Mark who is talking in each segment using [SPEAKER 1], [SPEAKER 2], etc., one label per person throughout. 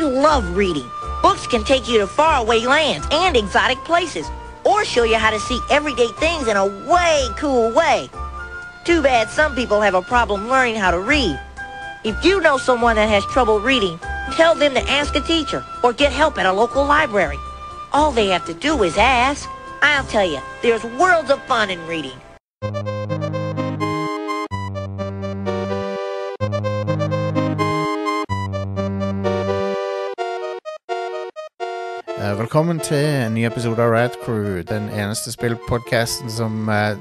[SPEAKER 1] love reading. Books can take you to faraway lands and exotic places, or show you how to see everyday things in a way cool way. Too bad some people have a problem learning how to read. If you know someone that has trouble reading, tell them to ask a teacher or get help at a local library. All they have to do is ask. I'll tell you, there's worlds of fun in reading.
[SPEAKER 2] Eh, Velkommen til en ny episode av Rad Crew, den eneste spillpodcasten som eh,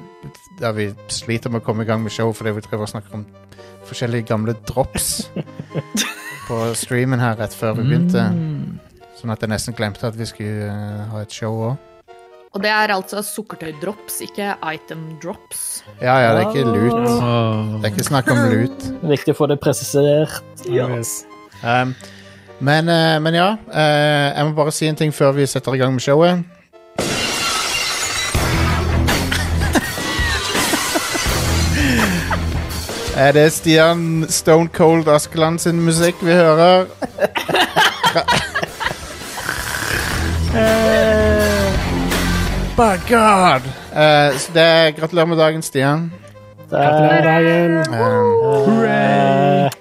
[SPEAKER 2] der vi sliter med å komme i gang med show fordi vi driver og snakker om forskjellige gamle drops på streamen her rett før vi begynte. Sånn at jeg nesten glemte at vi skulle eh, ha et show òg.
[SPEAKER 3] Og det er altså sukkertøydrops, ikke item drops.
[SPEAKER 2] Ja ja, det er ikke lut. Det er ikke snakk om lut.
[SPEAKER 4] Viktig å få det presisert.
[SPEAKER 2] Um, men, eh, men ja, eh, jeg må bare si en ting før vi setter i gang med showet. Er det Stian Stone Cold Askeland sin musikk vi hører? Eh, By God! Eh, så det er, gratulerer med dagen, Stian.
[SPEAKER 4] Gratulerer med dagen.
[SPEAKER 2] Um,
[SPEAKER 4] Eh,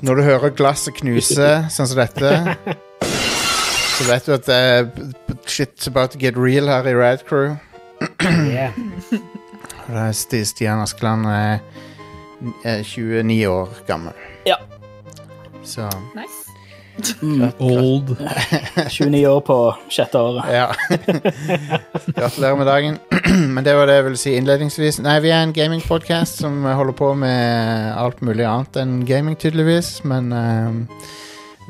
[SPEAKER 2] Når du hører glasset knuse sånn som dette, så vet du at det er shit's about to get real her i Rad Crew.
[SPEAKER 4] yeah.
[SPEAKER 2] Og da er Sti- Stian Askeland er er 29 år gammel.
[SPEAKER 4] Ja.
[SPEAKER 2] Så
[SPEAKER 3] Nice.
[SPEAKER 5] Old.
[SPEAKER 4] 29 år på sjette året.
[SPEAKER 2] ja. Gratulerer med dagen. Men det var det jeg ville si innledningsvis. Nei, vi er en gamingpodkast som holder på med alt mulig annet enn gaming, tydeligvis. Men eh,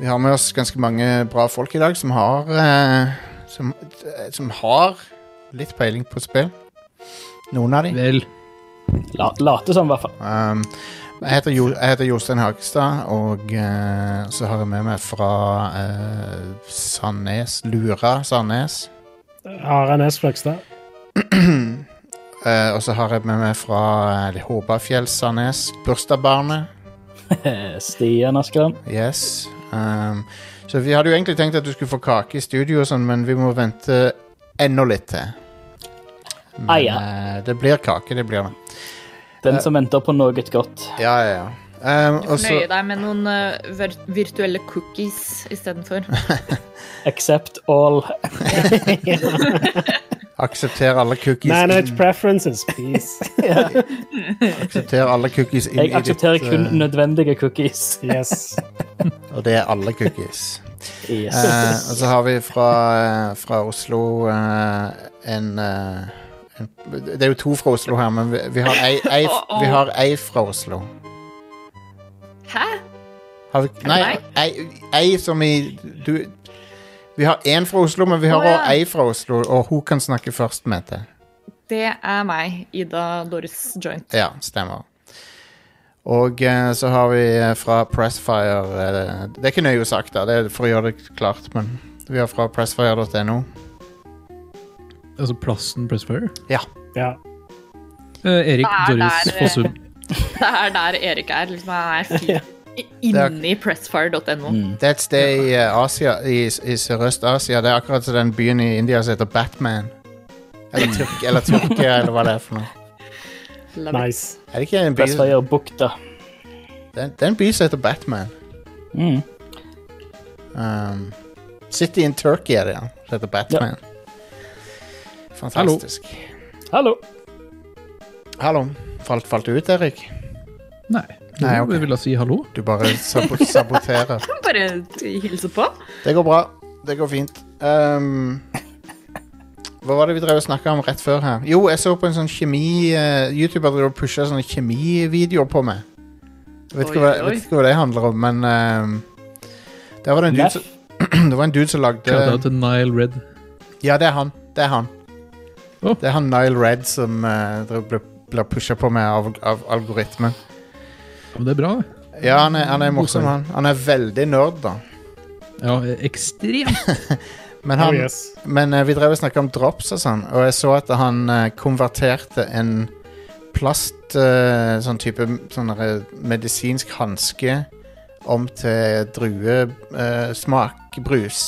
[SPEAKER 2] vi har med oss ganske mange bra folk i dag som har eh, som, eh, som har litt peiling på spill. Noen av de.
[SPEAKER 5] Vel.
[SPEAKER 4] La, late som, i hvert fall.
[SPEAKER 2] Um, jeg heter, jo, jeg heter Jostein Hagestad, og eh, så har jeg med meg fra eh, Sandnes Lura Sandnes.
[SPEAKER 6] Aranes Fløgstad.
[SPEAKER 2] Eh, og så har jeg med meg fra eh, Håbafjell, Sandnes, bursdagsbarnet.
[SPEAKER 4] Eh, Stian Askeland.
[SPEAKER 2] Mm. Yes. Um, så vi hadde jo egentlig tenkt at du skulle få kake i studio, og sånn, men vi må vente enda litt til. Men
[SPEAKER 4] Ah, ja.
[SPEAKER 2] eh, det blir kake, det blir det. Eh.
[SPEAKER 4] Den som venter på noe godt.
[SPEAKER 2] Ja, ja, ja. Um, og
[SPEAKER 5] Altså-
[SPEAKER 2] så
[SPEAKER 3] Nøye deg med noen eh, vir- virtuelle cookies istedenfor.
[SPEAKER 4] Accept all.
[SPEAKER 2] aksepter alle cookies
[SPEAKER 6] Manage
[SPEAKER 2] inn,
[SPEAKER 6] preferences, please.
[SPEAKER 2] aksepter alle cookies inn
[SPEAKER 4] Jeg
[SPEAKER 2] i ditt
[SPEAKER 4] aksepterer kun
[SPEAKER 2] eh,
[SPEAKER 4] nødvendige cookies.
[SPEAKER 6] Yes.
[SPEAKER 2] Og det er alle cookies. Eh,
[SPEAKER 4] Yes.
[SPEAKER 2] og så har vi fra, eh, fra Oslo eh, en, eh, en Det er jo to fra Oslo her, men vi, vi har ei, ei,
[SPEAKER 3] Uh-oh.
[SPEAKER 2] vi har ei fra Oslo.
[SPEAKER 3] Hæ?
[SPEAKER 2] Har vi, nei,
[SPEAKER 3] meg?
[SPEAKER 2] ei, ei som i du, Vi har én fra Oslo, men vi har
[SPEAKER 3] Å,
[SPEAKER 2] òg
[SPEAKER 3] ja.
[SPEAKER 2] ei fra Oslo, og hun kan snakke først, mente jeg.
[SPEAKER 3] Det er meg, Ida Doris Joint.
[SPEAKER 2] Ja, stemmer. Og eh, så har vi eh, fra Pressfire eh, Det er ikke nøye sagt, da, det er for å gjøre det klart, men vi har fra pressfire.no.
[SPEAKER 5] Altså plassen Pressfire.
[SPEAKER 6] Ja.
[SPEAKER 5] Eh, Erik
[SPEAKER 3] Der,
[SPEAKER 5] Doris
[SPEAKER 3] der, eh.
[SPEAKER 5] Fossum.
[SPEAKER 3] Det er der Erik er. liksom Han er fint inni pressfire.no.
[SPEAKER 5] Mm.
[SPEAKER 2] Det er et sted i eh, Asia, i, i Sørøst-Asia. Det er akkurat som den byen i India som heter Batman. Eller, Tyrk, eller Tyrkia, eller hva det er for noe.
[SPEAKER 3] Love it.
[SPEAKER 6] Nice.
[SPEAKER 2] Er det ikke en by, det
[SPEAKER 4] Pressfire Bukta.
[SPEAKER 2] er, det er en by som heter Batman?
[SPEAKER 4] Mm.
[SPEAKER 2] Um, City in Turkey er det, ja. Som heter Batman. Fantastisk.
[SPEAKER 4] Hallo.
[SPEAKER 2] Hallo. Falt, falt du ut, Erik?
[SPEAKER 5] Nei.
[SPEAKER 2] Nei,
[SPEAKER 5] Jo,
[SPEAKER 2] ok.
[SPEAKER 5] Jeg ville si hallo.
[SPEAKER 2] Du bare sabo saboterer.
[SPEAKER 3] Bare hilse på.
[SPEAKER 2] Det går bra. Det går fint. Ehm, hva var det vi drev og snakka om rett før her? Jo, jeg så på en sånn kjemi eh, YouTuber drev og pusha sånne kjemivideoer på meg. Jeg vet, ikke
[SPEAKER 3] Oi,
[SPEAKER 2] hva,
[SPEAKER 3] oi, oi.
[SPEAKER 2] vet ikke hva det handler om, men ehm, der var det, en dude
[SPEAKER 4] Neff.
[SPEAKER 2] som, det var en dude som
[SPEAKER 5] Shout out
[SPEAKER 2] lagde
[SPEAKER 5] til Nile Red.
[SPEAKER 2] Ja, det er han. Det er han.
[SPEAKER 5] Å.
[SPEAKER 2] Det er han Nile Red som eh, drev- ble, ble pusha på meg av, av algoritmen.
[SPEAKER 5] Ja, Men det er bra. det.
[SPEAKER 2] Ja, han er, han
[SPEAKER 6] Mm,
[SPEAKER 2] er morsom, han. Han er veldig nerd, da.
[SPEAKER 5] Ja, eh, ekstremt.
[SPEAKER 2] Men
[SPEAKER 6] Oh,
[SPEAKER 2] han,
[SPEAKER 6] yes.
[SPEAKER 2] Men eh, vi drev og snakket om drops og sånn, og jeg så at han eh, konverterte en plast, eh, sånn type sånn der, eh, medisinsk hanske om til druesmak. brus.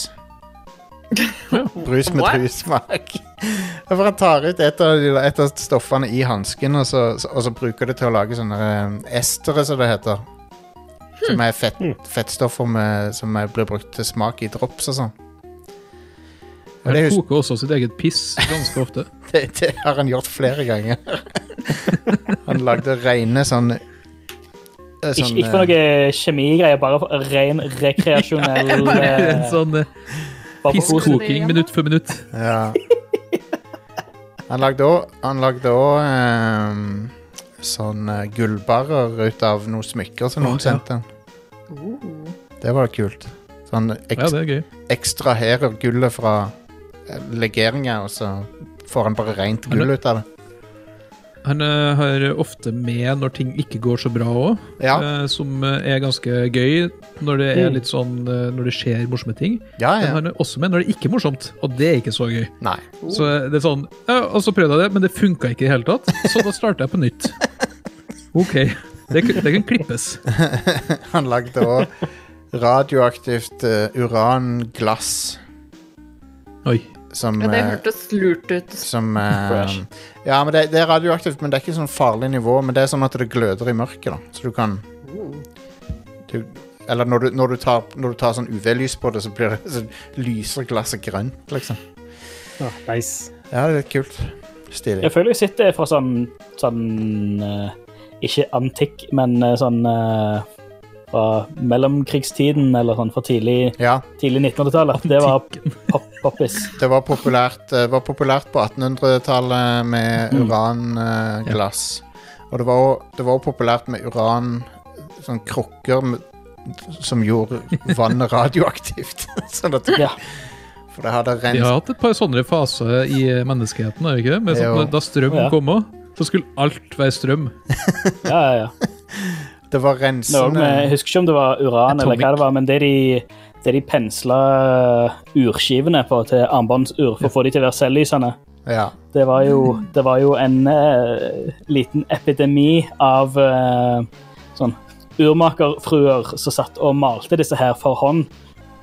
[SPEAKER 2] Brus med
[SPEAKER 3] What?
[SPEAKER 2] druesmak. Ja, For han tar ut et av, de- et av stoffene i hansken, og, så- så- og så bruker det til å lage sånne eh, estere, som det heter. Som er fett, fettstoffer med, som er, blir brukt til smak i drops og sånn. Og det,
[SPEAKER 5] Han
[SPEAKER 2] hus-
[SPEAKER 5] koker også sitt eget piss ganske ofte.
[SPEAKER 2] det, det har han gjort flere ganger. han lagde rene sånn eh,
[SPEAKER 4] Ikke,
[SPEAKER 2] sånn,
[SPEAKER 4] ikke for
[SPEAKER 2] eh,
[SPEAKER 4] noe kjemigreier, bare for ren rekreasjonell
[SPEAKER 5] Bare en
[SPEAKER 4] eh,
[SPEAKER 5] sånn eh,
[SPEAKER 4] bare for kos.
[SPEAKER 5] pisskoking minutt for minutt.
[SPEAKER 2] Ja. Han lagde òg Han lagde òg ehm, sånn eh, gullbarrer ut av noen smykker som
[SPEAKER 5] Å,
[SPEAKER 2] noen
[SPEAKER 5] ja. Uh.
[SPEAKER 2] sendte han. Det var kult. Så han ek
[SPEAKER 5] Ja, det er gøy.
[SPEAKER 2] ekstraherer gullet fra eh, legeringer, og så får han bare rent
[SPEAKER 5] Er det-
[SPEAKER 2] gull ut av det.
[SPEAKER 5] Han eh, har ofte med når ting ikke går så bra òg,
[SPEAKER 2] Ja, Mm.
[SPEAKER 5] som eh, er ganske gøy når det er litt sånn eh, Når det skjer morsomme ting.
[SPEAKER 2] ja.
[SPEAKER 5] Men
[SPEAKER 2] ja.
[SPEAKER 5] han er også med når det ikke er morsomt, og det er ikke så gøy.
[SPEAKER 2] Nei.
[SPEAKER 5] Så det er sånn ja, Og så prøvde jeg det, men det funka ikke i det hele tatt, så da starter jeg på nytt. OK. Det, kun- det kan klippes.
[SPEAKER 2] Han lagde òg radioaktivt eh, uranglass
[SPEAKER 5] Oi.
[SPEAKER 2] som
[SPEAKER 3] Ja, det
[SPEAKER 2] eh,
[SPEAKER 3] hørtes lurt ut.
[SPEAKER 2] Som eh,
[SPEAKER 4] Fresh.
[SPEAKER 2] Ja, men det, det er radioaktivt, men det er ikke sånn farlig nivå. Men det er sånn at det gløder i mørket, da. Så du kan du, Eller når du, når, du tar, når du tar sånn UV-lys på det, så, blir det, så lyser glasset grønt, liksom.
[SPEAKER 6] Ah, nice.
[SPEAKER 2] Ja, det er litt kult. Stilig.
[SPEAKER 4] Jeg føler jeg sitter fra sånn, sånn eh, Ikke antikk, men eh, sånn eh, fra mellomkrigstiden, eller sånn fra tidlig,
[SPEAKER 2] Ja,
[SPEAKER 4] tidlig 1900-tallet. Det var pop poppis.
[SPEAKER 2] det var populært, eh, var populært på 1800-tallet med uranglass. Og det var òg- det var òg populært med uran Sånn krukker med, som gjorde vannet radioaktivt. sånn at
[SPEAKER 4] Ja.
[SPEAKER 2] For det hadde
[SPEAKER 5] Vi
[SPEAKER 2] rent
[SPEAKER 5] har hatt et par sånne faser i menneskeheten. Har vi ikke? det? Med
[SPEAKER 2] Jo.
[SPEAKER 5] sånn, da strøm
[SPEAKER 4] Ja.
[SPEAKER 5] kom òg, så skulle alt være strøm.
[SPEAKER 4] Ja, ja, ja.
[SPEAKER 2] Det var
[SPEAKER 4] Noe
[SPEAKER 2] rensende
[SPEAKER 4] med, jeg husker ikke om det var uran eller hva det var, men det de, det de pensla urskivene på til armbåndsur for å få de til å være selvlysende,
[SPEAKER 2] Ja.
[SPEAKER 4] det var jo, det var jo en eh, liten epidemi av eh, sånn urmakerfruer som satt og malte disse her for hånd.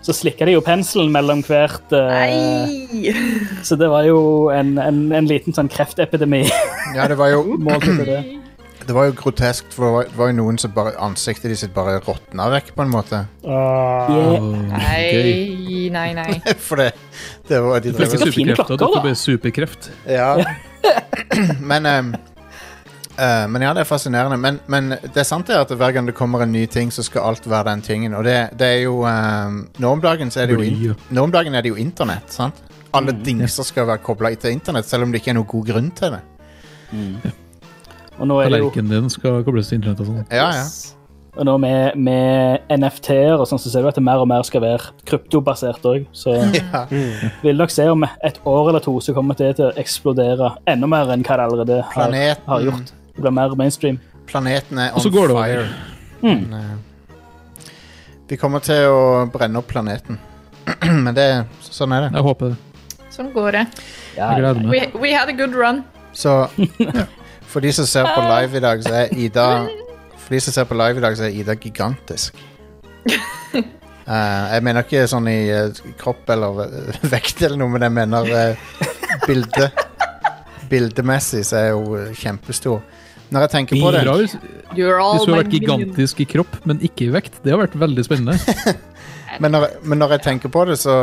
[SPEAKER 4] Så slikka de jo penselen mellom hvert eh,
[SPEAKER 3] Nei!
[SPEAKER 4] Så det var jo en, en, en liten sånn kreftepidemi.
[SPEAKER 2] ja, det var jo
[SPEAKER 4] målt etter det.
[SPEAKER 2] Det var jo groteskt, for det var, det var jo noen som bare ansiktet de sitt bare råtna vekk, på en måte.
[SPEAKER 6] Ah,
[SPEAKER 4] Yeah.
[SPEAKER 5] Åh, gøy.
[SPEAKER 3] Nei, nei, nei.
[SPEAKER 2] For det, det var de
[SPEAKER 5] Det er
[SPEAKER 2] drev
[SPEAKER 5] ikke
[SPEAKER 4] sikkert fine
[SPEAKER 5] superkrefter.
[SPEAKER 4] klokker,
[SPEAKER 5] Dette
[SPEAKER 4] da.
[SPEAKER 5] ble superkreft.
[SPEAKER 2] Ja. men ehm, eh, Men ja, det er fascinerende. Men, men det er sant det at hver gang det kommer en ny ting, så skal alt være den tingen. Og det, det er jo ehm, Nå om dagen så er det jo,
[SPEAKER 5] Bly, ja.
[SPEAKER 2] in nå om dagen er det jo internett, sant? Alle dingser skal være kobla til internett, selv om det ikke er noen god grunn til det.
[SPEAKER 4] Og nå er det jo
[SPEAKER 5] Tallerkenen din skal kobles til internett og sånn.
[SPEAKER 2] Ja, ja.
[SPEAKER 4] Og nå med, med NFT-er og sånn, så ser du at det mer og mer skal være kryptobasert òg. Så
[SPEAKER 2] ja.
[SPEAKER 4] vil dere se om et år eller to så kommer det til å eksplodere enda mer enn hva det allerede har, har
[SPEAKER 2] Planeten,
[SPEAKER 4] gjort. Det blir mer mainstream.
[SPEAKER 2] planeten er on
[SPEAKER 5] Og så går det over.
[SPEAKER 2] fire. Men, eh, vi kommer til å brenne opp planeten. Men det, sånn er det.
[SPEAKER 5] Jeg håper det.
[SPEAKER 3] Sånn går det.
[SPEAKER 5] Jeg gleder meg.
[SPEAKER 3] We, we had a good run.
[SPEAKER 2] Så for de som ser på live i dag, så er Ida For de som ser på live i dag, så er Ida gigantisk. Eh, jeg mener ikke sånn i eh, kropp eller eh, vekt eller noe, men jeg mener eh, bilde. Bildemessig så er hun eh, kjempestor. Når jeg tenker på det
[SPEAKER 5] Bra hvis,
[SPEAKER 3] You're all
[SPEAKER 5] hvis du
[SPEAKER 3] my
[SPEAKER 5] har vært
[SPEAKER 3] million.
[SPEAKER 5] gigantisk i kropp, men ikke i vekt. Det har vært veldig spennende.
[SPEAKER 2] Men når, men når jeg tenker på det, så,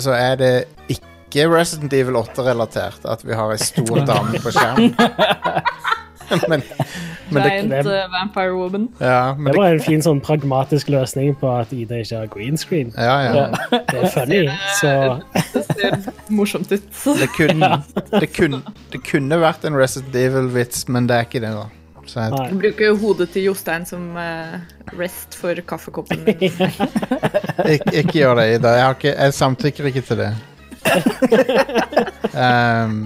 [SPEAKER 2] så er det ikke Resident Evil 8-relatert at vi har ei stor dame på skjermen. men, men det
[SPEAKER 3] Giant eh, vampire woman.
[SPEAKER 2] Ja, men
[SPEAKER 6] det
[SPEAKER 2] det,
[SPEAKER 6] var en fin sånn pragmatisk løsning på at Ida ikke har green screen.
[SPEAKER 2] ja, ja.
[SPEAKER 6] Det er funny, så
[SPEAKER 3] Det ser morsomt ut.
[SPEAKER 2] Det, kunne, det, kunne, det kunne vært en Resident Evil-vits, men det er ikke det, da. Så jeg,
[SPEAKER 6] Nei.
[SPEAKER 3] Jeg bruker jo hodet til Jostein som eh, rest for kaffekoppen min.
[SPEAKER 2] ikke, ikke gjør det, Ida. Jeg, har ikke, jeg samtykker ikke til det. Um,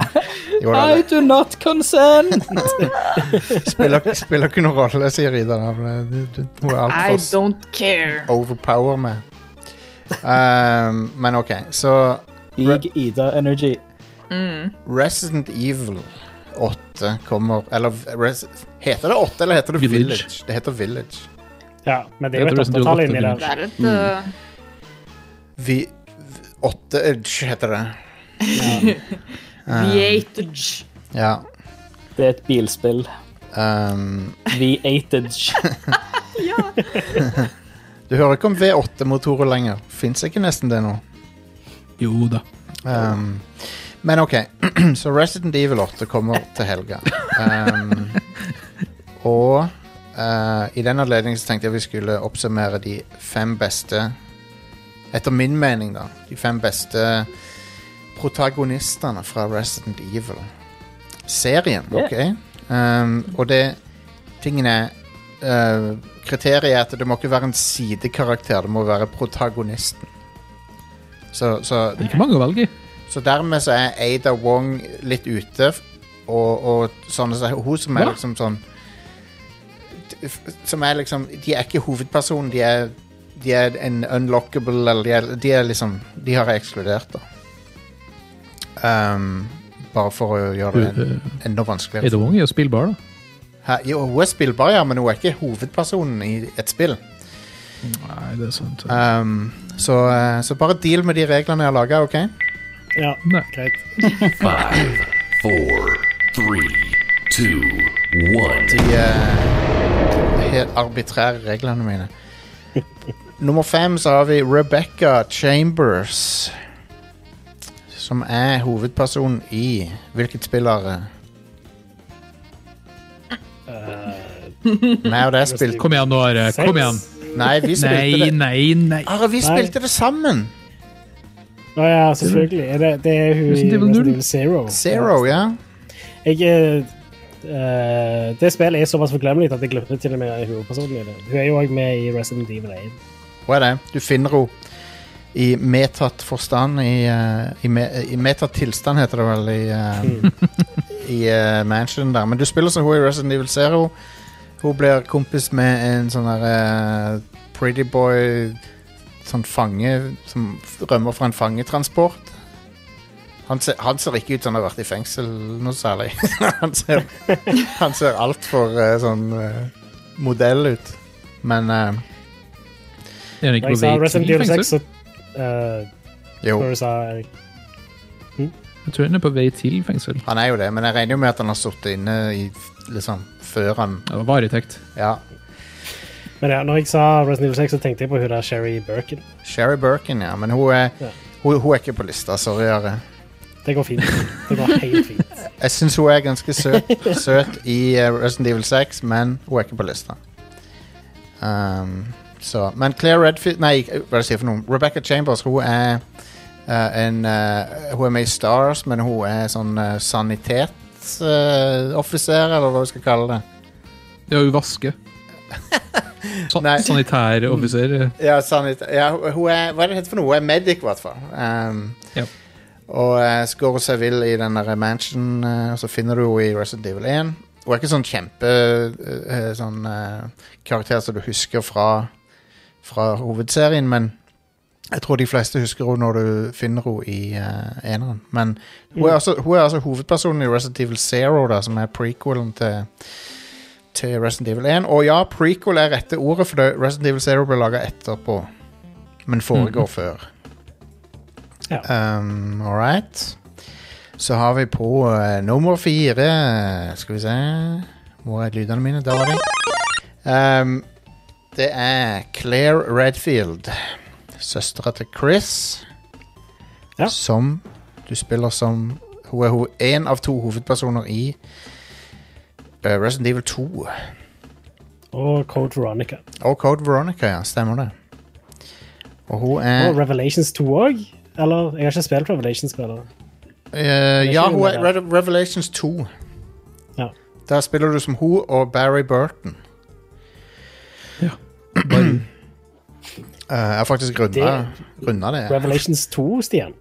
[SPEAKER 2] jo da,
[SPEAKER 4] I do not consent!
[SPEAKER 2] det spiller, spiller ikke noen rolle, sier Ida. da, for det- det- Hun er
[SPEAKER 3] I
[SPEAKER 2] altfor
[SPEAKER 3] don't care.
[SPEAKER 2] Oh, overpower meg. Ehm, men OK, så
[SPEAKER 4] Big Ida Energy.
[SPEAKER 2] Resident Evil 8 kommer Eller Res heter det 8 eller heter det Village?
[SPEAKER 5] Village.
[SPEAKER 2] Det heter Village.
[SPEAKER 6] Ja, men det er jo
[SPEAKER 5] Jeg
[SPEAKER 6] et
[SPEAKER 5] tror det er sånn
[SPEAKER 6] åttetall inni
[SPEAKER 5] åtte
[SPEAKER 6] der.
[SPEAKER 3] Det er et eh,
[SPEAKER 2] Vi, åtte edge, heter det.
[SPEAKER 3] Yatage.
[SPEAKER 2] Ja.
[SPEAKER 4] Det er et bilspill.
[SPEAKER 2] ehm,
[SPEAKER 4] V8-edge.
[SPEAKER 2] du hører ikke om V8-motorer lenger. Fins ikke nesten det nå.
[SPEAKER 5] Jo da.
[SPEAKER 2] Ehm, men OK, så Resident Evil 8 kommer til helga. Ehm, og eh, i den anledning så tenkte jeg vi skulle oppsummere de fem beste Etter min mening, da. De fem beste protagonistene fra Resident Evil-serien. ok? Ehm, og det tingen er eh, Kriteriet er at det må ikke være en sidekarakter, det må være protagonisten. Så, så
[SPEAKER 5] Det er ikke mange å velge i.
[SPEAKER 2] så dermed så er Ada Wong litt ute, f- og, og sånn, så hun som er
[SPEAKER 5] Hva?
[SPEAKER 2] liksom sånn t- f- Som er liksom De er ikke hovedpersonen, de er, de er en unlockable, eller de er, de er liksom De har jeg ekskludert, da. Um, bare for å gjøre det en- enda vanskeligere.
[SPEAKER 5] Ada Wong Eh, er jo spillbar, da.
[SPEAKER 2] Hæ? Jo, hun er spillbar, ja, men hun er ikke hovedpersonen i et spill.
[SPEAKER 5] Nei, det er sant.
[SPEAKER 2] Um, så, eh, så bare deal med de reglene jeg har laga, OK?
[SPEAKER 6] Ja,
[SPEAKER 5] Nei.
[SPEAKER 6] greit.
[SPEAKER 7] Five, four, three, two, one.
[SPEAKER 2] de eh, helt arbitrære reglene mine. Nummer fem så har vi Rebecca Chambers. Som er hovedpersonen i Hvilket spill er det?
[SPEAKER 5] Eh,
[SPEAKER 2] Nei, og det er spilt
[SPEAKER 5] Kom igjen nå, Are. Kom igjen.
[SPEAKER 2] Nei, vi spilte det
[SPEAKER 5] Nei,
[SPEAKER 2] Ah,
[SPEAKER 5] nei, nei.
[SPEAKER 2] Are, vi spilte det sammen!
[SPEAKER 6] Å ja, selvfølgelig. Er det, det er hun i
[SPEAKER 5] Resident Evil
[SPEAKER 6] Resident
[SPEAKER 5] null.
[SPEAKER 6] Evil Zero.
[SPEAKER 2] Zero, ja.
[SPEAKER 6] Jeg, eh, eh, det spillet er såpass forglemmelig at jeg glemte til og med hovedpersonen i det. Hun er jo også med i Resident Evil 1.
[SPEAKER 2] Hva er det? Du finner henne i medtatt forstand I, eh, i, me, i medtatt tilstand heter det vel i, eh, i eh, mansion der. Men du spiller som hun i Resident Evil Zero. Hun blir kompis med en sånn der eh, pretty boy Sånn fange som f- rømmer fra en fangetransport. Han ser, han ser ikke ut som han har vært i fengsel noe særlig. han ser, han ser altfor uh, sånn eh, modell ut. Men eh,
[SPEAKER 5] Er
[SPEAKER 6] Da
[SPEAKER 5] det ikke
[SPEAKER 6] jeg sa
[SPEAKER 5] på
[SPEAKER 6] Resident
[SPEAKER 5] V10
[SPEAKER 6] Evil 6,
[SPEAKER 5] fengsel?
[SPEAKER 6] så eh,
[SPEAKER 2] jo.
[SPEAKER 6] Når du sa Erik.
[SPEAKER 5] Jeg tror den er på vei til fengsel.
[SPEAKER 2] Han er jo det, men jeg regner jo med at han har sittet inne i, liksom, før han
[SPEAKER 5] Ja, Varetekt.
[SPEAKER 2] Ja.
[SPEAKER 6] Men ja, når jeg sa Resident Evil 6, så tenkte jeg på hun der Sherry Birkin.
[SPEAKER 2] Sherry Birkin, ja. Men hun er,
[SPEAKER 6] Ja.
[SPEAKER 2] hun, hun er ikke på lista. Sorry, Are.
[SPEAKER 6] Det går fint. Det går helt fint.
[SPEAKER 2] Jeg syns hun er ganske søt, søt i eh, Resident Evil 6, men hun er ikke på lista. Um, så, men Claire Redfield Nei, hva er det jeg sier for noe? Rebecca Chambers, hun er eh, en eh, Hun er med i Stars, men hun er sånn uh, sanitetsoffiser, eller hva vi skal kalle det.
[SPEAKER 5] Ja, hun vasker. Sa
[SPEAKER 2] Nei.
[SPEAKER 5] Sanitæroffiser. eh,
[SPEAKER 2] Ja, sanit ja, hun er, hva er det heter for noe? Hun er medic, i hvert fall. Um,
[SPEAKER 5] Ja.
[SPEAKER 2] Og uh, så går hun seg vill i den der mansion, eh, og så finner du henne i Resident Evil 1. Hun er ikke sånn kjempe eh, sånn eh, karakter som du husker fra, fra hovedserien, men jeg tror de fleste husker henne når du finner henne i eh, eneren. Men hun er, altså, hun er altså hovedpersonen i Resident Evil Zero, da, som er prequelen til til Resident Evil 1. Og ja, prequel er rette ordet, for det, Resident Evil Zero ble laga etterpå. Men foregår før.
[SPEAKER 6] Mhm. Ja.
[SPEAKER 2] Um, All right. Så har vi på eh, nummer fire Skal vi se Hvor er lydene mine? Der var de. Um, det er Claire Redfield, søstera til Chris,
[SPEAKER 6] Ja.
[SPEAKER 2] som du spiller som Hun er ho- en av to hovedpersoner i eh, Resident Evil 2.
[SPEAKER 6] Og Code Veronica.
[SPEAKER 2] Og Code Veronica, ja. Stemmer det. Og hun er
[SPEAKER 6] Og Revelations 2 òg. Eller jeg har ikke spilt Revelations spiller.
[SPEAKER 2] eh,
[SPEAKER 6] ikke
[SPEAKER 2] Ja, hun er
[SPEAKER 6] under
[SPEAKER 2] Re Revelations 2.
[SPEAKER 6] Ja.
[SPEAKER 2] Der spiller du som hun og Barry Burton.
[SPEAKER 5] Bare
[SPEAKER 2] Eh, jeg har faktisk runda
[SPEAKER 6] Det-
[SPEAKER 2] runda det. ja.
[SPEAKER 6] Revelations 2, Stian.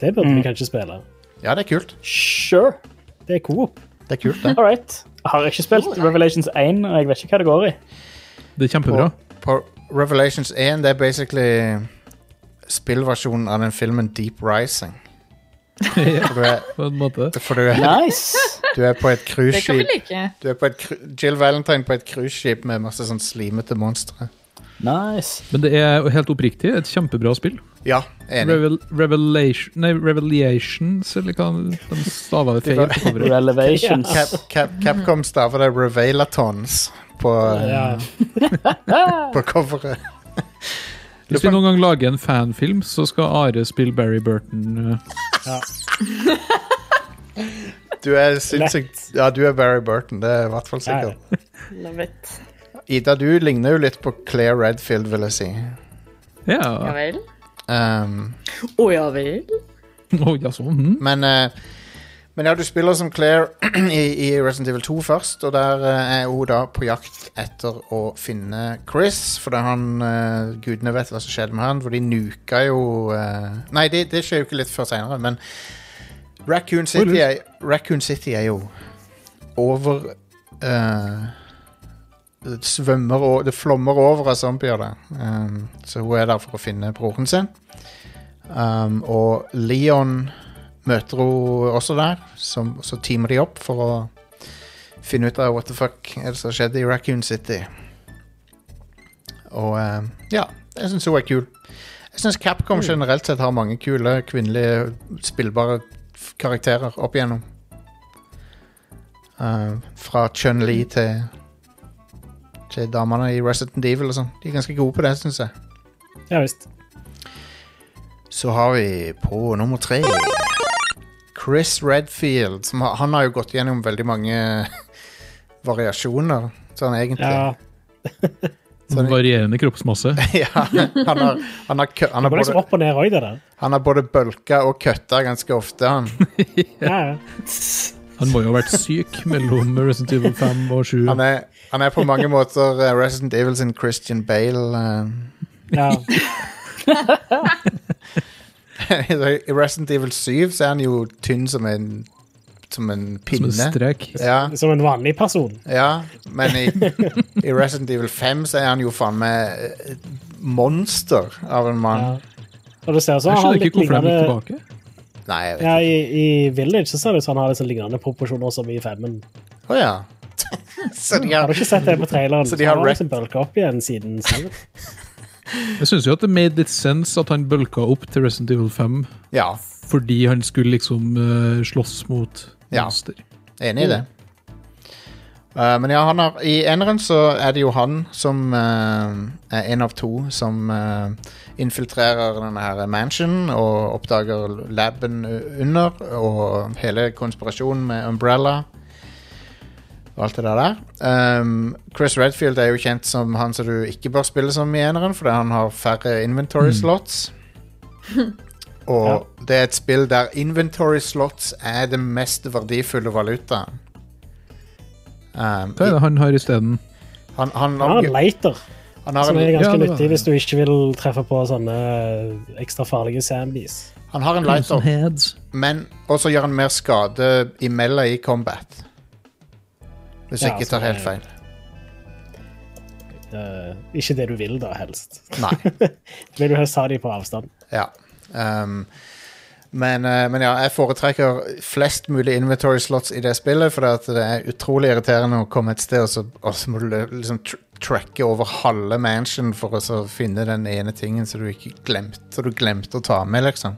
[SPEAKER 6] Det burde
[SPEAKER 2] Mm.
[SPEAKER 6] vi kanskje spille.
[SPEAKER 2] Ja, det er kult.
[SPEAKER 4] Sure.
[SPEAKER 6] Det er coop.
[SPEAKER 2] Det er kult, det.
[SPEAKER 4] All right. Jeg har ikke spilt Revelations 1, og jeg vet ikke hva det går i.
[SPEAKER 5] Det er kjempebra.
[SPEAKER 2] På Revelations 1 det er basically spillversjonen av den filmen Deep Rising.
[SPEAKER 5] Ja,
[SPEAKER 2] For du er,
[SPEAKER 5] På en måte.
[SPEAKER 2] for du er,
[SPEAKER 4] Nice.
[SPEAKER 2] du er på et
[SPEAKER 3] Det kan vi
[SPEAKER 2] cruiseskip
[SPEAKER 3] like.
[SPEAKER 2] Du er på et cru- Jill Valentine på et cruiseskip med masse sånn slimete monstre.
[SPEAKER 4] Nice.
[SPEAKER 5] Men det er helt oppriktig et kjempebra spill.
[SPEAKER 2] Ja, enig.
[SPEAKER 5] Revel, revelation Nei, Revelations, eller hva de stava det feil på coveret.
[SPEAKER 4] Relevations.
[SPEAKER 2] Cap, Cap, Capcom staver det Revelatons på, eh,
[SPEAKER 6] Ja.
[SPEAKER 2] på coveret.
[SPEAKER 5] Hvis vi noen gang lager en fanfilm, så skal Are spille Barry Burton. eh.
[SPEAKER 2] Du er sinnssykt Ja, du er Barry Burton, det er i hvert fall
[SPEAKER 6] Ja, ja.
[SPEAKER 2] sikkert. Ida, du ligner jo litt på Claire Redfield, vil jeg si.
[SPEAKER 3] Ja
[SPEAKER 5] Ja.
[SPEAKER 3] vel?
[SPEAKER 2] Um,
[SPEAKER 3] Å ja vel?
[SPEAKER 5] Å, ja, sånn.
[SPEAKER 2] men, eh, men ja, du spiller som Claire i, i Resident Evil 2 først, og der eh, er hun da på jakt etter å finne Chris, fordi han eh, Gudene vet hva som skjedde med han, for de nuka jo eh, Nei, det, det skjer jo ikke litt før seinere, men Raccoon City, er, Raccoon City er jo over eh, det svømmer og Det flommer over av zombier der. Um, så hun er der for å finne broren sin. Um, og Leon møter hun også der, som, så teamer de opp for å finne ut av what the fuck er det som skjedde i Raccoon City. Og um, ja, jeg syns hun er kul. Jeg syns Capcom generelt sett har mange kule kvinnelige spillbare f- karakterer opp igjennom. Uh, fra Chun-Li til til damene i Resident Evil og sånn. De er ganske gode på det, syns jeg.
[SPEAKER 6] ja visst.
[SPEAKER 2] Så har vi på nummer tre Chris Redfield. Som har, han har jo gått gjennom veldig mange variasjoner, sånn egentlig.
[SPEAKER 6] Ja.
[SPEAKER 5] Varierende kroppsmasse.
[SPEAKER 2] Ja, han, har, han, har, kø- han,
[SPEAKER 6] Det
[SPEAKER 2] har
[SPEAKER 6] går liksom
[SPEAKER 2] både,
[SPEAKER 6] opp og ned òg, det der.
[SPEAKER 2] han har både bølka og køtta ganske ofte, han.
[SPEAKER 6] Ja, ja.
[SPEAKER 5] Han må jo ha vært syk mellom Resident Evil 5 og 7.
[SPEAKER 2] Han er, han er på mange måter eh, Resident Evil sin Christian Bale. eh,
[SPEAKER 6] ja.
[SPEAKER 2] I Resident Evil 7 så er han jo tynn som en, som en
[SPEAKER 5] Som
[SPEAKER 2] pinne.
[SPEAKER 5] en strek.
[SPEAKER 2] ja.
[SPEAKER 6] Som en vanlig person.
[SPEAKER 2] Ja, men i, i Resident Evil 5 så er han jo faen meg et monster av en mann.
[SPEAKER 6] Ja. Og du ser så har
[SPEAKER 5] Jeg
[SPEAKER 6] han
[SPEAKER 5] skjønner
[SPEAKER 6] litt
[SPEAKER 5] ikke hvorfor de gikk
[SPEAKER 6] lignende
[SPEAKER 5] tilbake.
[SPEAKER 2] Nei, jeg vet
[SPEAKER 6] ja, i, I Village så ser det ut som han har litt sånn lignende proporsjoner som i femmen.
[SPEAKER 2] ikke. Å ja. så, de
[SPEAKER 6] Har
[SPEAKER 2] har,
[SPEAKER 6] du ikke sett det på traileren?
[SPEAKER 2] Så de har
[SPEAKER 6] han har
[SPEAKER 2] wrecked-
[SPEAKER 6] liksom bølga opp igjen siden Seven.
[SPEAKER 5] Jeg syns jo at det made litt sense at han bølka opp til Resident Evil 5
[SPEAKER 2] ja,
[SPEAKER 5] fordi han skulle liksom eh, slåss mot
[SPEAKER 2] Ja.
[SPEAKER 5] monster.
[SPEAKER 2] enig i det. Eh, men ja, han har, i eneren så er det jo han som eh, er en av to som eh, infiltrerer denne her mansion og oppdager laben under og hele konspirasjonen med Umbrella. og alt det der. der. Um, Chris Redfield er jo kjent som han som du ikke bør spille som i eneren, fordi han har færre
[SPEAKER 6] Mm.
[SPEAKER 2] inventory slots. Og det er et spill der inventory slots er det mest verdifulle Ehm, valutaen. Um,
[SPEAKER 5] Hva er det han har isteden?
[SPEAKER 2] han, han,
[SPEAKER 6] Han har en lighter,
[SPEAKER 2] han har
[SPEAKER 6] som
[SPEAKER 2] en,
[SPEAKER 6] er ganske
[SPEAKER 5] Ja, det var-
[SPEAKER 6] nyttig hvis du ikke vil treffe på sånne eh, ekstra farlige zombies.
[SPEAKER 2] han har en lighter, men også gjør han mer skade imellom i combat. Hvis jeg
[SPEAKER 6] Ja,
[SPEAKER 2] ikke
[SPEAKER 6] så
[SPEAKER 2] tar helt
[SPEAKER 6] det-
[SPEAKER 2] feil.
[SPEAKER 6] Eh, ikke det du vil, da, helst.
[SPEAKER 2] Nei.
[SPEAKER 6] Vil du helst ha de på avstand?
[SPEAKER 2] Ja. Um, men, eh, men ja, jeg foretrekker flest mulig inventory slots i det spillet, for det er utrolig irriterende å komme et sted, og så, og så må du lø- liksom tr tracke over halve mansion for å så finne den ene tingen som du ikke glemte, som du glemte å ta med, liksom.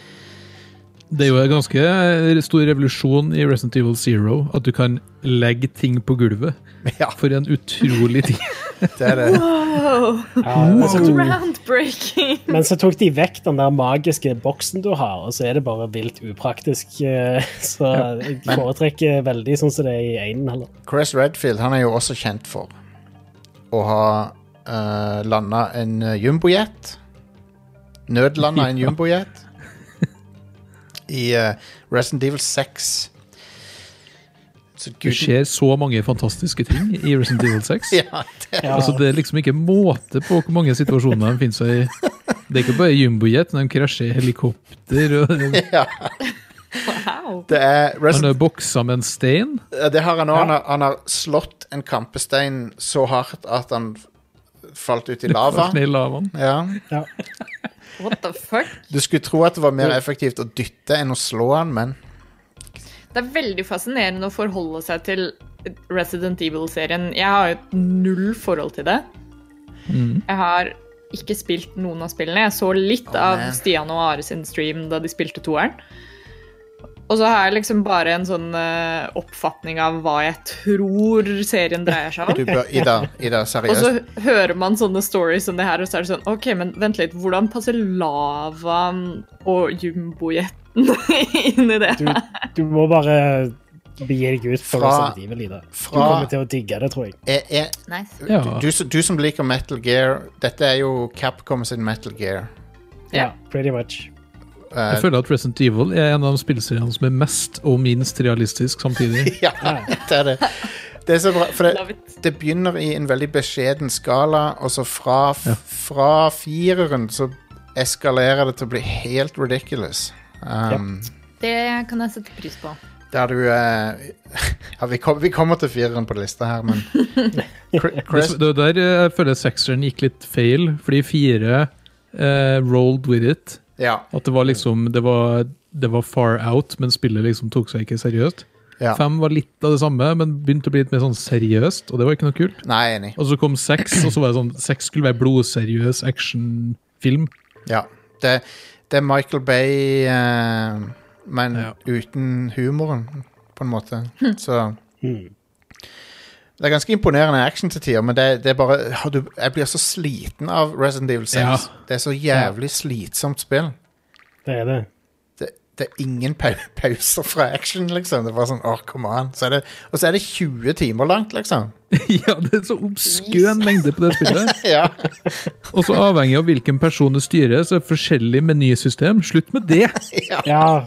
[SPEAKER 5] Det er jo en ganske eh, stor revolusjon i Resident Evil Zero at du kan legge ting på gulvet.
[SPEAKER 2] Ja,
[SPEAKER 5] For en utrolig ting.
[SPEAKER 2] det er det.
[SPEAKER 3] Oh,
[SPEAKER 6] Ja, så tok,
[SPEAKER 3] groundbreaking!
[SPEAKER 6] men så tok de vekk den der magiske boksen du har, og så er det bare vilt upraktisk. eh, Så jeg foretrekker veldig sånn som det er i einen, heller.
[SPEAKER 2] Chris Redfield han er jo også kjent for å ha uh, landa en eh, jumbojet. Nødlanda en jumbojet. I eh, Resident Evil 6. Så
[SPEAKER 5] Det
[SPEAKER 2] gud
[SPEAKER 5] skjer så mange fantastiske ting i Resident Evil 6.
[SPEAKER 2] ja, det,
[SPEAKER 6] Ja.
[SPEAKER 5] Altså, det er liksom ikke måte på hvor mange situasjoner de finner seg i. Det er ikke bare jumbojet, de krasjer i helikopter. Og
[SPEAKER 2] ja.
[SPEAKER 3] Wow.
[SPEAKER 2] det er
[SPEAKER 5] han
[SPEAKER 2] Resident,
[SPEAKER 5] har boksa med en stein.
[SPEAKER 2] Det har han òg. Han, har- han har slått en kampestein så hardt at han falt ut i lava.
[SPEAKER 5] Falt ned i lavaen.
[SPEAKER 2] Ja.
[SPEAKER 3] What the fuck?
[SPEAKER 2] Du skulle tro at det var mer effektivt å dytte enn å slå han, men
[SPEAKER 3] Det er veldig fascinerende å forholde seg til Resident Evil-serien. Jeg har jo et null forhold til det. Jeg har ikke spilt noen av spillene. Jeg så litt
[SPEAKER 2] Å,
[SPEAKER 3] av
[SPEAKER 2] man.
[SPEAKER 3] Stian og Are sin stream da de spilte toeren. Og så har jeg liksom bare en sånn eh, oppfatning av hva jeg tror serien dreier seg om.
[SPEAKER 2] Du bør, Ida, Ida,
[SPEAKER 3] Og så
[SPEAKER 2] seriøst.
[SPEAKER 3] hører man sånne stories som det her, og så er det sånn OK, men vent litt, hvordan passer lavaen og jumbojeten inn i det?
[SPEAKER 6] Du, du må bare begi deg ut for å
[SPEAKER 2] Fra-
[SPEAKER 6] sette livet, Lida. Du
[SPEAKER 2] fra-
[SPEAKER 6] kommer til å digge det, tror jeg.
[SPEAKER 2] Er, er,
[SPEAKER 3] Nice.
[SPEAKER 5] Ja.
[SPEAKER 2] du, du, som- du som liker Metal Gear Dette er jo Capcom sin Metal Gear.
[SPEAKER 3] Ja.
[SPEAKER 6] Pretty much.
[SPEAKER 2] Eh,
[SPEAKER 5] Jeg føler at Resident Evil er en av de spillseriene som er mest og minst realistisk samtidig.
[SPEAKER 2] ja, det er det. Det er så bra, for
[SPEAKER 3] Love
[SPEAKER 2] det,
[SPEAKER 3] it.
[SPEAKER 2] det begynner i en veldig beskjeden skala, og så fra, f- fra fireren så eskalerer det til å bli helt ridiculous. Um,
[SPEAKER 3] Det kan jeg sette pris på.
[SPEAKER 2] Der du eh, ja, vi, kom, vi kommer til fireren på lista her, men Cre-
[SPEAKER 5] Det,
[SPEAKER 2] Crest,
[SPEAKER 5] det der eh, jeg føler sekseren gikk litt feil, fordi fire eh, rolled with it.
[SPEAKER 2] ja,
[SPEAKER 5] At det var liksom Det var, det var far out, men spillet liksom tok seg ikke seriøst.
[SPEAKER 2] ja.
[SPEAKER 5] Fem var litt av det samme, men begynte å bli litt mer sånn seriøst, og det var ikke noe kult.
[SPEAKER 2] Nei, jeg er enig.
[SPEAKER 5] Og så kom seks, og så var det sånn Seks skulle være blodseriøs actionfilm.
[SPEAKER 2] Ja. Det, det er Michael Bay, eh, men
[SPEAKER 5] Ja.
[SPEAKER 2] uten humoren, på en måte. Så
[SPEAKER 5] Hmm.
[SPEAKER 2] Det er ganske imponerende action til tider, men det, det er bare har du, Jeg blir så sliten av Resident Evil 6.
[SPEAKER 5] Ja.
[SPEAKER 2] Det er så jævlig slitsomt spill.
[SPEAKER 6] Det er det.
[SPEAKER 2] det, det er ingen pau pauser fra action, liksom. Det var sånn, åh, come on. Så er det, og så er det 20 timer langt, liksom.
[SPEAKER 5] ja, det er så obskøn mengde på det spillet.
[SPEAKER 2] Ja,
[SPEAKER 5] Og så avhengig av hvilken person du styrer, så er det forskjellig menysystem. Slutt med det!
[SPEAKER 6] Ja,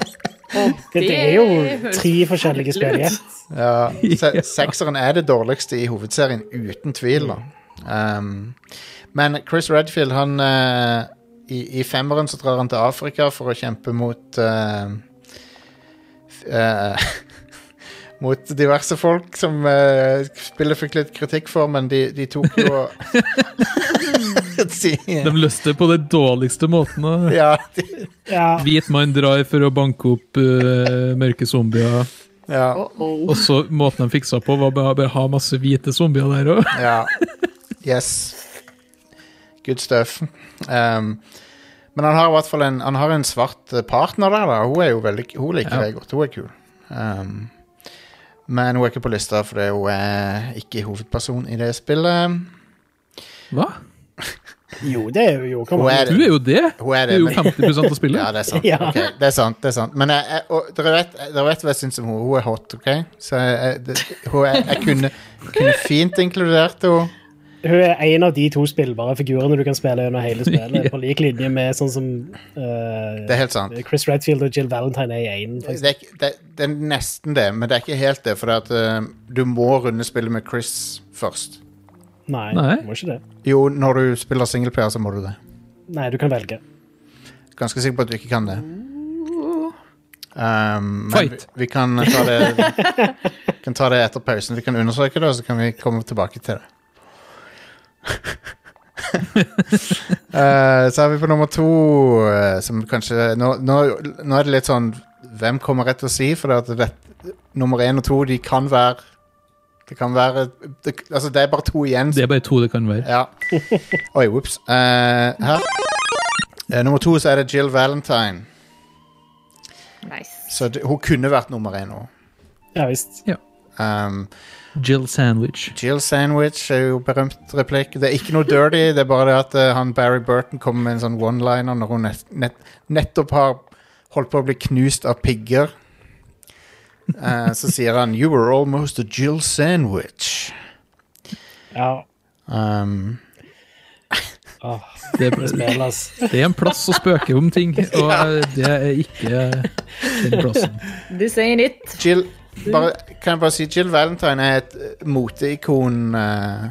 [SPEAKER 6] det, det er jo
[SPEAKER 3] høres
[SPEAKER 6] tre forskjellige spill i ett.
[SPEAKER 2] ja. Se, sekseren er det dårligste i hovedserien, uten tvil, da. Um, men Chris Redfield, han eh, i, I femmeren så drar han til Afrika for å kjempe mot eh, f- eh, Mot diverse folk som eh, spillet fikk litt kritikk for, men de, de tok jo de,
[SPEAKER 5] De løste det på den dårligste måten. da.
[SPEAKER 2] Ja, de,
[SPEAKER 6] Ja,
[SPEAKER 5] Hvit mann drar for å banke opp eh, mørke zombier.
[SPEAKER 2] ja.
[SPEAKER 5] Og så måten de fiksa på, var bare bare ha masse hvite zombier der òg.
[SPEAKER 2] Ja. Yes. Good stuff. Um, men han har i hvert fall en, han har en svart eh, partner der, da. Hun, er jo veldig, hun liker
[SPEAKER 5] Ja.
[SPEAKER 2] deg godt. Hun er kul. Um, men hun er ikke på lista fordi hun er ikke hovedperson i det spillet.
[SPEAKER 5] Hva?
[SPEAKER 6] jo, det er jo kom
[SPEAKER 2] Hun
[SPEAKER 6] an.
[SPEAKER 2] er
[SPEAKER 5] Du er jo det!
[SPEAKER 2] Hun er
[SPEAKER 5] Du
[SPEAKER 2] det,
[SPEAKER 5] er jo
[SPEAKER 2] men-
[SPEAKER 5] 50 av
[SPEAKER 2] Ja,
[SPEAKER 5] spillet.
[SPEAKER 2] det er sant.
[SPEAKER 6] Ja.
[SPEAKER 2] Ok, det er sant, det er sant. Men jeg, jeg, og, dere, vet, eh, dere vet hva jeg syns om henne. Hun er hot, OK? Så jeg, jeg, det, hun er, jeg kunne, kunne fint inkludert henne.
[SPEAKER 6] Hun er en av de to spillbare figurene du kan spille under hele spillet, på lik linje med sånn som eh,
[SPEAKER 2] Det er helt sant.
[SPEAKER 6] Chris Redfield og Jill Valentine er i én. for
[SPEAKER 2] det, er, ikke- det, det er nesten det, men det er ikke helt det. For det at, eh, du må runde spillet med Chris først.
[SPEAKER 6] eksempel. Nei,
[SPEAKER 5] Nei.
[SPEAKER 6] du må ikke det.
[SPEAKER 2] Jo, når du spiller singleplayer, så må du det.
[SPEAKER 6] Nei, du kan velge.
[SPEAKER 2] Ganske sikker på at du ikke kan det. Um, men
[SPEAKER 5] Fight.
[SPEAKER 2] Vi, vi kan ta det kan ta det etter pausen. Vi kan undersøke det, og så kan vi komme tilbake til det. Eh, så er vi på nummer to, eh, som kanskje Nå, nå, nå er det litt sånn Hvem kommer rett til å si? For det at det, nummer én og to, de kan være Det kan være det, Altså, det er bare to igjen.
[SPEAKER 5] Det er bare to det kan være.
[SPEAKER 2] Ja. Oi, whoops. Eh, her. Eh, nummer to så er det Jill Valentine.
[SPEAKER 3] Nice.
[SPEAKER 2] Så det, hun kunne vært nummer én nå.
[SPEAKER 6] Ja visst.
[SPEAKER 2] Um,
[SPEAKER 5] Jill Sandwich.
[SPEAKER 2] Jill Sandwich er jo berømt replikk. Det er ikke noe dirty, det er bare det at eh, han Barry Burton kommer med en sånn one-liner når hun nett, nett, nettopp har holdt på å bli knust av pigger. Eh, så sier han 'You were almost a Jill Sandwich'.
[SPEAKER 6] Ja.
[SPEAKER 2] Um,
[SPEAKER 6] Åh,
[SPEAKER 5] Det er,
[SPEAKER 6] spill, ass.
[SPEAKER 5] det er en plass å spøke om ting, og eh, det er ikke den plassen.
[SPEAKER 3] This ain't it.
[SPEAKER 2] Jill, bare, kan jeg bare si Jill Valentine er et eh, moteikon eh,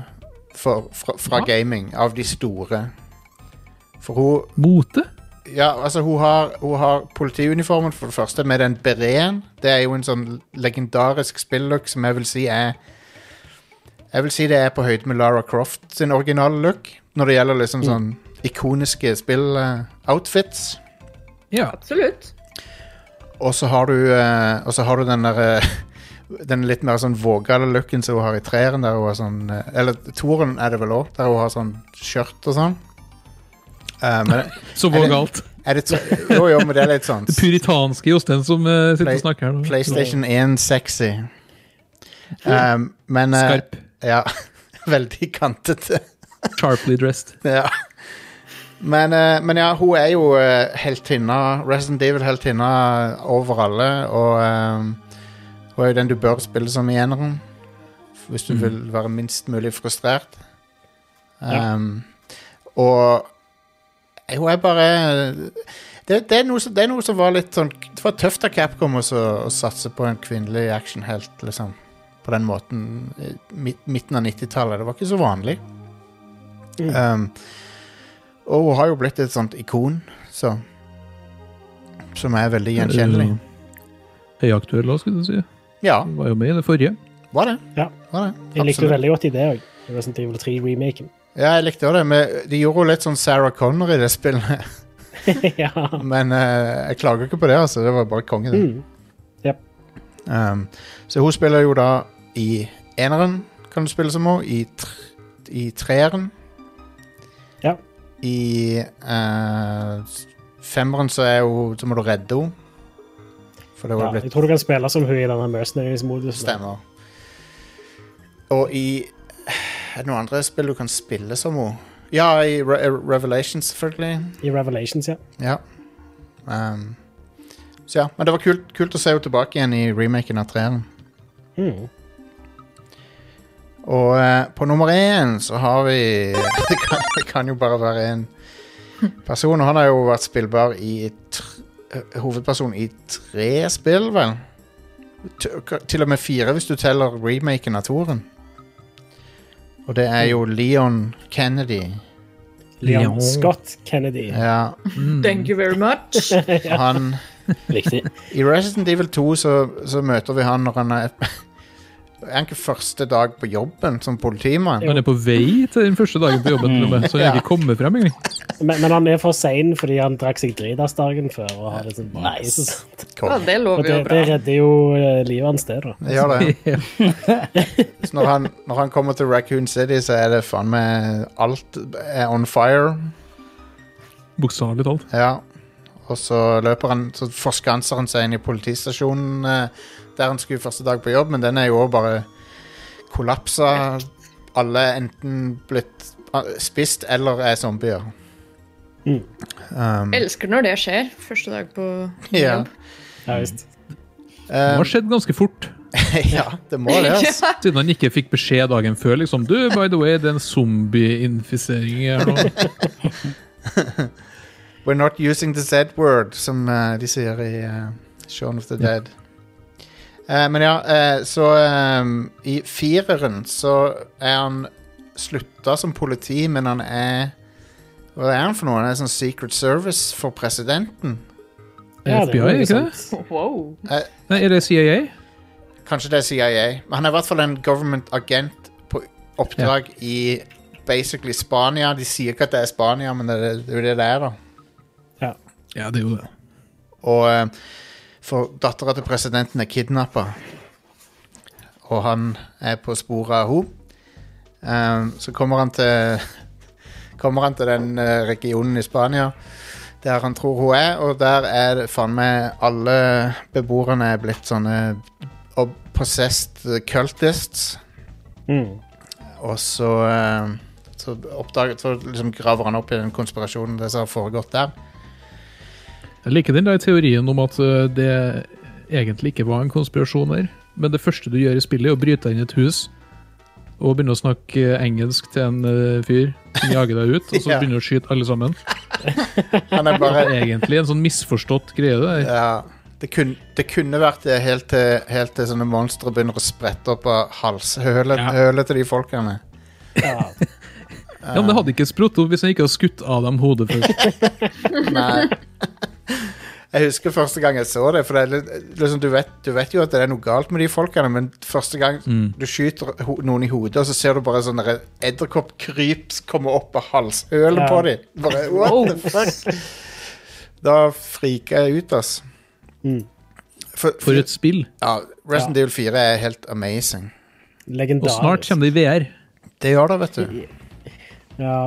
[SPEAKER 2] for, fra, fra gaming, av de store. For hun
[SPEAKER 5] Mote?
[SPEAKER 2] Ja, altså hun har, hun har politiuniformen for det første med den bereten. Det er jo en sånn legendarisk spilllook som jeg vil si er Jeg vil si det er på høyde med Lara Croft sin originale look når det gjelder liksom sånn ikoniske eh, spill-outfits.
[SPEAKER 5] Ja.
[SPEAKER 3] Absolutt.
[SPEAKER 2] Og så har du eh, Og så har du den der eh, Den litt mer sånn vågale looken som hun har i treeren, der hun har sånn eh, Eller toeren er det vel òg, der hun har sånn skjørt og sånn. Eh, men
[SPEAKER 5] Som var galt.
[SPEAKER 2] er det så, jo, jo, men det er litt sånn.
[SPEAKER 5] Det puritanske hos den som eh, sitter og snakker her nå.
[SPEAKER 2] PlayStation 1 sexy. Um, men eh,
[SPEAKER 5] Skarp.
[SPEAKER 2] Ja. Veldig kantete.
[SPEAKER 5] Sharply dressed.
[SPEAKER 2] ja. Men, eh, men ja, hun er jo eh, heltinna. Resident Evil-heltinna over alle. Og eh, hun er jo den du bør spille som i eneren. Hvis
[SPEAKER 6] Mm.
[SPEAKER 2] du vil være minst mulig frustrert. Um, Og eh, hun er bare det, det, er noe som, det er noe som var litt sånn Det var tøft av Capcom også, å satse på en kvinnelig actionhelt, liksom. På den måten. eh, Midt, midten av 90-tallet. Det var ikke så vanlig.
[SPEAKER 6] Mm.
[SPEAKER 2] Um, og hun har jo blitt et sånt ikon, så Som er veldig gjenkjennelig.
[SPEAKER 5] Høyaktuell òg, skulle du si.
[SPEAKER 2] Ja,
[SPEAKER 5] Var jo med i det forrige.
[SPEAKER 2] var det.
[SPEAKER 6] Ja.
[SPEAKER 2] Var det.
[SPEAKER 6] Jeg likte
[SPEAKER 2] Absolutt.
[SPEAKER 6] veldig godt i det òg. Resident Evil 3-remaken.
[SPEAKER 2] Ja, jeg likte også det, men de gjorde jo litt sånn Sarah Connor i det spillet.
[SPEAKER 6] ja.
[SPEAKER 2] Men eh, jeg klager ikke på det, altså. Det var bare konge, det.
[SPEAKER 6] Mm.
[SPEAKER 2] Um, så hun spiller jo da i eneren, kan du spille som henne. I, tr i treeren.
[SPEAKER 6] Ja.
[SPEAKER 2] I eh, femmeren så er hun Så må du redde henne. For det
[SPEAKER 6] Ja,
[SPEAKER 2] var blitt
[SPEAKER 6] jeg tror du kan spille som hun i denne Mercenaries-modusen.
[SPEAKER 2] Stemmer. Og i Er det noen andre spill du kan spille som henne? Ja, i Re Revelation, selvfølgelig.
[SPEAKER 6] I Revelations, ja.
[SPEAKER 2] Ja. Um, så ja. Men det var kult, kult å se henne tilbake igjen i remaken av treeren.
[SPEAKER 6] Mm.
[SPEAKER 2] Og eh, på nummer én så har vi det kan, det kan jo bare være én person, og han har jo vært spillbar i tr eh, Hovedperson i tre spill, vel? T k- til og med fire, hvis du teller remaken av toren. Og det er jo Leon Kennedy.
[SPEAKER 6] Leon Scott Kennedy.
[SPEAKER 2] Ja,
[SPEAKER 3] Thank you very much.
[SPEAKER 2] han
[SPEAKER 4] Riktig.
[SPEAKER 2] I Resident Evil 2 så, så møter vi han når han er Er han ikke første dag på jobben som politimann?
[SPEAKER 5] Han er på vei til den første dagen på jobben, til og med, så han er ikke kommet frem engang.
[SPEAKER 6] Men, men han er for sein fordi han drakk seg dritas dagen før. Og har det sånn,
[SPEAKER 4] Nice.
[SPEAKER 6] Så-
[SPEAKER 3] Ja, det
[SPEAKER 6] Og
[SPEAKER 3] lover jo
[SPEAKER 6] det,
[SPEAKER 3] bra.
[SPEAKER 6] det redder jo eh, livet hans, det, da.
[SPEAKER 2] Det gjør det.
[SPEAKER 5] Ja.
[SPEAKER 2] Så når han, når han kommer til Raccoon City, så er det faen meg alt er on fire.
[SPEAKER 5] Bokstavelig talt.
[SPEAKER 2] Ja. Og så løper han Så forskanser han seg inn i politistasjonen eh, der han skulle første dag på jobb, men den er jo også bare kollapsa. Alle er enten blitt ah, spist eller er zombier.
[SPEAKER 6] Mm.
[SPEAKER 2] Um,
[SPEAKER 3] Elsker når det skjer. Første dag på
[SPEAKER 2] ja.
[SPEAKER 3] jobb.
[SPEAKER 6] Ja, visst.
[SPEAKER 5] Det
[SPEAKER 2] Um,
[SPEAKER 5] har skjedd ganske fort,
[SPEAKER 2] ja, det må det. Altså.
[SPEAKER 5] siden han ikke fikk beskjed dagen før. liksom, Du, by the way, det er en zombieinfisering her nå.
[SPEAKER 2] We're not using the Z-word, som eh, de sier i eh, Shaun of the Dead. Eh, men ja, eh, så eh, I fireren så er han slutta som politi, men han er Hva er han for noe? Han er sånn Secret Service for presidenten.
[SPEAKER 6] Ja,
[SPEAKER 5] FBI,
[SPEAKER 6] er jo
[SPEAKER 5] ikke det?
[SPEAKER 6] sant.
[SPEAKER 3] Wow.
[SPEAKER 5] Nei, er det CIA?
[SPEAKER 2] Kanskje det er CIA. Men han er i hvert fall en government agent på oppdrag i basically Spania. De sier ikke at det er Spania, men det er det er jo det det er, da.
[SPEAKER 5] Ja, det er jo det.
[SPEAKER 2] Og eh, for dattera til presidenten er kidnappa. Og han er på sporet av henne. Ehm, så kommer han til Kommer han til den eh, regionen i Spania der han tror hun er, og der er det faen meg alle beboerne er blitt sånne ob- possessed cultists.
[SPEAKER 6] Mm.
[SPEAKER 2] Og så, eh, så, oppdager, så liksom graver han opp i den konspirasjonen det som har foregått der.
[SPEAKER 5] Jeg liker den der teorien om at ø, det egentlig ikke var en konspirasjon der. Men det første du gjør i spillet, er å bryte deg inn i et hus og begynne å snakke ø, engelsk til en ø, fyr som jager deg ut, og så
[SPEAKER 2] Ja.
[SPEAKER 5] begynner du å skyte alle sammen.
[SPEAKER 2] Han er bare
[SPEAKER 5] Det er egentlig en sånn misforstått greie. det der.
[SPEAKER 2] Ja, det, kun, det kunne vært det helt til, helt til sånne monstre begynner å sprette opp av halshølet
[SPEAKER 5] Ja.
[SPEAKER 2] hølet til de folkene.
[SPEAKER 6] Ja.
[SPEAKER 5] Ja, men det hadde ikke sprutt opp hvis jeg ikke hadde skutt av dem hodet først.
[SPEAKER 2] Nei. Jeg husker første gang jeg så det, for det er litt- liksom, du, vet, du vet jo at det er noe galt med de folkene, men første gang du skyter ho noen i hodet, og så ser du bare sånn sånne edderkoppkryp komme opp av halshølet
[SPEAKER 6] Ja.
[SPEAKER 2] på dem. Bare, what the fuck? Da friker jeg ut, ass.
[SPEAKER 6] Mm.
[SPEAKER 2] For,
[SPEAKER 5] For et spill.
[SPEAKER 2] ja, Resident Evil 4 er helt amazing.
[SPEAKER 5] Og snart
[SPEAKER 6] Legendarisk.
[SPEAKER 5] kommer det i VR.
[SPEAKER 2] Det gjør det, vet du.
[SPEAKER 6] Ja.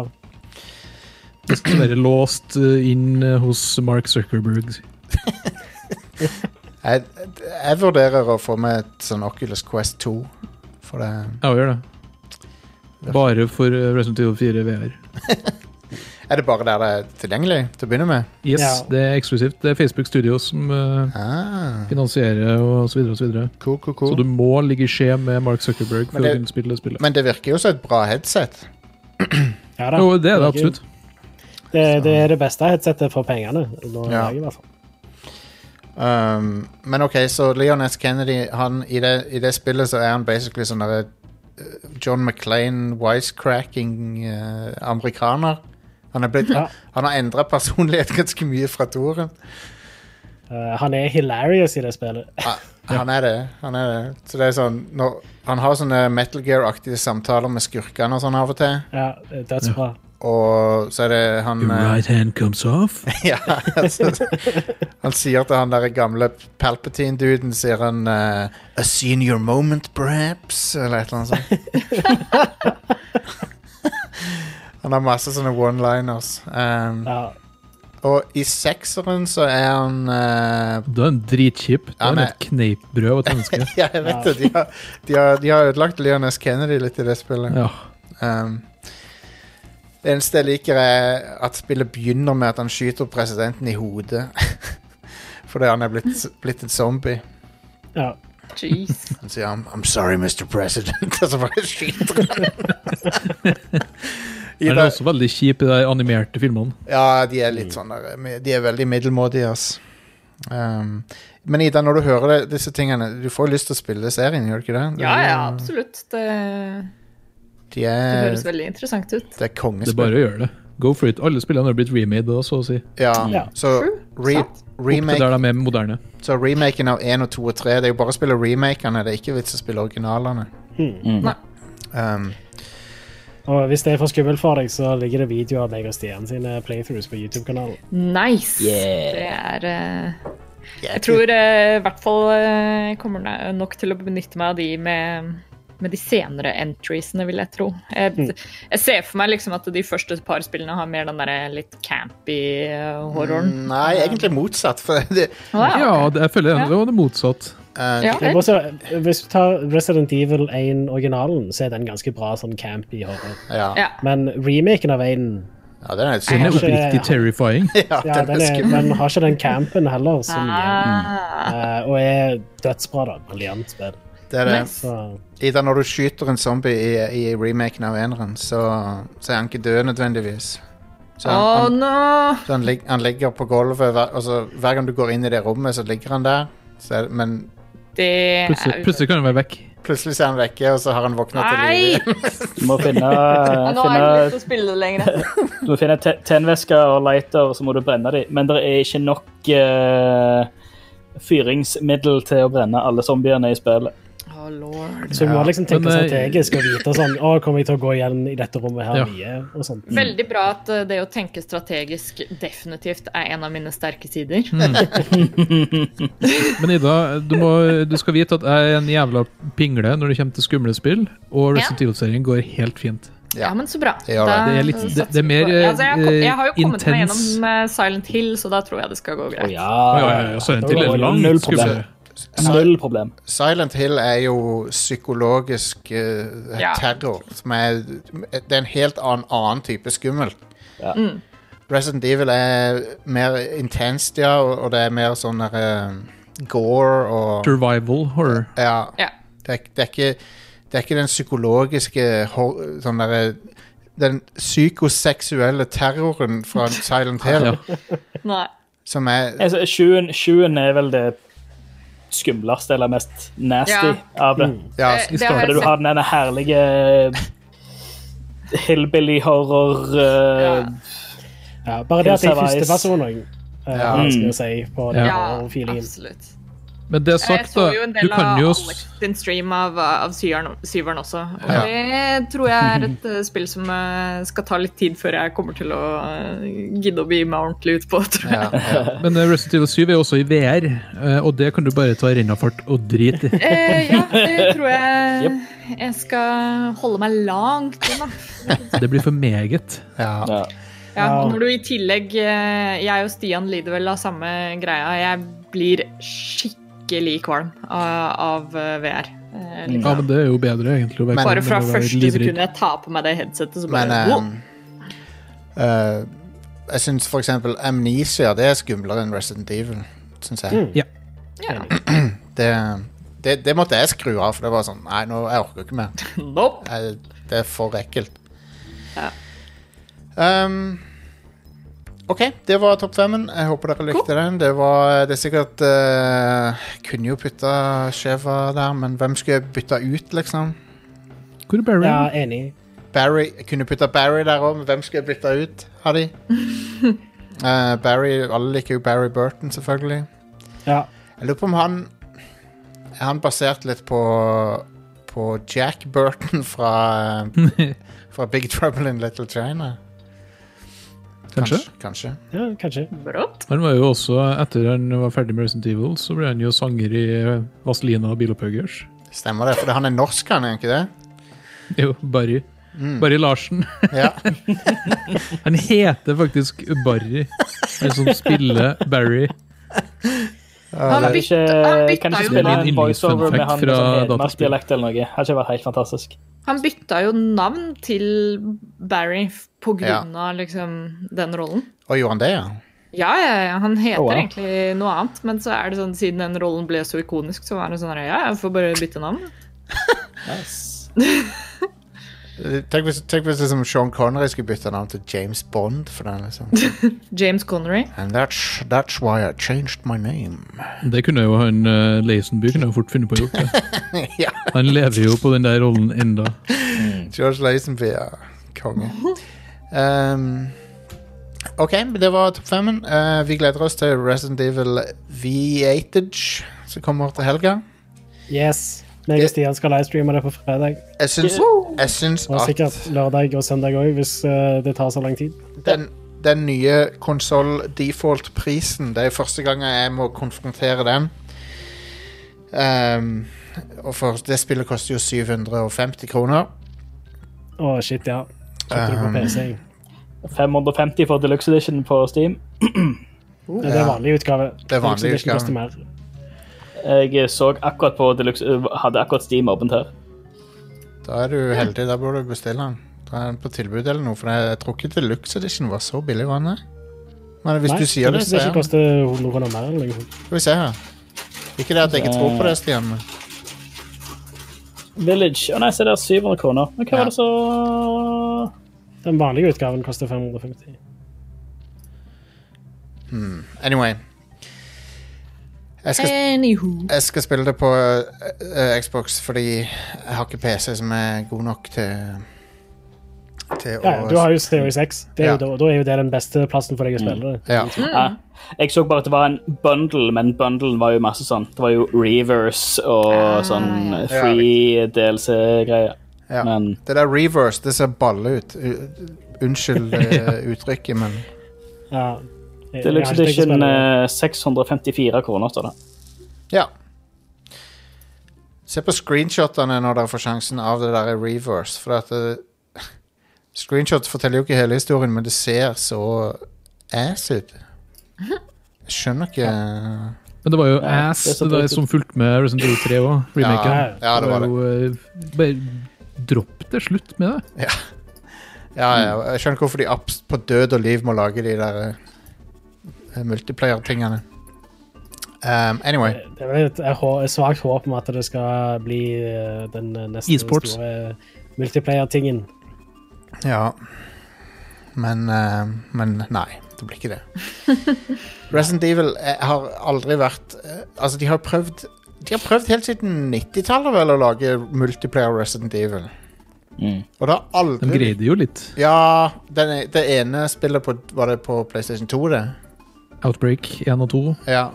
[SPEAKER 5] Dessverre låst eh, inn eh, hos Mark Zuckerberg.
[SPEAKER 2] Jeg, jeg vurderer å få med et sånn Oculus Quest 2. For det
[SPEAKER 5] Ja, gjør det. Bare for eh, Resident Evil 4 VR.
[SPEAKER 2] Er det bare der det er tilgjengelig til å begynne med?
[SPEAKER 5] Yes,
[SPEAKER 6] Ja.
[SPEAKER 5] det er eksklusivt. Det er Facebook Studio som eh,
[SPEAKER 2] Ah,
[SPEAKER 5] finansierer og så videre og så videre.
[SPEAKER 2] cool, cool,
[SPEAKER 5] Så
[SPEAKER 2] cool.
[SPEAKER 5] du må ligge i skje med Mark Zuckerberg for
[SPEAKER 2] Men det-
[SPEAKER 5] å kunne spille det spillet.
[SPEAKER 2] Men det virker jo som et bra headset.
[SPEAKER 6] Ja da.
[SPEAKER 5] Jo, det er det
[SPEAKER 6] Herregud.
[SPEAKER 5] absolutt.
[SPEAKER 6] Det, det er det beste headsetet for pengene. Nå
[SPEAKER 2] Ja.
[SPEAKER 6] ja. i hvert fall.
[SPEAKER 2] Um, men ok, så Leon S. Kennedy han, i, det, I det spillet så er han basically sånn derre eh, John McClain wisecracking eh, amerikaner. Han er blitt
[SPEAKER 6] Ja.
[SPEAKER 2] Han har endra personlighet ganske mye fra toren.
[SPEAKER 6] Eh, han er hilarious i det spillet.
[SPEAKER 2] Ah, Han er det. Han er det. Så det er sånn når, Han har sånne Metal Gear-aktige samtaler med skurkene og sånn av og til.
[SPEAKER 6] Ja, det er Dødsbra.
[SPEAKER 2] Og så er det han eh,
[SPEAKER 5] hand comes off.
[SPEAKER 2] Ja, altså, han sier til han der gamle Palpatine-duden Sier han eh, A senior moment, perhaps? Eller et eller annet sånt. han har masse sånne one-liners. Um,
[SPEAKER 6] Ja.
[SPEAKER 2] Og i sekseren så er han eh,
[SPEAKER 5] Du er en dritkjip. Du
[SPEAKER 2] Ja,
[SPEAKER 5] er
[SPEAKER 2] men-
[SPEAKER 5] et kneippbrød av et menneske.
[SPEAKER 2] Ja, jeg vet det. De har, de har, de har ødelagt Leon S. Kennedy litt i det spillet.
[SPEAKER 5] Ja.
[SPEAKER 2] Um, det eneste jeg liker, er at spillet begynner med at han skyter presidenten i hodet. Fordi han er blitt, blitt en zombie.
[SPEAKER 6] ja.
[SPEAKER 3] Jeez.
[SPEAKER 2] Han sier I'm, I'm sorry, Mr. President. Og så bare skyter han. I
[SPEAKER 5] Han er
[SPEAKER 2] det-
[SPEAKER 5] også veldig kjip i de animerte filmene.
[SPEAKER 2] ja, de er litt sånn der De er veldig middelmådige, ass. Um, men Ida, når du hører det, disse tingene Du får lyst til å spille serien, gjør du ikke det?
[SPEAKER 3] Ja, ja, absolutt.
[SPEAKER 2] De
[SPEAKER 3] Det, det
[SPEAKER 2] er,
[SPEAKER 3] høres veldig interessant ut.
[SPEAKER 2] det er
[SPEAKER 5] Det er
[SPEAKER 2] kongespill.
[SPEAKER 5] bare å gjøre det. Go for it. Alle spillene har blitt remade, da, så å si.
[SPEAKER 2] Ja,
[SPEAKER 6] Ja.
[SPEAKER 2] så re,
[SPEAKER 3] Sant.
[SPEAKER 5] Opp til
[SPEAKER 2] remake
[SPEAKER 5] der de er moderne.
[SPEAKER 2] Så remaken av 1 og 2 og 3 Det er jo bare å spille remakene, det er ikke vits å spille originalene.
[SPEAKER 3] Nei.
[SPEAKER 2] Um,
[SPEAKER 6] Og hvis det er for skummelt for deg, så ligger det videoer av meg og Stian sine playthroughs på YouTube-kanalen.
[SPEAKER 3] Nice! Det er eh, Jeg tror eh, i hvert fall eh, jeg kommer ne- nok til å benytte meg av de med, med de senere entriesene, vil jeg tro. Jeg, jeg ser for meg liksom at de første par spillene har mer den derre litt campy eh, horroren.
[SPEAKER 2] Nei, egentlig motsatt. For det,
[SPEAKER 3] Wow.
[SPEAKER 5] Ja, det, jeg føler det var det motsatt.
[SPEAKER 2] eh,
[SPEAKER 3] Ja,
[SPEAKER 6] Det er også, hvis du tar Resident Evil 1-originalen, så er den ganske bra sånn campy horror.
[SPEAKER 2] ja.
[SPEAKER 3] ja.
[SPEAKER 6] Men remaken av 1
[SPEAKER 2] ja, den er litt
[SPEAKER 5] Den er
[SPEAKER 2] skummel.
[SPEAKER 6] Kanskje-
[SPEAKER 5] oppriktig terrifying.
[SPEAKER 2] Ja,
[SPEAKER 6] ja, den, er,
[SPEAKER 2] skummel.
[SPEAKER 6] den har ikke den campen heller, så mye.
[SPEAKER 3] Ah.
[SPEAKER 6] Eh, og er dødsbra, da. Briljant spill.
[SPEAKER 2] Det er det.
[SPEAKER 6] Så,
[SPEAKER 2] Ida, når du skyter en zombie i, i remaken av eneren, så, så er han ikke død nødvendigvis. Så han,
[SPEAKER 3] Å,
[SPEAKER 2] han,
[SPEAKER 3] nå!
[SPEAKER 2] så han, lig, han ligger på gulvet, hver, og så hver gang du går inn i det rommet, så ligger han der. Så, er- men
[SPEAKER 3] Det er
[SPEAKER 5] Plutselig, plutselig kan den være vekk.
[SPEAKER 2] plutselig så er han vekke, og så har han våkna til
[SPEAKER 3] Nei!
[SPEAKER 2] live.
[SPEAKER 4] Du må
[SPEAKER 3] Ja,
[SPEAKER 4] finne,
[SPEAKER 3] Nå har jeg ikke lyst
[SPEAKER 4] finne,
[SPEAKER 3] til å spille det lenger.
[SPEAKER 4] du må finne te- tennvæsker og lighter, og så må du brenne dem. Men det er ikke nok eh, fyringsmiddel til å brenne alle zombiene i spillet.
[SPEAKER 3] Å, lord.
[SPEAKER 6] så vi må liksom tenke
[SPEAKER 5] men, eh,
[SPEAKER 6] strategisk og vite sånn Å, kommer jeg til å gå igjen i dette rommet her
[SPEAKER 5] Ja.
[SPEAKER 6] mye? Og sånt.
[SPEAKER 3] Veldig bra at eh, det å tenke strategisk definitivt er en av mine sterke sider.
[SPEAKER 5] Men Ida, du, må, du skal vite at jeg er en jævla pingle når det kommer til skumle spill, og Resident Evil-serien går helt fint.
[SPEAKER 2] Ja.
[SPEAKER 3] Ja, men så bra.
[SPEAKER 2] Det gjør
[SPEAKER 3] Da
[SPEAKER 2] det.
[SPEAKER 5] Det er litt-
[SPEAKER 3] satser
[SPEAKER 5] det- det
[SPEAKER 3] vi
[SPEAKER 5] er
[SPEAKER 3] på
[SPEAKER 5] mer,
[SPEAKER 3] altså, jeg, har kom- jeg har jo
[SPEAKER 5] eh,
[SPEAKER 3] kommet meg
[SPEAKER 5] intens.
[SPEAKER 3] gjennom eh, Silent Hill, så da tror jeg det skal gå greit.
[SPEAKER 4] ja,
[SPEAKER 5] Ja, ja, ja, så er den til
[SPEAKER 4] Det var
[SPEAKER 5] en lang
[SPEAKER 4] null
[SPEAKER 5] skummel.
[SPEAKER 4] problem. Null problem.
[SPEAKER 2] Silent Hill er jo psykologisk eh,
[SPEAKER 3] Ja.
[SPEAKER 2] terror. Som er, det er en helt annen, annen type skummelt.
[SPEAKER 4] Ja.
[SPEAKER 2] Resident Evil er mer intenst, ja, og, og det er mer sånn der, eh, gore og
[SPEAKER 5] Survival horror.
[SPEAKER 2] Ja.
[SPEAKER 3] Ja.
[SPEAKER 2] Det, er, det, er ikke, det er ikke den psykologiske hor- sånn derre Den psykoseksuelle terroren fra Silent Hill
[SPEAKER 5] Ja.
[SPEAKER 3] Nei.
[SPEAKER 2] som er
[SPEAKER 4] Altså, sjuen, sjuen er vel det skumleste eller mest nasty av det.
[SPEAKER 2] Ja,
[SPEAKER 3] Eh, det har jeg
[SPEAKER 4] Fordi du har
[SPEAKER 3] sett.
[SPEAKER 4] den ene herlige hillbilly-horror
[SPEAKER 3] Ja.
[SPEAKER 4] eh,
[SPEAKER 6] Ja, bare det at det er
[SPEAKER 4] Hilsa Weiss.
[SPEAKER 6] første person òg, ja.
[SPEAKER 2] Ja.
[SPEAKER 6] skal
[SPEAKER 5] Mm.
[SPEAKER 6] jeg si, på den
[SPEAKER 3] Ja,
[SPEAKER 6] horror feelingen.
[SPEAKER 3] absolutt.
[SPEAKER 5] Men det
[SPEAKER 3] Jeg
[SPEAKER 5] sagt,
[SPEAKER 3] så
[SPEAKER 5] da,
[SPEAKER 3] jo en
[SPEAKER 5] du
[SPEAKER 3] del
[SPEAKER 5] kan
[SPEAKER 3] av
[SPEAKER 5] jo
[SPEAKER 3] Alex sin stream av, av syveren, syveren også, og
[SPEAKER 2] Ja.
[SPEAKER 3] det tror jeg er et eh, spill som eh, skal ta litt tid før jeg kommer til å eh, gidde å bli meg ordentlig ut på, tror jeg.
[SPEAKER 2] ja, ja.
[SPEAKER 5] Men eh, Resident Evil 7 er også i VR, eh, og det kan du bare ta rennafart og drite i.
[SPEAKER 3] Eh, ja, det tror jeg jeg skal holde meg langt unna.
[SPEAKER 5] Det blir for meget.
[SPEAKER 2] ja.
[SPEAKER 4] ja.
[SPEAKER 3] Ja,
[SPEAKER 6] Ja.
[SPEAKER 3] og når du i tillegg eh, Jeg og Stian lider vel av samme greia. Jeg blir skikkelig kvalm av, av eh, VR.
[SPEAKER 4] Mm.
[SPEAKER 3] Eh,
[SPEAKER 5] Ja, men det er jo bedre, egentlig. Å være
[SPEAKER 3] Bare fra
[SPEAKER 5] enn å være
[SPEAKER 3] første
[SPEAKER 5] livredd.
[SPEAKER 3] sekund jeg tar på meg det headsetet, så bare
[SPEAKER 2] Men eh,
[SPEAKER 3] wow.
[SPEAKER 2] eh, jeg syns for eksempel Amnesia det er skumlere enn Resident Evil. Synes
[SPEAKER 3] Mm.
[SPEAKER 2] jeg.
[SPEAKER 3] ja.
[SPEAKER 2] Det, det, det måtte jeg skru av, for det var sånn Nei, nå, jeg orker ikke mer.
[SPEAKER 3] Nope.
[SPEAKER 2] Jeg, det er for ekkelt.
[SPEAKER 3] Ja.
[SPEAKER 2] Um, OK, det var topp femmen. Jeg håper dere likte den. Det, var, det er sikkert eh, Kunne jo putta Sheva der, men hvem skulle jeg bytta ut, liksom?
[SPEAKER 5] Hvor er Barry?
[SPEAKER 6] Ja, enig.
[SPEAKER 2] Barry, jeg kunne putta Barry der òg, men hvem skulle jeg bytta ut av de? Eh, Barry, Alle liker jo Barry Burton, selvfølgelig.
[SPEAKER 6] Ja.
[SPEAKER 2] Jeg lurer på om han Er han basert litt på På Jack Burton fra eh, Fra Big Trouble in Little China?
[SPEAKER 5] Kanskje?
[SPEAKER 2] Kanskje.
[SPEAKER 6] ja, kanskje.
[SPEAKER 3] Brått.
[SPEAKER 5] Han var jo også, etter han var ferdig med Resident Evil, så ble han jo sanger i Vazelina og Bilopphuggers.
[SPEAKER 2] Stemmer det, for han er norsk, han, er han ikke det?
[SPEAKER 5] Jo, Barry.
[SPEAKER 2] Mm.
[SPEAKER 5] Barry Larsen.
[SPEAKER 2] Ja.
[SPEAKER 5] Han heter faktisk Barry. Han som spiller Barry.
[SPEAKER 3] Han
[SPEAKER 4] Kan
[SPEAKER 3] bytta,
[SPEAKER 4] ikke,
[SPEAKER 3] han bytta jo
[SPEAKER 4] kan ikke
[SPEAKER 5] Det
[SPEAKER 4] spille
[SPEAKER 5] er
[SPEAKER 3] navn.
[SPEAKER 5] min
[SPEAKER 4] en voiceover med
[SPEAKER 5] yndlingsfunfact
[SPEAKER 4] han med
[SPEAKER 5] fra
[SPEAKER 4] sånn
[SPEAKER 5] dataspill.
[SPEAKER 4] hedmarksdialekt eller noe? Hadde ikke vært helt fantastisk.
[SPEAKER 3] Han bytta jo navn til Barry f- på
[SPEAKER 2] Ja.
[SPEAKER 3] grunn av liksom den rollen.
[SPEAKER 2] Og gjorde han det, ja?
[SPEAKER 3] Ja, ja, ja, han heter
[SPEAKER 4] Oh, wow.
[SPEAKER 3] egentlig noe annet, men så er det sånn, siden den rollen ble så ikonisk, så var det sånn her, ja, jeg får bare bytte navn.
[SPEAKER 2] Eh, Tenk hvis, tenk hvis liksom Sean Connery skulle bytte navn til James Bond. For den, liksom.
[SPEAKER 3] James Connery.
[SPEAKER 2] And that's, that's why I changed my name.
[SPEAKER 5] Det kunne jo han uh, Leisenby kunne jo fort funnet på å gjort. det.
[SPEAKER 2] ja.
[SPEAKER 5] Han lever jo på den der rollen enda.
[SPEAKER 2] George Lazenby er konge. Um, OK, det var topp femmen. Eh, vi gleder oss til Resident Evil V8-age, som kommer til helga.
[SPEAKER 6] Yes. Meg og Stian skal livestreame det på fredag.
[SPEAKER 2] Jeg syns, jeg syns
[SPEAKER 6] Og
[SPEAKER 2] at
[SPEAKER 6] sikkert lørdag og søndag òg, hvis eh, det tar så lang tid.
[SPEAKER 2] den, den nye konsoll-default-prisen Det er første gang jeg må konfrontere den. Um, og for det spillet koster jo 750 kroner.
[SPEAKER 6] Å, shit, ja.
[SPEAKER 2] Um,
[SPEAKER 6] Kjøpte det på PC. jeg.
[SPEAKER 4] 550 for deluxe edition på Steam.
[SPEAKER 6] Ja, det er vanlig utgave.
[SPEAKER 2] Det er vanlig
[SPEAKER 6] Deluxe edition
[SPEAKER 2] utgave.
[SPEAKER 6] koster mer.
[SPEAKER 4] Jeg så akkurat på deluxe eh, Hadde akkurat Steam åpent her.
[SPEAKER 2] Da er du heldig. Da burde du bestille den. Da er den på tilbud eller noe, for jeg tror ikke Deluxe Edition var så billig, var den det? Men hvis
[SPEAKER 6] Nei,
[SPEAKER 2] du sier det,
[SPEAKER 6] det
[SPEAKER 2] så er
[SPEAKER 6] vil ikke
[SPEAKER 2] den
[SPEAKER 6] koste 100 kroner mer. Eller noe. sånt.
[SPEAKER 2] Skal vi se her. Ikke det at jeg ikke tror på
[SPEAKER 6] Eh.
[SPEAKER 2] det, Stian, men
[SPEAKER 4] Village. Å nei, se der. 700 kroner. Men hva
[SPEAKER 2] Ja.
[SPEAKER 4] var det så
[SPEAKER 6] Den vanlige utgaven koster 550.
[SPEAKER 2] anyway. Jeg skal,
[SPEAKER 3] Anywho.
[SPEAKER 2] jeg skal spille det på eh, eh, Xbox fordi jeg har ikke PC som er god nok til Til
[SPEAKER 6] Ja, ja, du har jo Series X. Det er
[SPEAKER 2] Ja. Mm.
[SPEAKER 6] jo, da, da er jo det den beste plassen for deg å spille det.
[SPEAKER 2] ja.
[SPEAKER 4] ja. Jeg så bare at det var en bundle, men bundlen var jo masse sånn. Det var jo reverse og
[SPEAKER 3] Ah,
[SPEAKER 4] sånn free DLC-greier.
[SPEAKER 2] Ja.
[SPEAKER 4] Men
[SPEAKER 2] Det der reverse, det ser balle ut. U- Unnskyld eh, uttrykket, men
[SPEAKER 6] Ja. Jeg- jeg har
[SPEAKER 4] deluxe
[SPEAKER 6] ikke tenkt å
[SPEAKER 4] edition
[SPEAKER 6] spille det.
[SPEAKER 4] liksom eh, 654 kroner, står det.
[SPEAKER 2] Ja. Se på screenshotene når dere får sjansen av det der i reverse. For at eh, Screenshots forteller jo ikke hele historien, men det ser så ass ut. Jeg skjønner ikke
[SPEAKER 5] Men det var jo
[SPEAKER 4] Ja,
[SPEAKER 5] ass
[SPEAKER 4] det er så
[SPEAKER 5] det der
[SPEAKER 4] teit ut.
[SPEAKER 5] som fulgte med Resident Evil 3 òg, remaken.
[SPEAKER 2] Ja, ja, det var det.
[SPEAKER 5] jo, eh, bare dropp det. Slutt med det.
[SPEAKER 2] Ja, ja, jeg skjønner ikke hvorfor de abs- på død og liv må lage de der eh, multiplayer-tingene. Um, anyway.
[SPEAKER 6] Det er vel et, et, hå- et svakt håp om at det skal bli eh, den eh, neste
[SPEAKER 5] E-sports.
[SPEAKER 6] store multiplayer-tingen.
[SPEAKER 2] Ja. Men, eh, men nei, det blir ikke det. Resident Evil eh, har aldri vært eh, Altså, de har prøvd De har prøvd helt siden 90-tallet vel å lage multiplayer Resident Evil.
[SPEAKER 4] Mm.
[SPEAKER 2] Og det har
[SPEAKER 5] De
[SPEAKER 2] aldri
[SPEAKER 5] greide jo litt.
[SPEAKER 2] Ja, den, e- det ene spillet på, var det på PlayStation 2, det?
[SPEAKER 5] Outbreak 1 og 2.
[SPEAKER 2] Ja.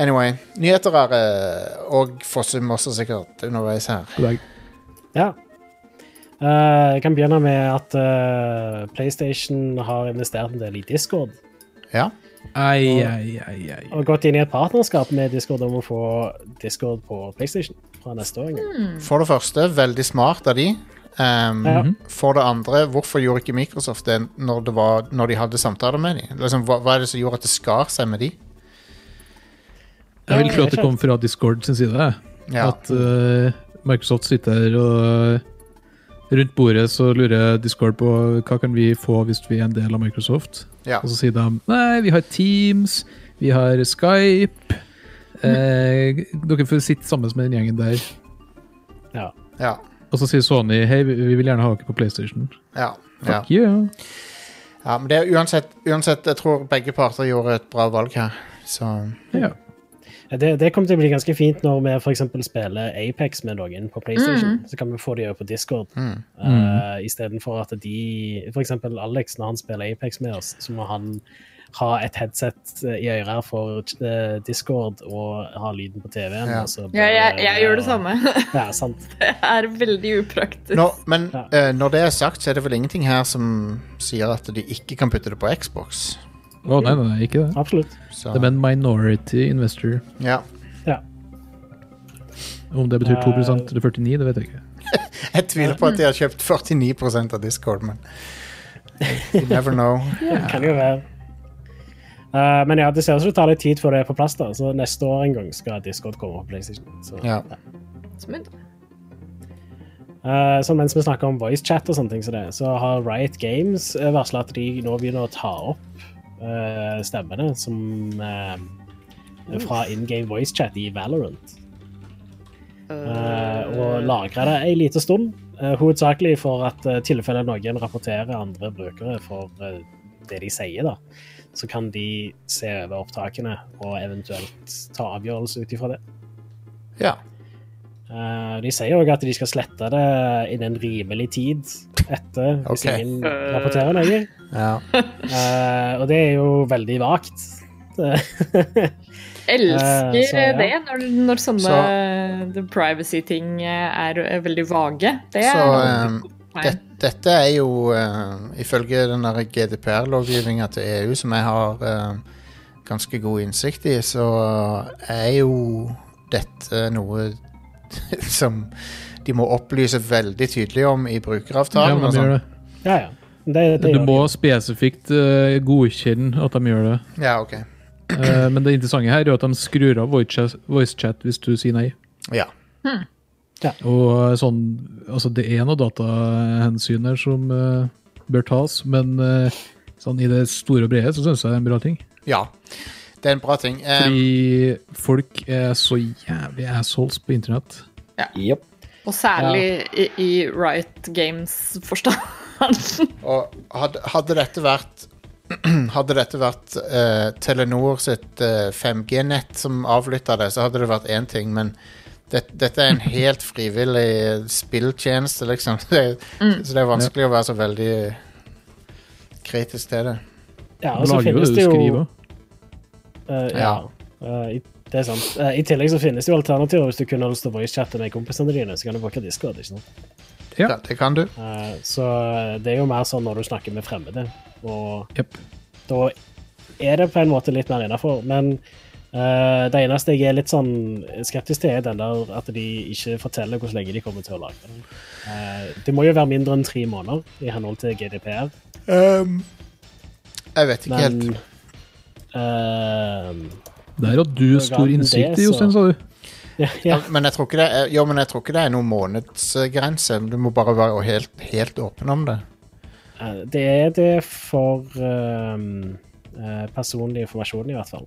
[SPEAKER 2] Anyway. Nyheter er eh, Og Fossum også sikkert underveis her.
[SPEAKER 5] God dag.
[SPEAKER 6] Ja. Eh, jeg kan begynne med at eh, PlayStation har investert en del i Discord.
[SPEAKER 2] Ja.
[SPEAKER 5] Ei, ei, ei, ei.
[SPEAKER 6] Og gått inn i et partnerskap med Discord om å få
[SPEAKER 3] Hmm.
[SPEAKER 6] Discord på PlayStation fra neste år. en gang.
[SPEAKER 2] For det første, veldig smart av de. Um,
[SPEAKER 6] Ja.
[SPEAKER 5] Mhm.
[SPEAKER 2] For det andre, hvorfor gjorde ikke Microsoft det når, det var, når de hadde samtaler med dem? Liksom, hva, hva er det som gjorde at det skar seg med de?
[SPEAKER 5] Jeg vil tro at det kom fra Discord sin side. jeg.
[SPEAKER 2] Ja.
[SPEAKER 5] At eh, Microsoft sitter her og eh, rundt bordet så lurer Discord på hva kan vi få hvis vi er en del av Microsoft.
[SPEAKER 2] Ja.
[SPEAKER 5] Og så sier de nei, vi har Teams, vi har Skype. Eh, dere får sitte sammen med den gjengen der.
[SPEAKER 6] Ja.
[SPEAKER 2] Ja.
[SPEAKER 5] Og så sier Sony hei, vi vi vil gjerne ha dere på PlayStation.
[SPEAKER 2] Ja. ja.
[SPEAKER 5] Fuck yeah.
[SPEAKER 2] ja men det er uansett, uansett, jeg tror begge parter gjorde et bra valg her. Så
[SPEAKER 5] Ja.
[SPEAKER 6] Det, det kommer til å bli ganske fint når vi for eksempel spiller Apex med noen på PlayStation.
[SPEAKER 3] Hmm.
[SPEAKER 6] Så kan vi få de over på Discord. Mm. Uh, Istedenfor at de For eksempel Alex, når han spiller Apex med oss, så må han ha et headset eh, i øret for eh, Discord og ha lyden på TV-en.
[SPEAKER 2] Ja.
[SPEAKER 6] og så
[SPEAKER 3] Ja, jeg,
[SPEAKER 6] bare-
[SPEAKER 2] Eh,
[SPEAKER 3] jeg gjør det samme.
[SPEAKER 6] Ja, sant.
[SPEAKER 3] Det er veldig upraktisk.
[SPEAKER 2] Nå, men
[SPEAKER 6] Ja.
[SPEAKER 2] eh, når det er sagt, så er det vel ingenting her som sier at de ikke kan putte det på Xbox.
[SPEAKER 5] Å nei, nei, nei, ikke det.
[SPEAKER 6] Absolutt.
[SPEAKER 2] Så,
[SPEAKER 5] De er en minority investor.
[SPEAKER 2] ja.
[SPEAKER 6] Ja.
[SPEAKER 5] Om det betyr 2 eller 49, det vet jeg ikke.
[SPEAKER 2] Jeg tviler på at de har kjøpt 49 av Discord, men You never know.
[SPEAKER 6] Det kan jo være. Eh, men ja, det ser ut som det tar litt tid før det er på plass, da. Så neste år en gang skal Discord komme på PlayStation. Så.
[SPEAKER 2] Ja.
[SPEAKER 3] Smooth.
[SPEAKER 6] Eh, Så mens vi snakker om voicechat og sånne ting, som det, så har Riot Games varsla at de nå begynner å ta opp eh, stemmene som eh, fra in game voicechat i Valorant. Eh, og lagre det ei lita stund, eh, hovedsakelig for at i tilfelle noen rapporterer andre brukere for eh, det de sier, da, så kan de se over opptakene og eventuelt ta avgjørelse ut ifra det.
[SPEAKER 2] ja.
[SPEAKER 6] Eh, De sier òg at de skal slette det innen rimelig tid etter, hvis
[SPEAKER 2] Ok.
[SPEAKER 6] ingen rapporterer noe.
[SPEAKER 2] ja.
[SPEAKER 6] Eh, og det er jo veldig vagt. Eh,
[SPEAKER 3] Elsker
[SPEAKER 6] Eh, så, ja.
[SPEAKER 3] det, når, når sånne
[SPEAKER 2] Så-
[SPEAKER 3] the privacy-ting er eh, veldig vage. Det er
[SPEAKER 2] Så
[SPEAKER 3] aldri
[SPEAKER 2] ehm,
[SPEAKER 3] på meg.
[SPEAKER 2] det, dette er jo eh, ifølge den der GDPR-lovgivninga til EU, som jeg har eh, ganske god innsikt i, så er jo dette noe som de må opplyse veldig tydelig om i
[SPEAKER 5] Ja,
[SPEAKER 2] brukeravtalen.
[SPEAKER 5] men
[SPEAKER 2] og
[SPEAKER 5] de gjør
[SPEAKER 2] sånn.
[SPEAKER 5] det.
[SPEAKER 6] ja, ja. Det, det
[SPEAKER 5] Du
[SPEAKER 6] gjør
[SPEAKER 5] må spesifikt eh, godkjenne at de gjør det.
[SPEAKER 2] ja, ok.
[SPEAKER 5] Eh, men det interessante her er jo at de skrur av voicechat voice chat hvis du sier nei.
[SPEAKER 2] Ja.
[SPEAKER 5] Og sånn, altså Det er noen datahensyn her som eh, bør tas, men eh, sånn i det store og brede så syns jeg det er en bra ting.
[SPEAKER 2] ja. Det er en bra ting. Eh,
[SPEAKER 5] Fordi folk er så jævlig assholes på internett.
[SPEAKER 4] Jep.
[SPEAKER 3] Og særlig i, i Riot Games-forstand.
[SPEAKER 2] Og hadde, hadde dette vært Hadde dette vært eh, Telenor sitt eh, 5G-nett som avlytta det, så hadde det vært én ting, men det, dette er en helt frivillig spilltjeneste, liksom. Det, Så det er vanskelig å være så veldig kritisk til det.
[SPEAKER 6] Ja,
[SPEAKER 5] De
[SPEAKER 6] og så
[SPEAKER 5] lager jo
[SPEAKER 6] finnes
[SPEAKER 5] det
[SPEAKER 6] det
[SPEAKER 5] du
[SPEAKER 6] jo
[SPEAKER 5] skriver.
[SPEAKER 6] eh, ja. Eh, i- det er sant. Eh, I tillegg så finnes det jo alternativer. Hvis du kun har lyst til å voicechatte med kompisene dine, så kan du bruke Discord. ikke sant?
[SPEAKER 5] Ja.
[SPEAKER 2] Ja, det kan du.
[SPEAKER 6] Eh, så det er jo mer sånn når du snakker med fremmede. Og
[SPEAKER 5] Jep.
[SPEAKER 6] da er det på en måte litt mer innafor. Men eh, det eneste jeg er litt sånn skeptisk til, er den der at de ikke forteller hvor lenge de kommer til å lage den. Eh, det må jo være mindre enn tre måneder i henhold til GDPR,
[SPEAKER 2] Um, Jeg vet ikke
[SPEAKER 6] men
[SPEAKER 2] helt.
[SPEAKER 6] eh,
[SPEAKER 5] Der hadde du stor
[SPEAKER 6] det,
[SPEAKER 5] innsikt i,
[SPEAKER 6] så-
[SPEAKER 5] Jostein, sa du.
[SPEAKER 6] ja, ja,
[SPEAKER 2] Men jeg tror ikke det er, jo, men jeg tror ikke det er noen månedsgrense. Du må bare være helt, helt åpen om det.
[SPEAKER 6] eh, det er det for eh, eh, personlig informasjon, i hvert fall.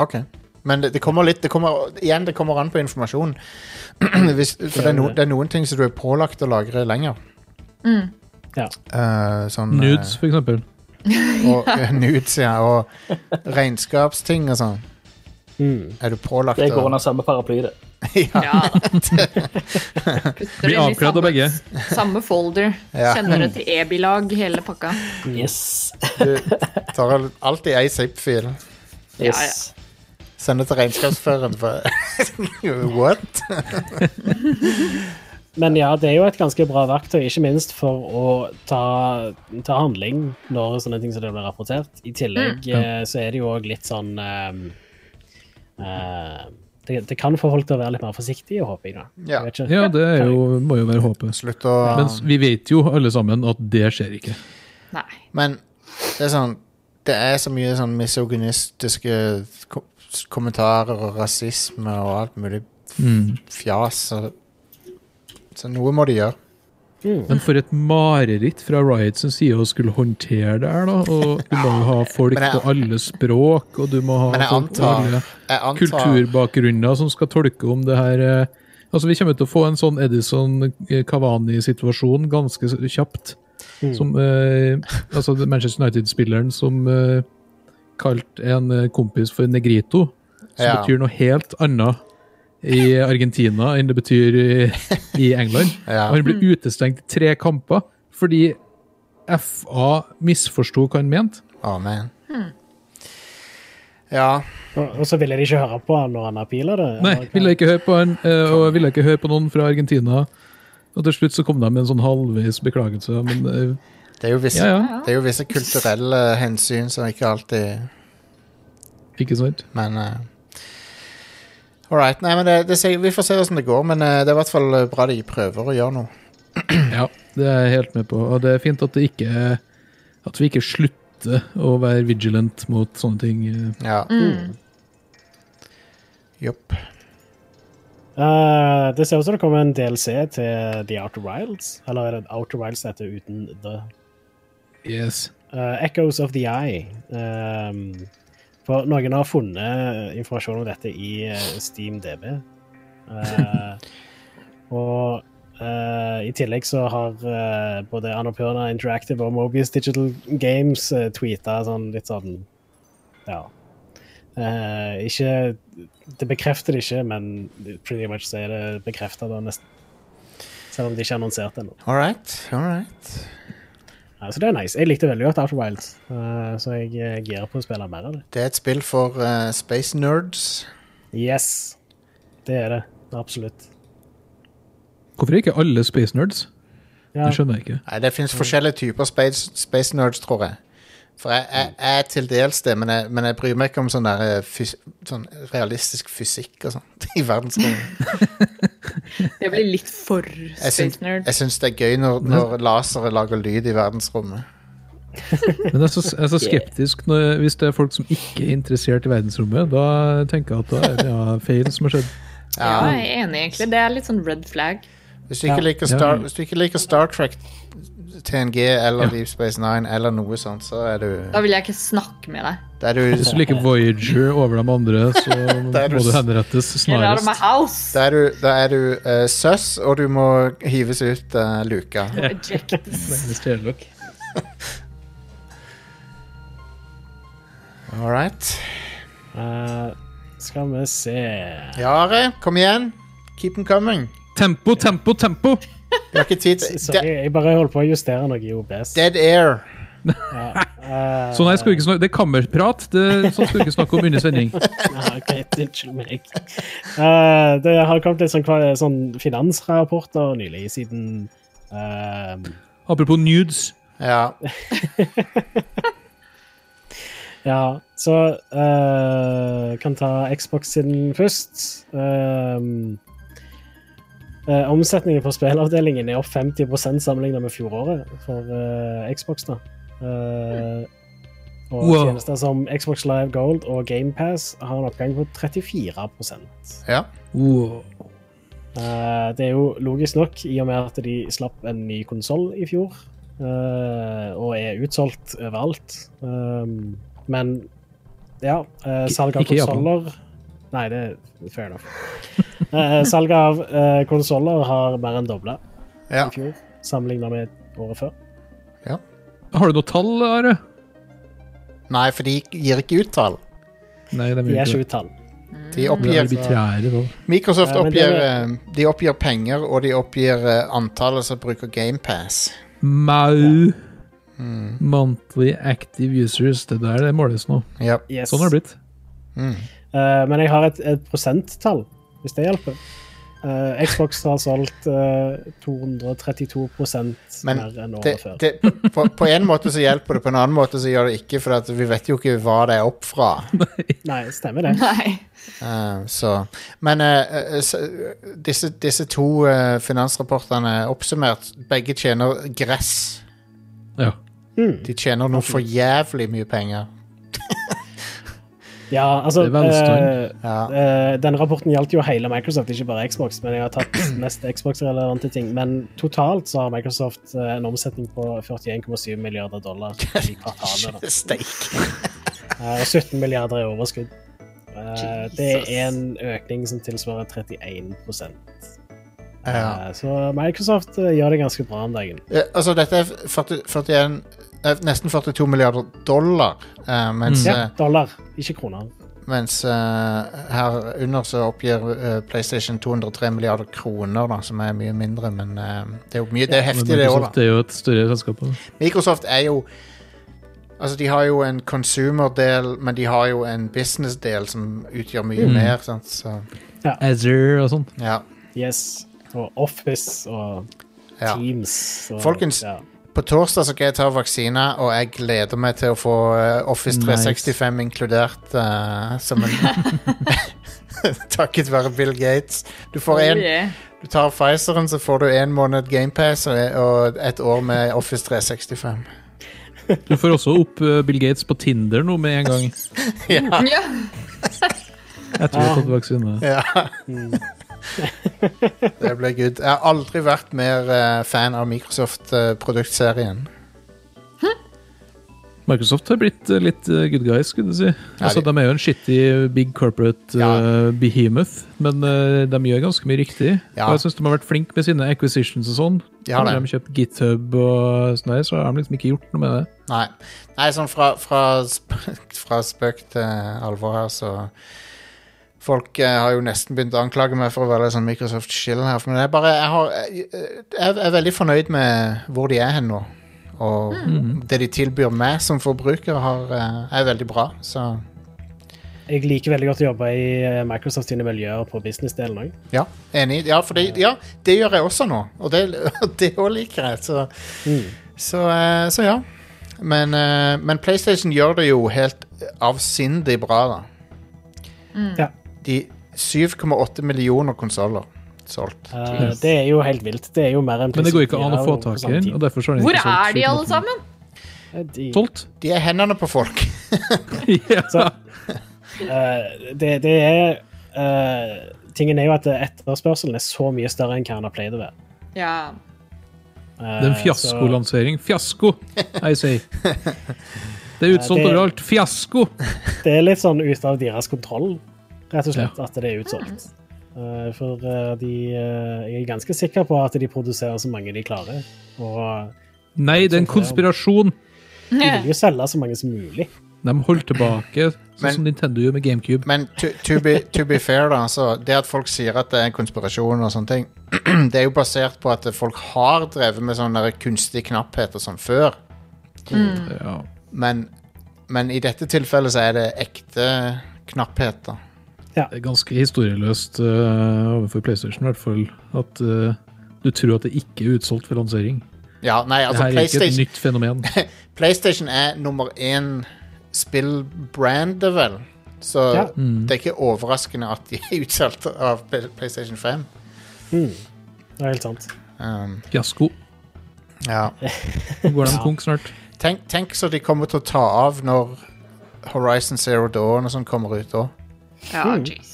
[SPEAKER 2] Ok. Men det, det kommer litt det kommer, Igjen, det kommer an på informasjon. Hvis, for det er, no, det er noen ting som du er pålagt å lagre lenger.
[SPEAKER 6] Ja.
[SPEAKER 2] Eh, sånn, eh,
[SPEAKER 5] Nudes, for eksempel.
[SPEAKER 2] og, eh, nudes, ja. Og regnskapsting og sånn. Er du pålagt
[SPEAKER 4] Mm. Det går under samme paraply, det.
[SPEAKER 2] ja,
[SPEAKER 3] Ja da. Putter
[SPEAKER 5] Blir
[SPEAKER 3] det inn i
[SPEAKER 5] avkledd av
[SPEAKER 3] samme-
[SPEAKER 5] begge.
[SPEAKER 3] Samme folder.
[SPEAKER 2] Ja.
[SPEAKER 3] Kjenner det til ebilag, hele pakka.
[SPEAKER 4] Yes.
[SPEAKER 2] Du tar al- alltid ei zip-fil.
[SPEAKER 4] yes.
[SPEAKER 2] Sender til regnskapsføreren. For, what?
[SPEAKER 6] Men ja, det er jo et ganske bra verktøy, ikke minst for å ta, ta handling når sånne ting som det blir
[SPEAKER 5] Mm.
[SPEAKER 6] rapportert. I tillegg eh, så er det jo òg litt sånn ehm, eh, det, det kan få folk til å være litt mer forsiktige, håper jeg. da.
[SPEAKER 2] Ja.
[SPEAKER 6] Jeg vet ikke.
[SPEAKER 5] Ja, det er jo, må jo være håpet.
[SPEAKER 2] Slutt å
[SPEAKER 5] Men vi vet jo alle sammen at det skjer ikke.
[SPEAKER 3] Nei.
[SPEAKER 2] Men det er sånn Det er så mye sånn misogynistiske ko- s- kommentarer og rasisme og alt mulig f-
[SPEAKER 5] Mm.
[SPEAKER 2] fjas. Så, så noe må de gjøre.
[SPEAKER 5] Men for et mareritt fra Riot sin side å skulle håndtere det her, da. Og du må jo ha folk
[SPEAKER 2] Men jeg-
[SPEAKER 5] på alle språk, og du må ha
[SPEAKER 2] Men jeg
[SPEAKER 5] folk på
[SPEAKER 2] antar,
[SPEAKER 5] alle
[SPEAKER 2] jeg antar
[SPEAKER 5] kulturbakgrunner som skal tolke om det her eh, Altså, vi kommer til å få en sånn Edison-Kavani-situasjon ganske s- kjapt. Som eh, Altså, det Manchester United-spilleren som eh, kalte en eh, kompis for Negrito, som
[SPEAKER 2] Ja.
[SPEAKER 5] betyr noe helt annet i Argentina enn det betyr i, i England.
[SPEAKER 2] Ja.
[SPEAKER 5] Og han ble utestengt i tre kamper fordi FA misforsto hva han mente.
[SPEAKER 2] Å, man. Ja.
[SPEAKER 6] Og, og så ville de ikke høre på han når han appealer det.
[SPEAKER 5] Nei,
[SPEAKER 6] eller hva?
[SPEAKER 5] ville ikke høre på han, eh, og ville ikke høre på noen fra Argentina. Og til slutt så kom de med en sånn halvveis beklagelse, men eh,
[SPEAKER 2] Det er jo visse,
[SPEAKER 5] ja, ja.
[SPEAKER 2] Det er jo visse kulturelle hensyn som ikke alltid
[SPEAKER 5] Ikke sant?
[SPEAKER 2] Men eh, All right. Nei, men det, det, ser- vi får se hvordan det går, men eh, det er i hvert fall bra de prøver å gjøre noe.
[SPEAKER 5] Ja, det er jeg helt med på. Og det er fint at det ikke At vi ikke slutter å være vigilant mot sånne ting. eh.
[SPEAKER 2] Ja. Jopp.
[SPEAKER 6] Eh, det ser ut som det kommer en DLC til The Outer Wilds. Eller er det Outer Wilds heter uten The
[SPEAKER 5] Yes.
[SPEAKER 6] Eh, Echoes of the Eye. Ehm, for noen har funnet informasjon om dette i eh, Steam DB. Eh, og eh, i tillegg så har eh, både Annapurna Interactive og Mobius Digital Games uh, tweeta sånn litt sånn Ja. Eh, ikke Det bekrefter det ikke, men pretty much så er det bekrefta, da, nesten. Selv om de ikke annonserte det ennå.
[SPEAKER 2] All right. All right.
[SPEAKER 6] Ja, så det er nice. Jeg likte veldig godt Outer Wilds, eh, så jeg eh, girer på å spille mer av det.
[SPEAKER 2] Det er et spill for eh, space nerds.
[SPEAKER 6] Yes! Det er det. Absolutt.
[SPEAKER 5] Hvorfor er ikke alle space nerds?
[SPEAKER 6] Ja.
[SPEAKER 5] Det skjønner jeg ikke.
[SPEAKER 2] Nei, det fins forskjellige typer space, space nerds, tror jeg. For jeg, jeg, jeg er til dels det, men jeg, men jeg bryr meg ikke om sånn, der, eh, fys sånn realistisk fysikk og sånt i verdensrommet.
[SPEAKER 3] Jeg blir litt for
[SPEAKER 2] Jeg syns-
[SPEAKER 3] space nerd.
[SPEAKER 2] Jeg syns det er gøy når, når lasere lager lyd i verdensrommet.
[SPEAKER 5] Men jeg er så, jeg er så skeptisk når, hvis det er folk som ikke er interessert i verdensrommet. Da tenker jeg at da er det ja, feil som har skjedd.
[SPEAKER 3] Ja, jeg er enig, egentlig. Det er litt sånn red flag.
[SPEAKER 2] Hvis du ikke, liker, Star, hvis du ikke liker Star Trek, TNG eller Deep Space Nine eller noe sånt, så er du,
[SPEAKER 3] Da vil jeg ikke snakke med deg.
[SPEAKER 2] da er du,
[SPEAKER 5] Hvis du liker Voyager over de andre, så
[SPEAKER 2] Der er du
[SPEAKER 5] må du
[SPEAKER 2] s-
[SPEAKER 5] henrettes
[SPEAKER 3] Get out of my
[SPEAKER 5] snarest.
[SPEAKER 3] house!
[SPEAKER 2] da er du, da er du eh, søss, og du må hives ut uh, luka.
[SPEAKER 3] Ejects.
[SPEAKER 5] Hvis det gjelder dere.
[SPEAKER 2] All right.
[SPEAKER 6] Eh, skal vi se
[SPEAKER 2] Jare, kom igjen. Keep them coming.
[SPEAKER 5] Tempo, tempo, tempo!
[SPEAKER 2] Vi har ikke tid til
[SPEAKER 6] Sorry, jeg bare holdt på å justere noe i OBS.
[SPEAKER 2] Dead Air.
[SPEAKER 6] Eh,
[SPEAKER 5] Sånn her skal vi ikke snakke, Det er kammerprat. Det, sånn skal vi ikke snakke om under sending.
[SPEAKER 6] ja, greit, Unnskyld meg. Eh, det har kommet litt sånn, kva- sånn finansrapporter nylig, siden eh,
[SPEAKER 5] Apropos nudes.
[SPEAKER 2] Ja.
[SPEAKER 6] Ja, så eh, kan ta Xbox sin først. Ehm, eh, omsetningen for spillavdelingen er opp 50 sammenlignet med fjoråret for eh, Xbox. da. Eh, og
[SPEAKER 5] Wow.
[SPEAKER 6] tjenester som Xbox Live Gold og GamePass har en oppgang på 34
[SPEAKER 2] ja.
[SPEAKER 5] Wow.
[SPEAKER 6] Eh, Det er jo logisk nok, i og med at de slapp en ny konsoll i fjor, eh, og er utsolgt overalt. Um, men ja, eh, salg av
[SPEAKER 5] Ikke i Japan.
[SPEAKER 6] konsoller Nei, det er fair enough. Eh, salg av uh, konsoller har mer enn dobla
[SPEAKER 2] ja.
[SPEAKER 6] i fjor sammenligna med året før.
[SPEAKER 5] Har du noe tall, Are?
[SPEAKER 2] Nei, for de gir ikke ut tall.
[SPEAKER 5] Nei, de
[SPEAKER 6] De er
[SPEAKER 5] gjør ikke
[SPEAKER 6] ikke
[SPEAKER 5] det.
[SPEAKER 6] uttalt. Mm.
[SPEAKER 2] De
[SPEAKER 5] De er
[SPEAKER 2] oppgir
[SPEAKER 5] arbitrære, da.
[SPEAKER 2] Microsoft
[SPEAKER 6] Ja, men det
[SPEAKER 2] oppgir,
[SPEAKER 6] er-
[SPEAKER 2] eh, de oppgir penger, og de oppgir eh, antallet som bruker GamePass.
[SPEAKER 5] Mau. Monthly active users. Det der det måles nå.
[SPEAKER 2] Ja.
[SPEAKER 6] Yes.
[SPEAKER 5] Sånn har det Sånn blitt.
[SPEAKER 6] Eh, men jeg har et, et prosenttall, hvis det hjelper. Eh, Xbox har solgt eh, 232
[SPEAKER 2] Men
[SPEAKER 6] mer enn året
[SPEAKER 2] det,
[SPEAKER 6] før.
[SPEAKER 2] det, på, på en måte så hjelper det, på en annen måte så gjør det ikke, for at vi vet jo ikke hva det er opp fra.
[SPEAKER 6] Nei, stemmer det.
[SPEAKER 3] Nei.
[SPEAKER 2] Eh, så. Men eh, eh, så, disse, disse to eh, finansrapportene oppsummert, begge tjener gress.
[SPEAKER 5] Ja.
[SPEAKER 2] De tjener noe for jævlig mye penger.
[SPEAKER 6] Ja, altså
[SPEAKER 5] Det er velstand.
[SPEAKER 6] eh,
[SPEAKER 2] Ja.
[SPEAKER 6] eh, Denne rapporten gjaldt jo hele Microsoft, ikke bare Xbox. Men jeg har tatt mest Xbox-relevante ting. Men totalt så har Microsoft eh, en omsetning på 41,7 milliarder dollar i kvartalet. da.
[SPEAKER 2] Steik.
[SPEAKER 6] Eh, Og 17 milliarder i overskudd. Eh, Det
[SPEAKER 3] Jesus.
[SPEAKER 6] er en økning som tilsvarer 31
[SPEAKER 2] Ja.
[SPEAKER 6] Eh, Så Microsoft eh, gjør det ganske bra om dagen.
[SPEAKER 2] Eh, altså, dette er 40, 41 eh, Nesten 42 milliarder dollar, eh,
[SPEAKER 5] Mm.
[SPEAKER 2] mens,
[SPEAKER 6] Ja,
[SPEAKER 2] eh,
[SPEAKER 6] dollar, ikke kroner.
[SPEAKER 2] mens eh, her under så oppgir eh, PlayStation 203 milliarder kroner, da, som er mye mindre, men eh, det er jo mye, det er heftig,
[SPEAKER 5] Men
[SPEAKER 2] det òg, da.
[SPEAKER 5] Microsoft er jo et større selskap. da.
[SPEAKER 2] Microsoft er jo Altså, de har jo en consumer-del, men de har jo en business-del som utgjør mye
[SPEAKER 5] Mm.
[SPEAKER 2] mer, sant, så
[SPEAKER 5] Azure og sånn.
[SPEAKER 2] Ja.
[SPEAKER 6] Yes. Og Office og
[SPEAKER 2] ja.
[SPEAKER 6] Teams. Og,
[SPEAKER 2] Folkens,
[SPEAKER 6] ja.
[SPEAKER 2] På torsdag så skal jeg ta vaksina, og jeg gleder meg til å få eh, Office
[SPEAKER 5] Nice.
[SPEAKER 2] 365 inkludert. eh, som en Takket være Bill Gates. Du, får en,
[SPEAKER 3] Oh, yeah.
[SPEAKER 2] du tar Pfizeren, så får du én måned GamePass og, og et år med Office 365.
[SPEAKER 5] Du får også opp eh, Bill Gates på Tinder nå med en gang.
[SPEAKER 2] ja,
[SPEAKER 3] ja.
[SPEAKER 5] Etter vi har fått vaksine.
[SPEAKER 2] ja. det ble good. Jeg har aldri vært mer eh, fan av eh, Microsoft-produktserien.
[SPEAKER 5] Microsoft har blitt eh, litt eh, good guys, skulle du si. Altså,
[SPEAKER 2] de-
[SPEAKER 5] de er jo en shitty big corporate eh,
[SPEAKER 2] Ja.
[SPEAKER 5] behemoth, men eh, de gjør ganske mye riktig.
[SPEAKER 2] Ja.
[SPEAKER 5] Og jeg syns de har vært flinke med sine acquisitions og sånn.
[SPEAKER 2] Ja,
[SPEAKER 5] Når
[SPEAKER 2] det.
[SPEAKER 5] de har kjøpt GitHub og sånn, der, så har de liksom ikke gjort noe med det.
[SPEAKER 2] Nei. Nei, sånn fra, fra, sp- fra spøk til alvor her, så Folk eh, har jo nesten begynt å anklage meg for å være litt sånn Microsoft-skill her, men jeg, bare, jeg, har, jeg, jeg er veldig fornøyd med hvor de er hen nå. Og det de tilbyr meg som forbruker, har, eh, er veldig bra. Så
[SPEAKER 6] Jeg liker veldig godt å jobbe i eh, Microsoft sine miljøer på businessdelen òg.
[SPEAKER 2] ja, enig. Ja, for det, ja, det gjør jeg også nå, og det og det òg liker jeg. Så, så, eh, så ja. Men, eh, men PlayStation gjør det jo helt avsindig bra, da.
[SPEAKER 6] Ja.
[SPEAKER 2] De 7,8 millioner konsoller solgt.
[SPEAKER 6] Eh, det er jo helt vilt. Det er jo mer enn
[SPEAKER 5] Men det går ikke an å
[SPEAKER 6] PlayStation 4
[SPEAKER 5] få tak
[SPEAKER 6] på
[SPEAKER 5] i
[SPEAKER 6] samme
[SPEAKER 5] den.
[SPEAKER 6] tid.
[SPEAKER 5] og derfor så har de
[SPEAKER 3] Hvor
[SPEAKER 5] ikke solgt
[SPEAKER 3] er de alle
[SPEAKER 5] 7,8.
[SPEAKER 3] sammen?
[SPEAKER 6] Eh, de-
[SPEAKER 5] Solgt?
[SPEAKER 2] De er hendene på folk.
[SPEAKER 5] ja.
[SPEAKER 6] eh, det, det er eh, Tingen er jo at etterspørselen er så mye større enn hva den har pleid å være.
[SPEAKER 3] Ja.
[SPEAKER 6] Eh,
[SPEAKER 5] Det er en fiaskolansering. Fiasko, I say. Det er utsolgt
[SPEAKER 6] det-
[SPEAKER 5] overalt. Fiasko!
[SPEAKER 6] så Det er litt sånn ute av deres kontroll, rett og slett,
[SPEAKER 5] Ja.
[SPEAKER 6] at det er utsolgt. Eh, for eh, de eh, Jeg er ganske sikker på at de produserer så mange de klarer. Og
[SPEAKER 5] Nei, det er en konspirasjon.
[SPEAKER 6] de vil jo selge så mange som mulig.
[SPEAKER 5] De holdt tilbake, sånn
[SPEAKER 2] Men-
[SPEAKER 5] som Nintendo gjør med GameCube.
[SPEAKER 2] Men to, to, be, to be fair, da, så det at folk sier at det er en konspirasjon og sånne ting, det er jo basert på at folk har drevet med sånn der kunstig knapphet og sånn før.
[SPEAKER 3] Mm.
[SPEAKER 5] Ja.
[SPEAKER 2] Men, men i dette tilfellet så er det ekte knapphet, da.
[SPEAKER 5] Det er ganske historieløst øh, overfor PlayStation, i hvert fall. At øh, du tror at det ikke er utsolgt for lansering.
[SPEAKER 2] Ja, nei, altså
[SPEAKER 5] det her er ikke et
[SPEAKER 2] PlayStation,
[SPEAKER 5] nytt fenomen.
[SPEAKER 2] PlayStation er nummer én spillbrandet, vel. Så
[SPEAKER 6] Ja.
[SPEAKER 5] Mm.
[SPEAKER 2] det er ikke overraskende at de er utsolgt av PlayStation 5.
[SPEAKER 6] Det er helt sant.
[SPEAKER 2] Um,
[SPEAKER 5] Fiasko.
[SPEAKER 2] ja.
[SPEAKER 5] Nå går de konk snart.
[SPEAKER 2] Tenk, tenk så de kommer til å ta av når Horizon Zero Dawn og sånn kommer ut òg.
[SPEAKER 3] Ja, jeez.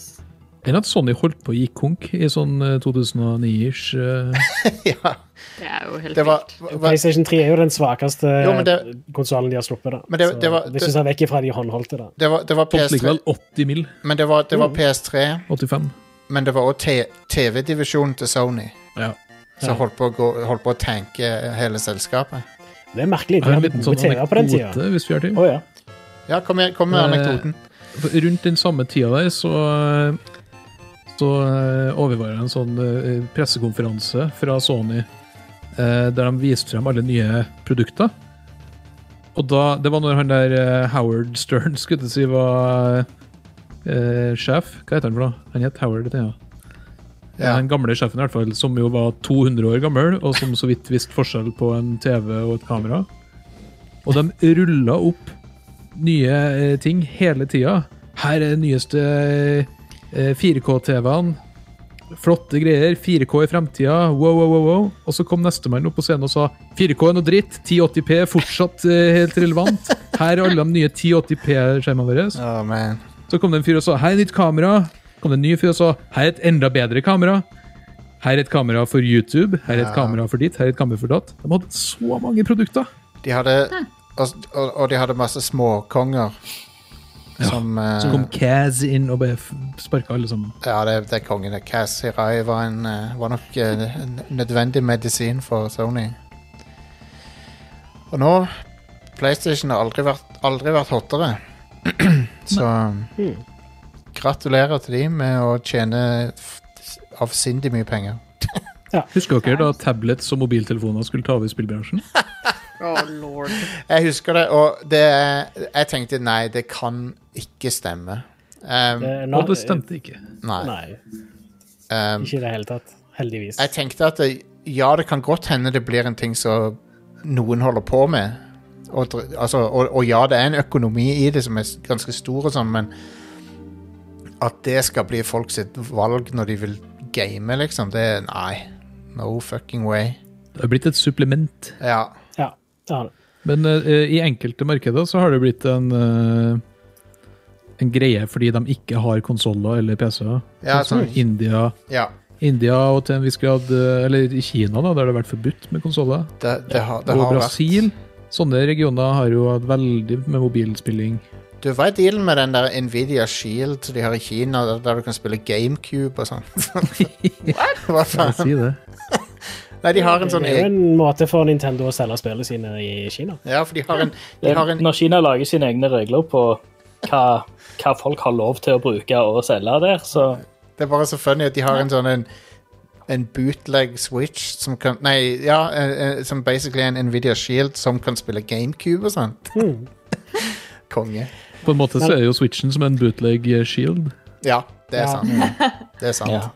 [SPEAKER 5] Enn at Sony holdt på å gi konk i sånn øh, 2009-ish. øh,
[SPEAKER 2] ja,
[SPEAKER 3] Det er jo helt
[SPEAKER 2] det var
[SPEAKER 3] vilt.
[SPEAKER 2] hva- hva-
[SPEAKER 6] PlayStation 3 er jo den svakeste
[SPEAKER 2] Jo, men det-
[SPEAKER 6] konsollen de har sluppet. da.
[SPEAKER 2] Men det-
[SPEAKER 6] Så
[SPEAKER 2] det var-
[SPEAKER 6] Hvis du ser vekk ifra de håndholdte, da.
[SPEAKER 2] det var, det var
[SPEAKER 5] Fått
[SPEAKER 2] PS3,
[SPEAKER 5] likevel 80 mil.
[SPEAKER 2] men det var, det
[SPEAKER 5] Mm.
[SPEAKER 2] var PS3,
[SPEAKER 5] 85.
[SPEAKER 2] men det var òg TV-divisjonen til Sony
[SPEAKER 5] Ja.
[SPEAKER 2] som holdt på, å gå, holdt på å tanke hele selskapet.
[SPEAKER 6] Det er merkelig.
[SPEAKER 5] Jeg
[SPEAKER 6] De
[SPEAKER 5] har en
[SPEAKER 6] hadde
[SPEAKER 5] liten
[SPEAKER 6] gode
[SPEAKER 5] sånn
[SPEAKER 6] TV-er på den tida.
[SPEAKER 5] anekdote, hvis vi har tid.
[SPEAKER 6] Å ja.
[SPEAKER 2] Ja, kom, igjen- kom med
[SPEAKER 5] Eh,
[SPEAKER 2] anekdoten.
[SPEAKER 5] For Rundt den samme tida der så, så eh, overvar jeg en sånn eh, pressekonferanse fra Sony eh, der de viste frem alle nye produkter. Og da, Det var når han der eh, Howard Stern skulle jeg si var eh, sjef. Hva heter han for noe? Han het Howard, det ja.
[SPEAKER 2] Ja.
[SPEAKER 5] Den gamle sjefen, i hvert fall, som jo var 200 år gammel, og som så vidt visste forskjell på en TV og et kamera. Og de rulla opp nye eh, ting hele tida. Her er den nyeste eh, 4K-TV-en. Flotte greier. 4K i fremtida. Wow, wow, wow, wow. Og så kom nestemann opp på scenen og sa 4K er noe dritt. 1080P er fortsatt eh, helt relevant. Her er alle de nye 1080P-skjermene våre.
[SPEAKER 2] Å, man.
[SPEAKER 5] Så kom det en fyr og sa hei, nytt kamera. Kom det en ny fyr og sa hei, et enda bedre kamera. Her er et kamera for YouTube, her er et kamera for ditt, her er et kamera for datt. De hadde så mange produkter.
[SPEAKER 2] De hadde og, og, og de hadde masse småkonger. Som eh,
[SPEAKER 5] Så kom Kaz inn og bare sparka alle sammen.
[SPEAKER 2] Ja, det, det er kongen. det. Kaz Hirai var, en, eh, var nok eh, en nødvendig medisin for Sony. Og nå PlayStation har aldri vært, aldri vært hottere. Så gratulerer til de med å tjene f- avsindig mye penger.
[SPEAKER 5] Husker dere da tablets og mobiltelefoner skulle ta over spillbransjen?
[SPEAKER 2] Jeg husker det, og det er- Jeg tenkte nei, det kan ikke stemme. Um,
[SPEAKER 6] Eh,
[SPEAKER 5] Og det stemte ikke.
[SPEAKER 2] nei.
[SPEAKER 6] Nei,
[SPEAKER 2] Um,
[SPEAKER 6] ikke i det hele tatt. Heldigvis.
[SPEAKER 2] Jeg tenkte at det, ja, det kan godt hende det blir en ting som noen holder på med. Og, dr- altså, og, og ja, det er en økonomi i det som er s- ganske stor, og sånn, men at det skal bli folk sitt valg når de vil game, liksom, det er nei. No fucking way.
[SPEAKER 5] Det har blitt et supplement.
[SPEAKER 2] Ja.
[SPEAKER 6] Ja, det har det.
[SPEAKER 5] Men eh, i enkelte markeder så har det blitt en, eh, en greie fordi de ikke har konsoller eller PC-er.
[SPEAKER 2] Ja,
[SPEAKER 5] Sånn
[SPEAKER 2] sånn.
[SPEAKER 5] som India
[SPEAKER 2] ja
[SPEAKER 5] India og til en viss grad eh, Eller i Kina, da, der det har vært forbudt med konsoller.
[SPEAKER 2] det, det har, det
[SPEAKER 5] Og
[SPEAKER 2] har vært
[SPEAKER 5] Brasil. Sånne regioner har jo hatt veldig med mobilspilling.
[SPEAKER 2] Du, hva er dealen med den der Nvidia Shield de har i Kina, der, der du kan spille GameCube og sånn? hva
[SPEAKER 5] Jeg
[SPEAKER 2] faen?
[SPEAKER 5] si det.
[SPEAKER 2] Nei, de har en sånn
[SPEAKER 6] Det er jo
[SPEAKER 2] egen
[SPEAKER 6] en måte for Nintendo å selge spillene sine i Kina.
[SPEAKER 2] Ja, for de har en, de
[SPEAKER 4] Det,
[SPEAKER 2] har en
[SPEAKER 4] Når Kina lager sine egne regler på hva, hva folk har lov til å bruke og selge der, så
[SPEAKER 2] Det er bare så funny at de har en sånn en, en bootleg Switch som kan Nei, ja, eh, eh, som basically er en Nvidia Shield som kan spille GameCube og sånt. Konge.
[SPEAKER 5] På en måte så er jo Switchen som en bootleg eh, shield.
[SPEAKER 2] Ja, det er
[SPEAKER 6] Ja.
[SPEAKER 2] sant. Det er sant.
[SPEAKER 4] ja.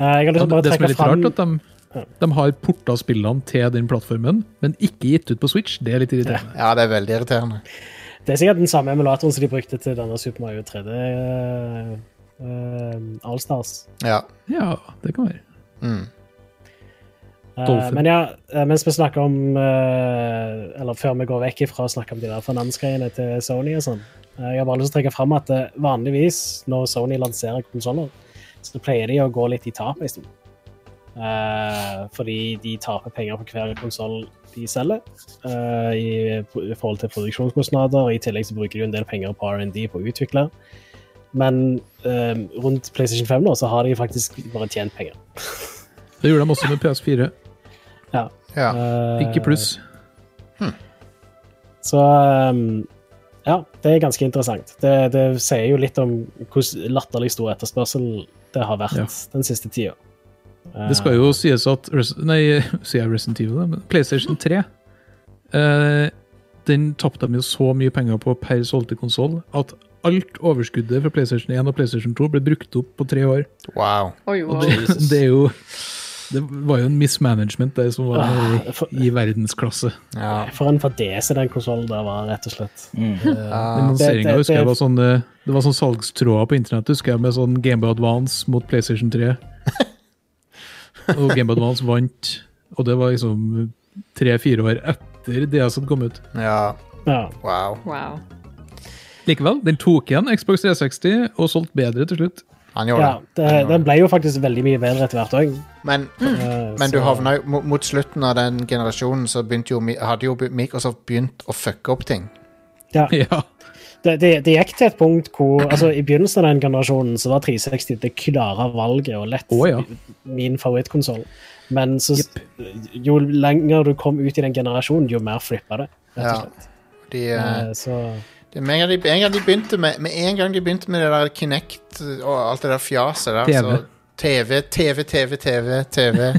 [SPEAKER 6] Eh, Jeg har lyst til å
[SPEAKER 5] Og
[SPEAKER 6] bare
[SPEAKER 5] det som er
[SPEAKER 6] trekke
[SPEAKER 5] litt rart,
[SPEAKER 6] fram
[SPEAKER 5] at de, de har porta spillene til den plattformen, men ikke gitt ut på Switch. Det er litt irriterende.
[SPEAKER 2] Ja, det er veldig irriterende.
[SPEAKER 6] Det er sikkert den samme emulatoren som de brukte til denne Super Mario eh, 3D uh, Allstars.
[SPEAKER 2] Ja.
[SPEAKER 5] Ja, det kan være.
[SPEAKER 6] Eh,
[SPEAKER 5] Dolphin.
[SPEAKER 6] men ja, eh, mens vi snakker om eh, Eller før vi går vekk ifra å snakke om de der finansgreiene til Sony og sånn, eh, jeg har bare lyst til å trekke fram at eh, vanligvis når Sony lanserer konsoller, så pleier de å gå litt i tap en stund. Eh, fordi de taper penger på hver konsoll de selger, eh, i, i forhold til produksjonskostnader. I tillegg så bruker de jo en del penger på R&D på å utvikle. Men eh, rundt PlayStation 5 nå, så har de faktisk bare tjent penger.
[SPEAKER 5] Det gjorde de også med PS4.
[SPEAKER 6] Ja.
[SPEAKER 2] ja.
[SPEAKER 6] Eh,
[SPEAKER 5] Ikke pluss.
[SPEAKER 6] Så um, ja, det er ganske interessant. Det, det sier jo litt om hvordan latterlig stor etterspørsel det har vært
[SPEAKER 5] Ja.
[SPEAKER 6] den siste tida. eh.
[SPEAKER 5] Det skal jo sies at Res- Nei, sier jeg Resident Evil, da, men PlayStation 3 eh, Den tapte de jo så mye penger på per solgte konsoll at alt overskuddet fra PlayStation 1 og PlayStation 2 ble brukt opp på tre år.
[SPEAKER 2] Wow.
[SPEAKER 3] Oi,
[SPEAKER 5] Og
[SPEAKER 3] wow.
[SPEAKER 5] det, det er jo Det var jo en mismanagement der som var
[SPEAKER 6] Ah,
[SPEAKER 5] i, i verdensklasse.
[SPEAKER 2] Ja.
[SPEAKER 6] For en fadese den konsollen der var, rett og slett.
[SPEAKER 5] Den
[SPEAKER 6] det-
[SPEAKER 5] lanseringen husker jeg
[SPEAKER 6] det-
[SPEAKER 5] var sånn eh, Det var sånn salgstråder på internett husker jeg med sånn Gameboy Advance mot PlayStation 3. Og Gameboy Advance vant, og det var liksom tre-fire år etter det som kom ut.
[SPEAKER 2] ja.
[SPEAKER 6] Ja.
[SPEAKER 2] Wow.
[SPEAKER 3] wow.
[SPEAKER 5] Likevel, den tok igjen Xbox 360 og solgte bedre til slutt.
[SPEAKER 2] Han
[SPEAKER 6] ja
[SPEAKER 2] gjorde det.
[SPEAKER 6] det, den ble jo faktisk veldig mye bedre etter hvert Eh, òg.
[SPEAKER 2] Men, men du havna jo mot- Mot slutten av den generasjonen så begynte jo, Mi- hadde jo Microsoft begynt å fucke opp ting.
[SPEAKER 6] Ja.
[SPEAKER 5] Ja,
[SPEAKER 6] Det, det, det gikk til et punkt hvor altså, I begynnelsen av den generasjonen så var 360 det klare valget og lett
[SPEAKER 5] Å, ja.
[SPEAKER 6] min favorittkonsoll. Men så, jo lenger du kom ut i den generasjonen, jo mer flippa det. Rett og
[SPEAKER 2] Ja.
[SPEAKER 6] slett.
[SPEAKER 2] De, eh,
[SPEAKER 6] Eh, Så
[SPEAKER 2] Det, med, en gang de, en gang de begynte med, med en gang de begynte med det der Kinect eh, og alt det der fjaset der,
[SPEAKER 5] TV.
[SPEAKER 2] så TV, TV, TV, TV, TV.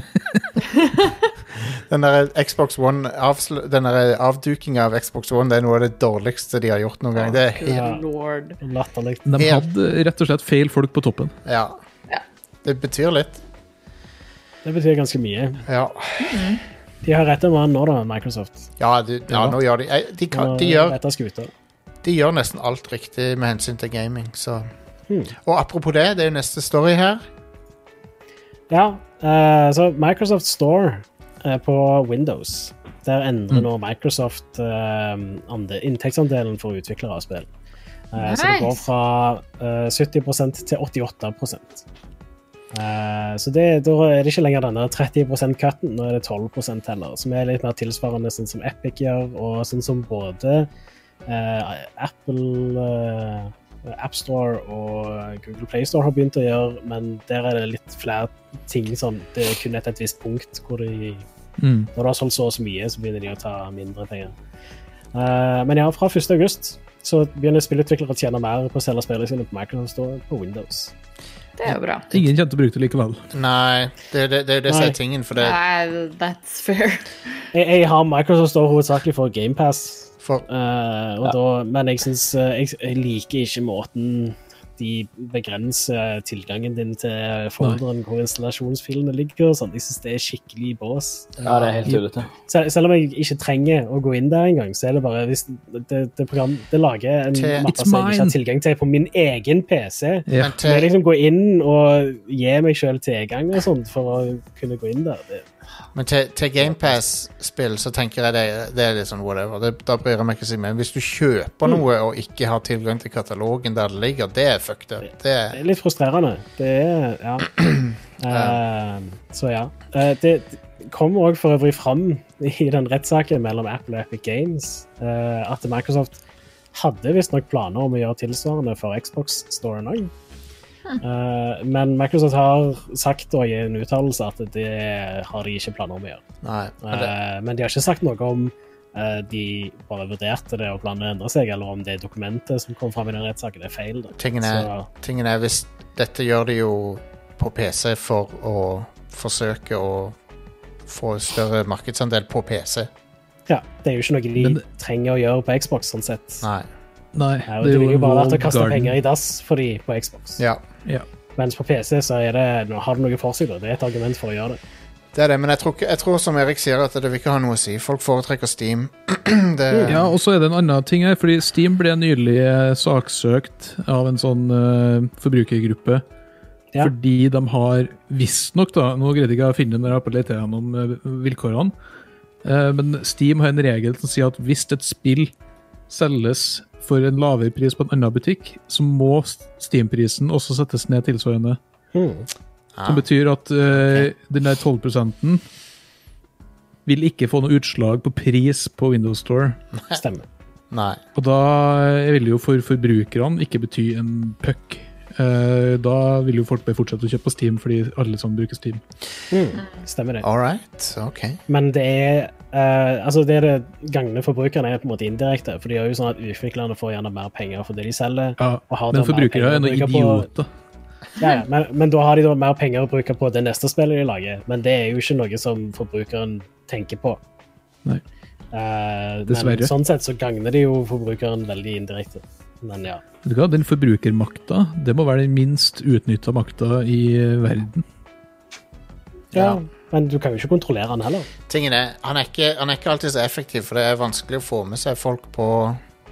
[SPEAKER 2] den der Xbox One avsl- Den der avdukinga av Xbox One Det er noe av det dårligste de har gjort noen gang. Det er helt,
[SPEAKER 3] Lord.
[SPEAKER 6] latterlig.
[SPEAKER 5] De
[SPEAKER 2] Ja.
[SPEAKER 5] hadde rett og slett feil folk på toppen.
[SPEAKER 2] ja.
[SPEAKER 3] Ja.
[SPEAKER 2] Det betyr litt.
[SPEAKER 6] Det betyr ganske mye.
[SPEAKER 2] Ja,
[SPEAKER 6] De har retta mann nå, da, Microsoft.
[SPEAKER 2] ja, de, ja nå gjør de eh, de, kan, de, gjør,
[SPEAKER 6] Retta skuter.
[SPEAKER 2] de gjør nesten alt riktig med hensyn til gaming, så
[SPEAKER 6] Hmm.
[SPEAKER 2] Og apropos det, det er jo neste story her.
[SPEAKER 6] Ja, eh, så Microsoft Store eh, på Windows. Der endrer
[SPEAKER 2] Mm.
[SPEAKER 6] nå Microsoft eh, ande, inntektsandelen for utviklere av spill. Eh, Så det går
[SPEAKER 3] Nice.
[SPEAKER 6] fra eh, 70 til 88 Eh, Så det, da er det ikke lenger denne 30 %-cutten, nå er det 12 heller. Som er litt mer tilsvarende sånn som Epic gjør, og sånn som både eh, Apple eh, AppStore og Google Playstore har begynt å gjøre, men der er det litt flere ting som Det er kun etter et visst punkt hvor de
[SPEAKER 5] Mm.
[SPEAKER 6] Når du har solgt så og så mye, så begynner de å ta mindre penger. Eh, men ja, fra 1. august så begynner spillutviklere å tjene mer på å selge spillene sine på Microsoft Store på Windows.
[SPEAKER 3] Det er jo bra.
[SPEAKER 5] Ingen kjente brukte det likevel.
[SPEAKER 2] Nei, det er jo det, det, er jo det som
[SPEAKER 6] Nei.
[SPEAKER 2] er tingen, for det
[SPEAKER 3] Nei, that's fair.
[SPEAKER 6] Jeg, jeg har Microsoft Store hovedsakelig for GamePass.
[SPEAKER 2] for,
[SPEAKER 6] Eh, og da, men jeg syns jeg, jeg liker ikke måten de begrenser tilgangen din til folderen hvor installasjonsfilene ligger. og sånn. Jeg syns det er skikkelig bås.
[SPEAKER 4] Ja, det er helt tullete.
[SPEAKER 6] Sel selv om jeg ikke trenger å gå inn der engang, så er det bare hvis det, det, program, det lager en
[SPEAKER 2] Til-
[SPEAKER 6] mappe
[SPEAKER 5] It's
[SPEAKER 6] som jeg ikke
[SPEAKER 5] mine.
[SPEAKER 6] har tilgang til på min egen PC.
[SPEAKER 5] Ja.
[SPEAKER 2] Men
[SPEAKER 6] Så må jeg
[SPEAKER 2] til,
[SPEAKER 6] liksom gå inn og gi meg sjøl tilgang og sånt for å kunne gå inn der. Det,
[SPEAKER 2] men til, til GamePass-spill så tenker jeg det, det er litt sånn whatever. Det, da bryr jeg meg ikke så mye. Men hvis du kjøper
[SPEAKER 6] Hmm.
[SPEAKER 2] noe og ikke har tilgang til katalogen der det ligger, det er fucked up. Det
[SPEAKER 6] Det
[SPEAKER 2] er
[SPEAKER 6] er litt frustrerende. Det er Ja. Eh, så ja. Eh, det det kom òg for øvrig fram i den rettssaken mellom Apple og Epic Games eh, at Microsoft hadde visstnok planer om å gjøre tilsvarende for Xbox-storen òg. Eh, men Microsoft har sagt og i en uttalelse at det har de ikke planer om å gjøre.
[SPEAKER 2] Nei. Men det,
[SPEAKER 6] Eh, Men de har ikke sagt noe om eh, de bare vurderte det og planene endret seg, eller om det dokumentet som kom fram i den rettssaken er feil. Da.
[SPEAKER 2] Tingen er,
[SPEAKER 6] Så-
[SPEAKER 2] tingen er hvis Dette gjør de jo på PC for å forsøke å få større markedsandel på PC.
[SPEAKER 6] Ja, det er jo ikke noe de
[SPEAKER 5] Men det-
[SPEAKER 6] trenger å gjøre på Xbox, sånn sett.
[SPEAKER 2] Nei.
[SPEAKER 5] Nei,
[SPEAKER 6] Eh, og Det ville jo bare vært å kaste penger i dass for de på Xbox.
[SPEAKER 2] Ja.
[SPEAKER 6] Mens på PC så er det, nå har det noe for seg, da. Det er et argument for å gjøre det.
[SPEAKER 2] Det er det, men jeg tror, ikke- jeg tror som Erik sier, at det vil ikke ha noe å si. Folk foretrekker Steam. det,
[SPEAKER 5] Mm, Ja, og så er det en annen ting her, fordi Steam ble nylig eh, saksøkt av en sånn eh, forbrukergruppe.
[SPEAKER 6] Ja.
[SPEAKER 5] Fordi de har visstnok, da Nå greide ikke jeg å finne det når jeg har på lete gjennom eh, vilkårene, eh, men Steam har en regel som sier at hvis et spill selges for en lavere pris på en annen butikk, så må Steam-prisen også settes ned tilsvarende.
[SPEAKER 6] Hmm.
[SPEAKER 5] Som betyr at eh, den der 12 vil ikke få noe utslag på pris på Windows Store.
[SPEAKER 6] Stemmer.
[SPEAKER 2] Nei.
[SPEAKER 5] Og da vil jo for forbrukerne ikke bety en puck. Eh, Da vil jo folk bare fortsette å kjøpe på Steam fordi alle sammen bruker Steam.
[SPEAKER 6] Stemmer det.
[SPEAKER 2] All right. OK.
[SPEAKER 6] Men det er eh, Altså, det det gagner forbrukerne, er på en måte indirekte. For de gjør jo sånn at utviklerne får gjerne mer penger for det de selger.
[SPEAKER 5] Ja,
[SPEAKER 6] Og har
[SPEAKER 5] men
[SPEAKER 6] da mer penger
[SPEAKER 5] forbrukere
[SPEAKER 6] å
[SPEAKER 5] er noen
[SPEAKER 6] bruke på-
[SPEAKER 5] idioter.
[SPEAKER 6] Ja, ja, men, men da har de da mer penger å bruke på det neste spillet de lager. Men det er jo ikke noe som forbrukeren tenker på.
[SPEAKER 5] Nei.
[SPEAKER 6] Eh,
[SPEAKER 5] Dessverre.
[SPEAKER 6] Men sånn sett så gagner det jo forbrukeren veldig indirekte. Men ja.
[SPEAKER 5] Vet du hva, Den forbrukermakta det må være den minst utnytta makta i verden.
[SPEAKER 2] Ja.
[SPEAKER 6] Men du kan jo ikke kontrollere den heller.
[SPEAKER 2] Tingen er, han er, ikke, han er ikke alltid så effektiv, for det er vanskelig å få med seg folk på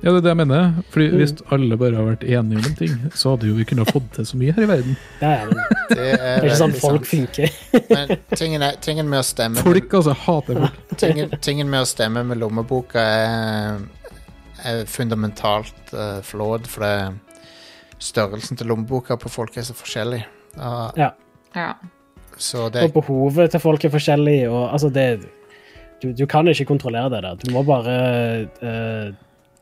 [SPEAKER 5] Ja, det er det jeg mener. Fordi
[SPEAKER 6] Mm.
[SPEAKER 5] Hvis alle bare har vært enige om en ting, så hadde jo vi kunnet fått til så mye her i verden.
[SPEAKER 6] Ja, ja, men det
[SPEAKER 2] Det er,
[SPEAKER 6] er ikke sånn
[SPEAKER 2] veldig
[SPEAKER 6] folk
[SPEAKER 2] sant.
[SPEAKER 6] funker.
[SPEAKER 2] Men tingen, er, tingen med å stemme
[SPEAKER 5] Folk, altså. Hater folk.
[SPEAKER 2] tingen, tingen med å stemme med lommeboka er, er fundamentalt uh, flawed, for det, størrelsen til lommeboka på folk er så forskjellig. Ja,
[SPEAKER 3] Ja.
[SPEAKER 2] så
[SPEAKER 6] Og
[SPEAKER 2] det
[SPEAKER 6] behovet til folk er forskjellig, og altså det Du, du kan ikke kontrollere det der. Du må bare eh,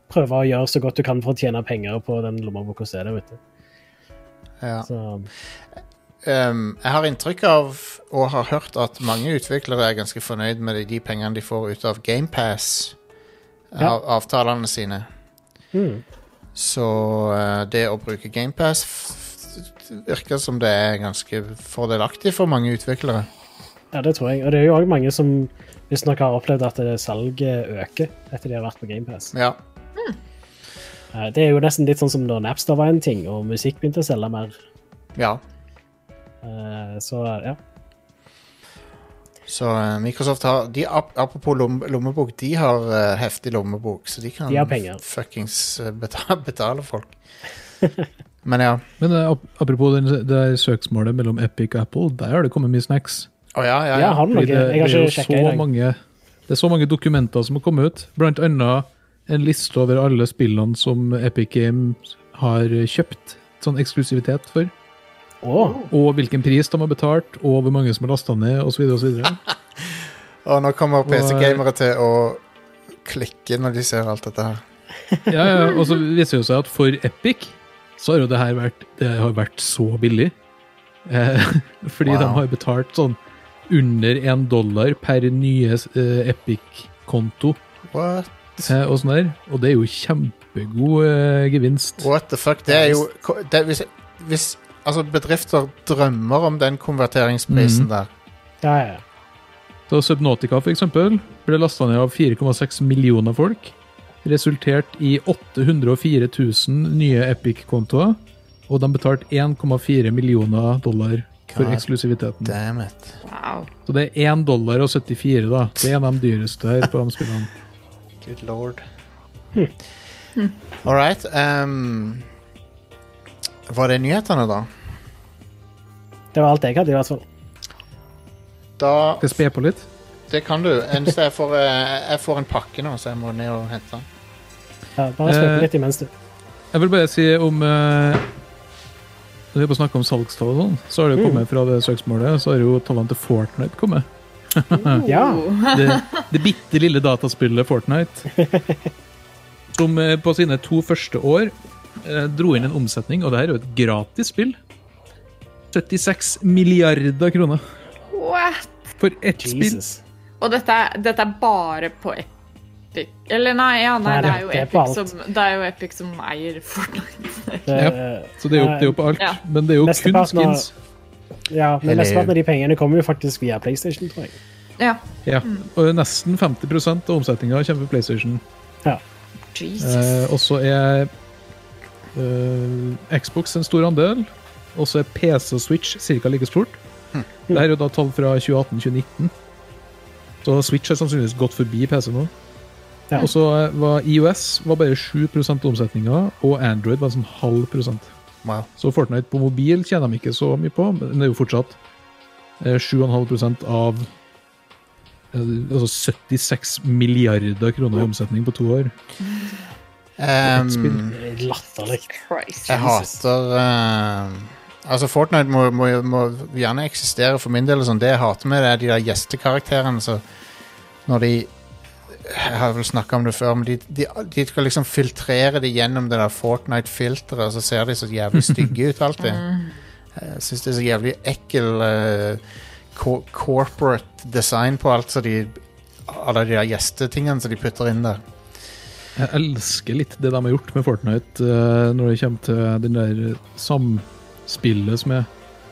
[SPEAKER 6] prøve å gjøre så godt du kan for å tjene penger på den lommeboka som er der ute.
[SPEAKER 2] ja.
[SPEAKER 6] Så
[SPEAKER 2] um, Jeg har inntrykk av og har hørt at mange utviklere er ganske fornøyd med de- de pengene de får ut av GamePass,
[SPEAKER 6] Ja.
[SPEAKER 2] av, avtalene sine.
[SPEAKER 6] Mm.
[SPEAKER 2] Så eh, det å bruke GamePass virker som det er ganske fordelaktig for mange utviklere.
[SPEAKER 6] Ja, det tror jeg. Og det er jo òg mange som visstnok har opplevd at eh, salget øker etter de har vært på GamePass.
[SPEAKER 2] Ja,
[SPEAKER 6] Eh, Det er jo nesten litt sånn som da Napster var en ting, og musikk begynte å selge mer.
[SPEAKER 2] ja.
[SPEAKER 6] Eh, så ja.
[SPEAKER 2] Så eh, Microsoft har de, ap- Apropos lomme, lommebok, de har eh, heftig lommebok, så de kan
[SPEAKER 6] De har penger.
[SPEAKER 2] fuckings eh, betale, betale folk. Men ja.
[SPEAKER 5] Men eh, ap apropos den, det der søksmålet mellom Epic og Apple, der har det kommet mye snacks.
[SPEAKER 2] Å ja, ja,
[SPEAKER 6] Ja,
[SPEAKER 2] ja.
[SPEAKER 6] har du noe?
[SPEAKER 5] Fordi det,
[SPEAKER 6] Jeg har
[SPEAKER 5] det er
[SPEAKER 6] ikke
[SPEAKER 5] jo
[SPEAKER 6] sjekka i
[SPEAKER 5] så
[SPEAKER 6] dag.
[SPEAKER 5] mange, det er så mange dokumenter som har kommet ut. Blant annet en liste over alle spillene som Epic Games har kjøpt sånn eksklusivitet for.
[SPEAKER 6] Å,
[SPEAKER 5] Og hvilken pris de har betalt, og hvor mange som har lasta ned, osv. osv.
[SPEAKER 2] Og nå kommer
[SPEAKER 5] eh,
[SPEAKER 2] PC-gamere til å klikke når de ser alt dette her.
[SPEAKER 5] Ja, ja, og så viser det seg at for Epic så har jo det her vært, det har vært så billig. Eh, fordi
[SPEAKER 2] Wow.
[SPEAKER 5] de har betalt sånn under én dollar per nye eh, Epic-konto.
[SPEAKER 2] What?
[SPEAKER 5] Eh, og sånn der. Og det er jo kjempegod eh, gevinst.
[SPEAKER 2] What the fuck? Det er jo ko- det, hvis, hvis altså bedrifter drømmer om den konverteringsprisen
[SPEAKER 5] Mhm.
[SPEAKER 2] der.
[SPEAKER 6] ja, ja. ja.
[SPEAKER 5] Så Subnautica for eksempel, ble lasta ned av 4,6 millioner folk. Resultert i 804 000 nye Epic-kontoer. Og de betalte 1,4 millioner dollar for
[SPEAKER 2] God
[SPEAKER 5] eksklusiviteten.
[SPEAKER 2] Damn it.
[SPEAKER 3] Wow.
[SPEAKER 5] Så det er 1 dollar og 74, da. Det er en av de dyreste her på de spillene.
[SPEAKER 2] Good lord. Hm. All right. ehm, var det nyhetene, da?
[SPEAKER 6] Det var alt jeg hadde, i hvert fall.
[SPEAKER 2] Da
[SPEAKER 5] Skal jeg spe på litt?
[SPEAKER 2] Det kan du. Eneste jeg får, eh, jeg får en pakke nå, så jeg må ned og hente den.
[SPEAKER 6] Ja, bare spøke
[SPEAKER 5] Eh,
[SPEAKER 6] litt imens, du.
[SPEAKER 5] Jeg vil bare si om eh, Når vi er på å snakke om salgstall og sånn, så har det jo kommet fra det søksmålet, så har jo tallene til Fortnite kommet.
[SPEAKER 6] Ja.
[SPEAKER 5] det, det bitte lille dataspillet Fortnite. Som eh, på sine to første år eh, dro inn en omsetning, og det her er jo et gratis spill. 76 milliarder kroner
[SPEAKER 3] What?
[SPEAKER 5] for ett spill.
[SPEAKER 6] Jesus.
[SPEAKER 3] Og dette, er- dette er bare på Epic Eller nei, ja, nei,
[SPEAKER 6] Nei,
[SPEAKER 3] det,
[SPEAKER 6] det-
[SPEAKER 3] er jo
[SPEAKER 6] det er på
[SPEAKER 3] Epic
[SPEAKER 6] alt.
[SPEAKER 3] som, det er jo Epic som eier Fortnite.
[SPEAKER 6] Det,
[SPEAKER 5] Ja. Så det er jo, det er jo på alt.
[SPEAKER 3] Ja.
[SPEAKER 5] Men det er jo kun
[SPEAKER 6] Mesteparten av-
[SPEAKER 5] skins.
[SPEAKER 6] ja, men
[SPEAKER 2] Eller-
[SPEAKER 6] mesteparten av de pengene kommer jo faktisk via PlayStation, tror jeg.
[SPEAKER 3] Ja.
[SPEAKER 5] Ja. Og nesten 50 av omsetninga kommer fra PlayStation.
[SPEAKER 3] Jesus.
[SPEAKER 5] Eh, og så er eh, Xbox en stor andel. Og så er PC og Switch ca. like stort. Det her er jo da tall fra 2018-2019. Så Switch har sannsynligvis gått forbi PC nå.
[SPEAKER 6] Ja.
[SPEAKER 5] Og så eh, var IOS var bare 7 av omsetninga, og Android var en sånn halv prosent.
[SPEAKER 2] Wow.
[SPEAKER 5] Så Fortnite på mobil tjener de ikke så mye på, men det er jo fortsatt eh, 7,5 av eh, altså 76 milliarder kroner i omsetning på to år.
[SPEAKER 2] Ehm,
[SPEAKER 5] spill.
[SPEAKER 6] Det er Latterlig.
[SPEAKER 3] Christ.
[SPEAKER 2] jeg hater ehm, Altså, Fortnite må, må, må gjerne eksistere for min del. og Sånn. Det jeg hater med det, er de der gjestekarakterene. Så når de Jeg har vel snakka om det før, men de, de, de skal liksom filtrere det gjennom det der Fortnite-filteret, og så ser de så jævlig stygge ut alltid. Jeg syns det er så jævlig ekkel eh, co corporate design på alt, så de Alle de der gjestetingene som de putter inn der.
[SPEAKER 5] Jeg elsker litt det de har gjort med Fortnite eh, når det kommer til den der samspillet som er.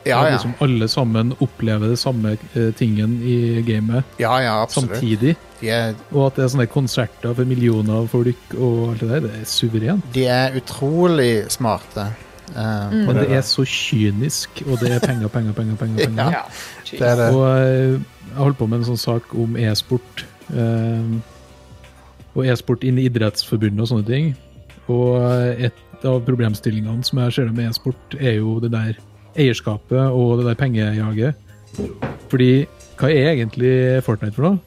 [SPEAKER 2] Ja,
[SPEAKER 5] At
[SPEAKER 2] ja.
[SPEAKER 5] Liksom alle sammen opplever det samme eh, tingen i gamet
[SPEAKER 2] Ja, ja, absolutt.
[SPEAKER 5] samtidig.
[SPEAKER 2] De er,
[SPEAKER 5] Og at det er sånne konserter for millioner av folk og alt det der. Det er suverent.
[SPEAKER 2] de er utrolig smarte. eh, på
[SPEAKER 5] Men det
[SPEAKER 2] der.
[SPEAKER 5] er så kynisk, og det er penger, penger, penger. penger, penger.
[SPEAKER 2] Ja,
[SPEAKER 3] Ja.
[SPEAKER 2] det er det.
[SPEAKER 5] Og eh, jeg holdt på med en sånn sak om e-sport. eh, og e-sport inn i Idrettsforbundet og sånne ting. Og eh, et av problemstillingene som jeg ser det med e-sport, er jo det der eierskapet og det der pengejaget. Fordi hva er egentlig Fortnite for noe?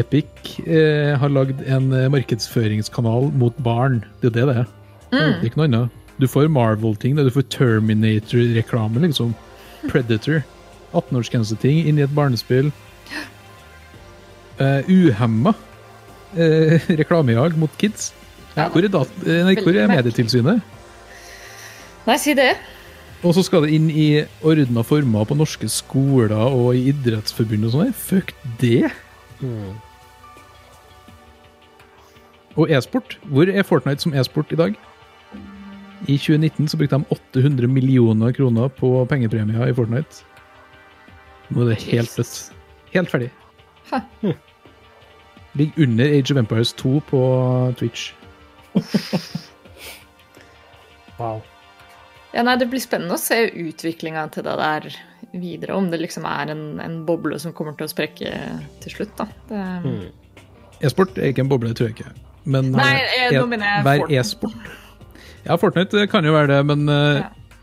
[SPEAKER 5] Epic eh, har lagd en eh, markedsføringskanal mot barn. Det er det det er. Det er ikke noe annet. Du får Marvel-ting, du får Terminator-reklame, liksom. Predator. 18-årsgrenseting inn i et barnespill. Uh, uhemma eh, reklamejag mot kids. Hvor er, dat eh, nei, hvor
[SPEAKER 3] Veldig
[SPEAKER 5] er
[SPEAKER 3] merkelig.
[SPEAKER 5] Medietilsynet?
[SPEAKER 3] Nei, si det.
[SPEAKER 5] Og så skal det inn i ordna former på norske skoler og i idrettsforbund og sånn. der. Fuck det! Og e-sport. Hvor er Fortnite som e-sport i dag? I 2019 så brukte de 800 millioner kroner på pengepremier i Fortnite. Nå er det helt dødt. Helt ferdig.
[SPEAKER 3] Huh.
[SPEAKER 5] Ligger under Age of Empires 2 på Twitch.
[SPEAKER 6] Wow.
[SPEAKER 3] Ja, nei, det blir spennende å se utviklinga til det der videre. Om det liksom er en, en boble som kommer til å sprekke til slutt, da. Det,
[SPEAKER 5] E-sport er ikke en boble, tror jeg ikke. Men
[SPEAKER 3] Nei,
[SPEAKER 5] eh,
[SPEAKER 3] eh, nå
[SPEAKER 5] e-
[SPEAKER 3] mener jeg
[SPEAKER 5] hver
[SPEAKER 3] Fortnite.
[SPEAKER 5] e-sport Ja, Fortnite eh, kan jo være det, men eh,
[SPEAKER 3] Ja.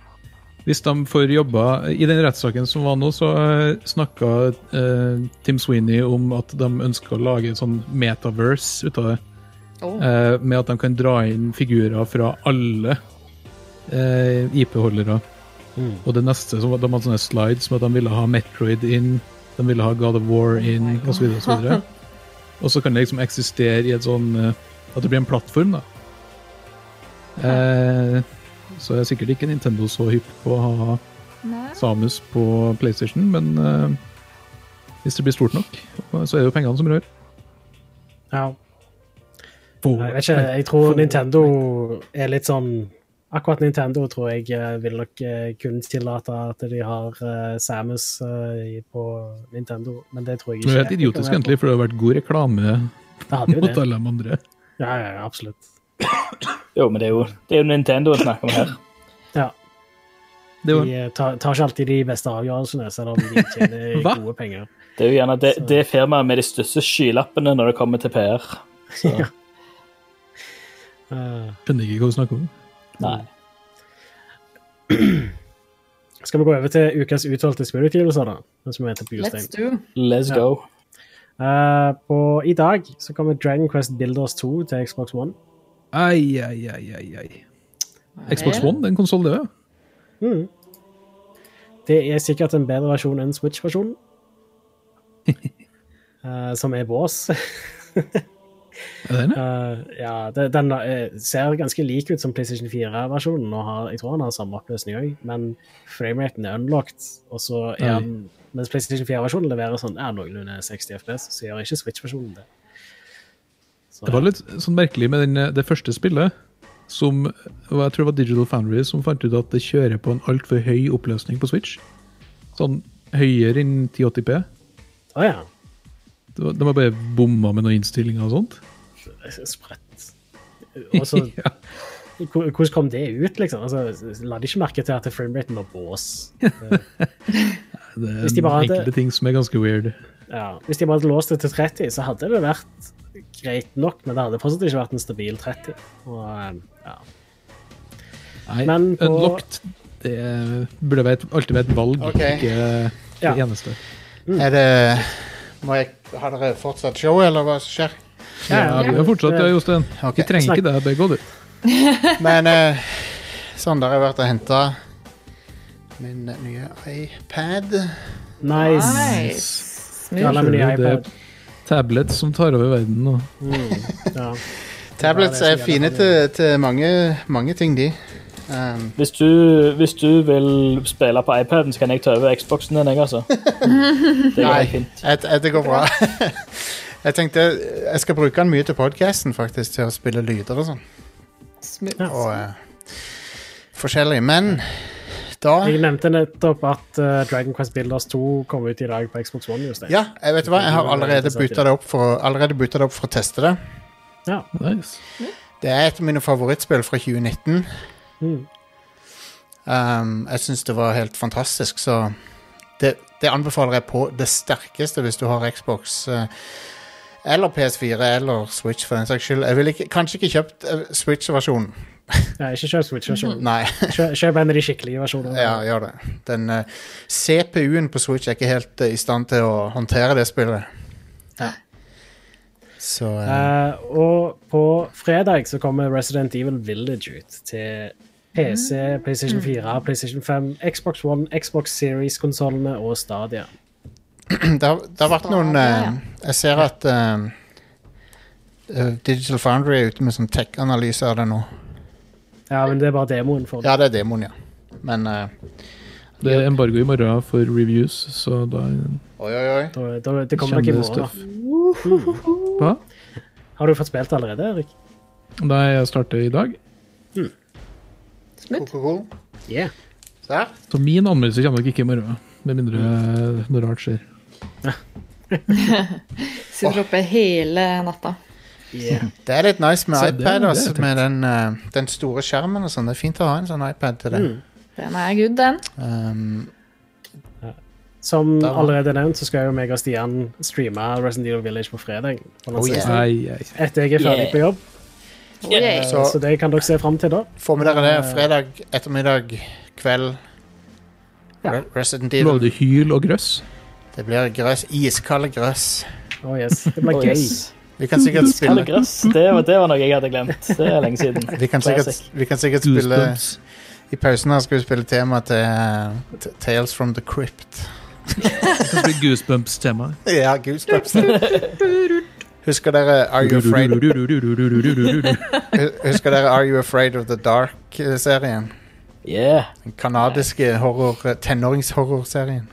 [SPEAKER 5] hvis de får jobba I den rettssaken som var nå, så uh, snakka Tim Sweeney om at de ønsker å lage et sånn metaverse ut av det.
[SPEAKER 3] Åh.
[SPEAKER 5] eh, med at de kan dra inn figurer fra alle eh, IP-holdere.
[SPEAKER 6] Mm.
[SPEAKER 5] Og det neste som var- De hadde sånne slides med at de ville ha Metroid inn, de ville ha God of War inn, og så videre, og så videre. Og så kan det liksom eksistere i et sånn eh, At det blir en plattform, da. Eh, så er sikkert ikke Nintendo så hypp på å ha
[SPEAKER 3] Nei.
[SPEAKER 5] Samus på PlayStation, men eh, hvis det blir stort nok, så er det jo pengene som rør.
[SPEAKER 6] Ja. Jeg vet ikke, jeg tror Nintendo er litt sånn Akkurat Nintendo tror jeg eh, vil nok eh, kun tillate at de har eh, Samus eh, i- på Nintendo, men det tror jeg
[SPEAKER 5] Det
[SPEAKER 6] ikke.
[SPEAKER 5] er helt idiotisk, egentlig, for det har vært god reklame
[SPEAKER 6] Det hadde jo
[SPEAKER 5] mot
[SPEAKER 6] det.
[SPEAKER 5] alle de andre.
[SPEAKER 6] Ja, ja, ja, absolutt.
[SPEAKER 4] Jo, men det er jo, det er jo Nintendo vi snakker om her.
[SPEAKER 6] Ja.
[SPEAKER 5] Det
[SPEAKER 6] De
[SPEAKER 5] var,
[SPEAKER 6] eh, tar, tar ikke alltid de beste avgjørelsene, selv om de tjener
[SPEAKER 5] Hva?
[SPEAKER 6] gode penger.
[SPEAKER 4] Det er jo gjerne det, det firmaet med de største skylappene når det kommer til PR. Så,
[SPEAKER 6] Eh,
[SPEAKER 5] skjønner ikke hva du snakker om.
[SPEAKER 4] nei.
[SPEAKER 6] skal vi gå over til ukas utvalgte spillutgivelser, da? Mens vi venter på Jostein.
[SPEAKER 3] Let's do.
[SPEAKER 4] Let's go.
[SPEAKER 6] Eh, på, I dag så kommer Dragon Quest Builders 2 til Xbox One.
[SPEAKER 5] Ai, ai, ai, ai, ai. Xbox One, den konsoll, det òg.
[SPEAKER 6] Mm. Det er sikkert en bedre versjon enn Switch-versjonen. Eh, som er vås.
[SPEAKER 5] Er den det?
[SPEAKER 6] Eh, ja, det, den eh, ser ganske lik ut som PlayStation 4-versjonen. og har- Jeg tror han har samme oppløsning òg, men frameraten er unlocked. Og så er
[SPEAKER 5] Oi.
[SPEAKER 6] han, mens PlayStation 4-versjonen leverer sånn er noenlunde 60 FPS, så gjør ikke Switch-versjonen det. Så,
[SPEAKER 5] Det var litt sånn merkelig med den, det første spillet, som og jeg tror det var Digital Foundry som fant ut at det kjører på en altfor høy oppløsning på Switch. Sånn høyere enn 1080P.
[SPEAKER 6] Å ja.
[SPEAKER 5] Det var- De har bare bomma med noen innstillinger og sånt.
[SPEAKER 6] Sprøtt. Og så
[SPEAKER 5] Ja.
[SPEAKER 6] Hvor- Hvordan kom det ut, liksom? Altså, la de ikke merke til at frameraten var bås.
[SPEAKER 5] Det er
[SPEAKER 6] Hvis de bare hadde-
[SPEAKER 5] enkelte ting som er ganske weird.
[SPEAKER 6] Ja. Hvis de bare hadde låst det til 30, så hadde det vært greit nok, men det hadde fortsatt ikke vært en stabil 30. Og, um, ja.
[SPEAKER 5] Nei,
[SPEAKER 6] Men på-
[SPEAKER 5] Unlocked det burde være et, alltid være et valg,
[SPEAKER 2] Ok.
[SPEAKER 5] ikke det
[SPEAKER 6] Ja.
[SPEAKER 5] eneste.
[SPEAKER 2] Er det Må jeg, Har dere fortsatt show, eller hva som skjer?
[SPEAKER 5] Ja, vi har fortsatt det, Jostein.
[SPEAKER 2] Ok.
[SPEAKER 5] Vi trenger ikke deg, begge. du.
[SPEAKER 2] Men eh, Sander har vært og henta min nye iPad.
[SPEAKER 6] Nice.
[SPEAKER 3] Nice.
[SPEAKER 6] Ja, nei, men
[SPEAKER 5] Skjønner
[SPEAKER 6] jeg
[SPEAKER 5] du,
[SPEAKER 6] iPad.
[SPEAKER 5] det er Tablet som tar over verden nå.
[SPEAKER 6] Ja.
[SPEAKER 2] Tablets er fine til, til mange, mange ting, de. Um,
[SPEAKER 4] Hvis du, hvis du vil spille på iPaden, så kan jeg ta over Xboxen din, jeg, altså. Det er
[SPEAKER 2] Nei.
[SPEAKER 4] helt fint.
[SPEAKER 2] jeg, jeg, det går bra. jeg tenkte jeg skal bruke den mye til podkasten, faktisk, til å spille lyder og sånn.
[SPEAKER 3] Smooth.
[SPEAKER 2] Og eh, forskjellig. Men da
[SPEAKER 6] Jeg nevnte nettopp at uh, Dragon Quest Builders 2 kom ut i dag på Xbox One. Just det.
[SPEAKER 2] Ja, jeg vet hva, jeg har allerede bytta det opp for, allerede byttet det opp for å teste det.
[SPEAKER 6] Ja.
[SPEAKER 5] Nice.
[SPEAKER 2] Det er et av mine favorittspill fra 2019.
[SPEAKER 6] Mm.
[SPEAKER 2] Um, jeg syns det var helt fantastisk, så det, det anbefaler jeg på det sterkeste hvis du har Xbox eh, eller PS4 eller Switch, for den saks skyld. Jeg ville ikke, kanskje ikke kjøpt eh, Switch-versjonen.
[SPEAKER 6] Ja, ikke kjøp Switch-versjonen.
[SPEAKER 2] Nei,
[SPEAKER 6] Kjøp, kjøp en av de skikkelige versjonene.
[SPEAKER 2] ja, gjør det. Den eh, CPU-en på Switch er ikke helt eh, i stand til å håndtere det spillet. Så eh,
[SPEAKER 6] Eh, og på fredag så kommer Resident Evil Village ut til PC, PlayStation 4, PlayStation 5, Xbox One, Xbox Series-konsollene og Stadia.
[SPEAKER 2] det, har, det har vært noen eh, Jeg ser at eh, eh, Digital Foundry er ute med sånn tech-analyse av det nå.
[SPEAKER 6] Ja, men det er bare demoen for det.
[SPEAKER 2] Ja, det er demoen, ja. Men eh,
[SPEAKER 5] Det er embargo i morgen for reviews, så da
[SPEAKER 2] Oi, oi, oi.
[SPEAKER 6] Da, da, eh, det kommer
[SPEAKER 5] kommer
[SPEAKER 6] nok i
[SPEAKER 5] det
[SPEAKER 6] morgen. da.
[SPEAKER 5] stuff. Hva?
[SPEAKER 6] Har du fått spilt allerede, Erik?
[SPEAKER 5] Nei, jeg starter i dag.
[SPEAKER 2] Coca-Cola.
[SPEAKER 6] Yeah.
[SPEAKER 2] Der.
[SPEAKER 5] Så min anmeldelse kommer nok ikke i morgen, med mindre eh, noe rart skjer.
[SPEAKER 3] Sitter oppe hele natta.
[SPEAKER 2] Det er litt nice med
[SPEAKER 5] Så det-
[SPEAKER 2] iPad,
[SPEAKER 5] det er
[SPEAKER 2] altså,
[SPEAKER 5] tøft.
[SPEAKER 2] med den, eh, den store skjermen og sånn. Det er fint å ha en sånn iPad til det.
[SPEAKER 3] Den er good, den.
[SPEAKER 2] Um,
[SPEAKER 6] Som
[SPEAKER 2] Da-
[SPEAKER 6] allerede nevnt, så skal jo meg og Stian streame Resident Evil Village på fredag. på den
[SPEAKER 2] Oh, yeah.
[SPEAKER 6] siste.
[SPEAKER 5] Ai, ai.
[SPEAKER 6] sånn, Etter jeg er ferdig
[SPEAKER 4] Yeah.
[SPEAKER 6] på jobb.
[SPEAKER 3] Oh, yeah.
[SPEAKER 6] Eh,
[SPEAKER 2] Så-
[SPEAKER 6] Så det kan dere se fram til da.
[SPEAKER 2] får med dere det fredag ettermiddag, kveld.
[SPEAKER 6] Ja.
[SPEAKER 2] Resident
[SPEAKER 5] Lover
[SPEAKER 2] Evil.
[SPEAKER 5] du hyl og grøss?
[SPEAKER 2] Det blir grøss. Iskald grøss.
[SPEAKER 6] Oh, yes. Det blir
[SPEAKER 4] Oh,
[SPEAKER 6] gøy.
[SPEAKER 4] yes.
[SPEAKER 2] Vi kan sikkert
[SPEAKER 4] Kalle
[SPEAKER 2] spille
[SPEAKER 4] grøss, det var, det var noe jeg hadde glemt. Det er lenge siden.
[SPEAKER 2] Vi kan sikkert,
[SPEAKER 4] Classic.
[SPEAKER 2] vi kan sikkert spille
[SPEAKER 5] Goosebumps.
[SPEAKER 2] I pausen her skal vi spille tema til eh, t- Tales from the Crypt.
[SPEAKER 5] Det blir Goosebumps-tema.
[SPEAKER 2] Ja, Goosebumps. Husker dere Are You Afraid hu- Husker dere Are You Afraid of the Dark-serien?
[SPEAKER 4] Yeah,
[SPEAKER 2] Den kanadiske horror, tenåringshorrorserien.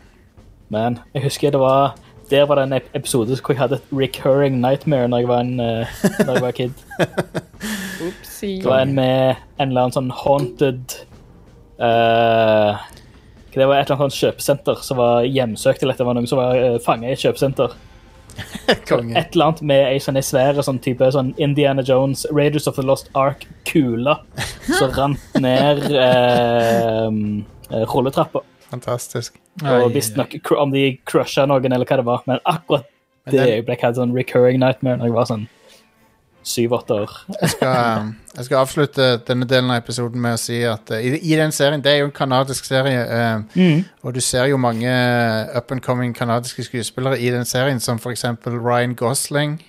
[SPEAKER 4] man. Jeg husker det var Der var det en ep- episode hvor jeg hadde et recurring nightmare når jeg var en eh, når jeg var kid.
[SPEAKER 3] Oopsie.
[SPEAKER 4] Det var en med en eller annen sånn haunted eh, Det var et eller annet sånn kjøpesenter som var hjemsøkt, eller det var noen som var uh, fanget i et kjøpesenter.
[SPEAKER 2] Konge.
[SPEAKER 4] Et eller annet med ei sånn svær sånn type sånn Indiana Jones, Raiders of the Lost Ark-kule som rant ned eh, eh, rulletrappa.
[SPEAKER 2] Fantastisk.
[SPEAKER 5] Ai,
[SPEAKER 4] Og visstnok cr- om de crusha noen, eller hva det var. Men akkurat
[SPEAKER 2] Men
[SPEAKER 4] det
[SPEAKER 2] den-
[SPEAKER 4] øyeblikket hadde sånn recurring nightmare når jeg var sånn syv-åtte år.
[SPEAKER 2] skal, um, jeg skal avslutte denne delen av episoden med å si at uh, i, i den serien, det er jo en kanadisk serie, uh, og du ser jo mange up and coming kanadiske skuespillere i den serien, som for eksempel Ryan Gosling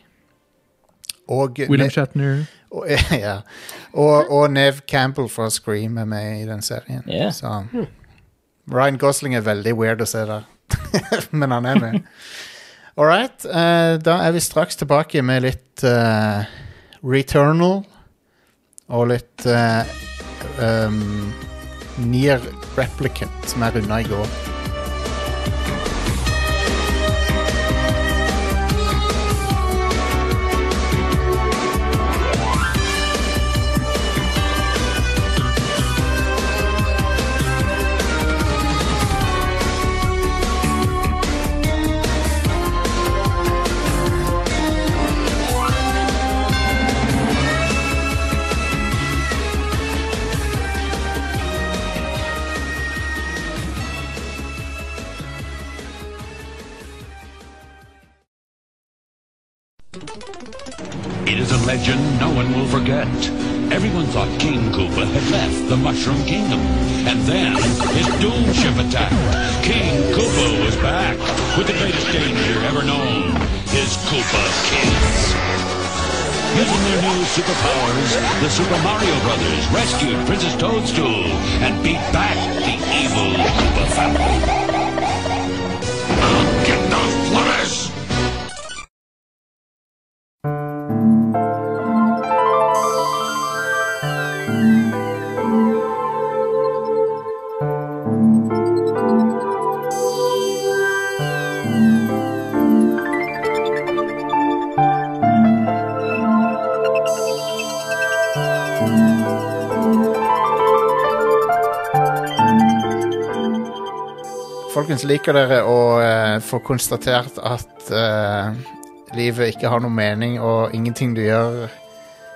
[SPEAKER 2] og
[SPEAKER 5] William Shatner.
[SPEAKER 2] og, ja. og, og Nev Campbell fra Scream er med i den serien.
[SPEAKER 4] Ja.
[SPEAKER 2] Så Ryan Gosling er veldig weird å se der, men han er med. All right, eh, da er vi straks tilbake med litt eh, Returnal og litt uh, um, Near Replicant, som jeg runda i går.
[SPEAKER 7] It is a legend no one will forget. Everyone thought King Koopa had left the Mushroom Kingdom. And then his doom ship attacked. King Koopa was back with the greatest danger ever known. His Koopa kids. Using their new superpowers, the Super Mario Brothers rescued Princess Toadstool and beat back the evil Koopa family. I'll get those flutters!
[SPEAKER 2] Folkens, liker dere å eh, få konstatert at eh, livet ikke har noen mening, og ingenting du gjør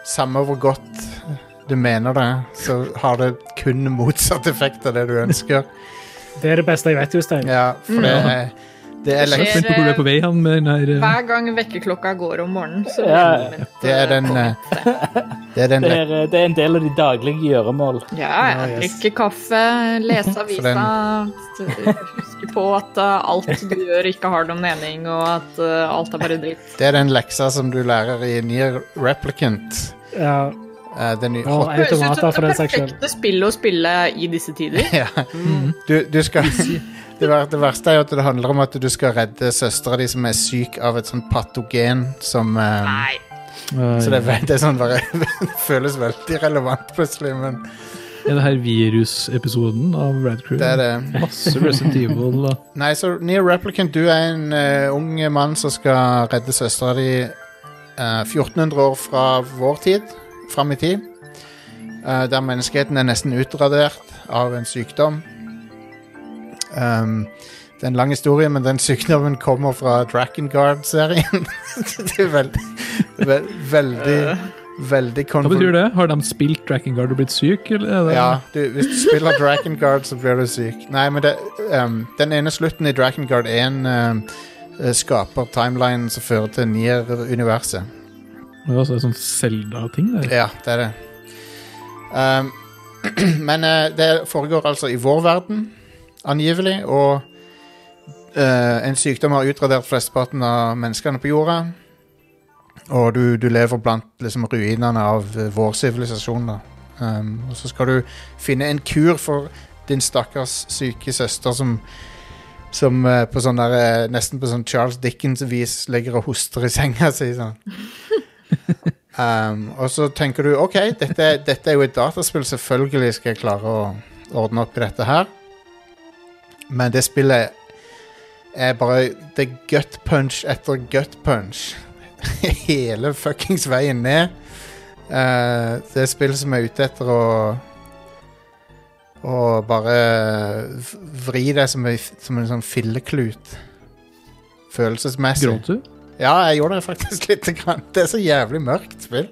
[SPEAKER 2] Samme hvor godt du mener det, så har det kun motsatt effekt av det du ønsker.
[SPEAKER 6] Det er det beste jeg vet, Jostein.
[SPEAKER 2] Ja, for det er, det er,
[SPEAKER 5] Jeg er
[SPEAKER 2] lenge,
[SPEAKER 5] spent på hvor du er på vei han med den her eh,
[SPEAKER 3] Hver gang vekkerklokka går om morgenen, så blir
[SPEAKER 4] Ja,
[SPEAKER 3] det moment,
[SPEAKER 2] det er den,
[SPEAKER 3] eh,
[SPEAKER 2] eh,
[SPEAKER 3] påvirket.
[SPEAKER 2] det er den
[SPEAKER 4] Det
[SPEAKER 2] le-
[SPEAKER 4] er, det er en del av de daglige gjøremål.
[SPEAKER 3] Ja,
[SPEAKER 6] Ja,
[SPEAKER 3] jeg
[SPEAKER 6] yes.
[SPEAKER 3] drikker kaffe, leser
[SPEAKER 2] For
[SPEAKER 3] avisa,
[SPEAKER 2] den-
[SPEAKER 3] husker på at uh, alt du gjør ikke har noen mening, og at uh, alt er bare dritt.
[SPEAKER 2] det er den leksa som du lærer i Near Replicant.
[SPEAKER 6] Ja.
[SPEAKER 2] eh, den nye
[SPEAKER 6] Og
[SPEAKER 2] hot...
[SPEAKER 3] Det høres ut
[SPEAKER 6] automater, for
[SPEAKER 3] som det
[SPEAKER 6] den saks skyld.
[SPEAKER 3] perfekte spillet å spille i disse tider.
[SPEAKER 2] Ja. Du, du skal det, ver det verste er jo at det handler om at du skal redde søstera di som er syk av et sånt patogen som eh,
[SPEAKER 3] Nei.
[SPEAKER 5] ai,
[SPEAKER 2] Så det, er ve- det er sånn bare, det føles veldig relevant plutselig, men
[SPEAKER 5] Er det her virusepisoden av Rad Crew?
[SPEAKER 2] det er det.
[SPEAKER 5] Masse Resident Evil og
[SPEAKER 2] Nei, så Near Replicant, du er en eh, ung mann som skal redde søstera di eh, 1400 år fra vår tid, fram i tid. eh, der menneskeheten er nesten utradert av en sykdom. Um, det er en lang historie, men den sykdommen kommer fra Drakengard-serien. det er veldig, veldig, Veldig
[SPEAKER 5] Hva betyr
[SPEAKER 2] konvolutt.
[SPEAKER 5] det? Har de spilt Dragon Guard og blitt syk, eller er det
[SPEAKER 2] Ja, du, hvis du spiller Dragon Guard, så blir du syk. Nei, men det, ehm, den ene slutten i Dragon Guard 1 ehm, eh, skaper timelinen som fører til Nier-universet.
[SPEAKER 5] Det er også en sånn Zelda-ting der.
[SPEAKER 2] Ja, det er det. Ehm, men eh, det foregår altså i vår verden, angivelig, og eh, en sykdom har utradert flesteparten av menneskene på jorda. Og du, du lever blant liksom, ruinene av eh, vår sivilisasjon. da. Ehm, og så skal du finne en kur for din stakkars syke søster som som eh, på sånn der, eh, nesten på sånn Charles Dickens-vis ligger og hoster i senga si. Sånn. Um, og så tenker du OK, dette, dette er jo et dataspill, selvfølgelig skal jeg klare å ordne opp i dette her. Men det spillet er bare Det er gut punch etter gut punch hele fuckings veien ned. Eh, det er spill som er ute etter å å bare v- vri deg som, ei f- som en sånn filleklut. Følelsesmessig.
[SPEAKER 5] Gråt du?
[SPEAKER 2] Ja, jeg gjorde det faktisk litt. Grann. Det er så jævlig mørkt spill.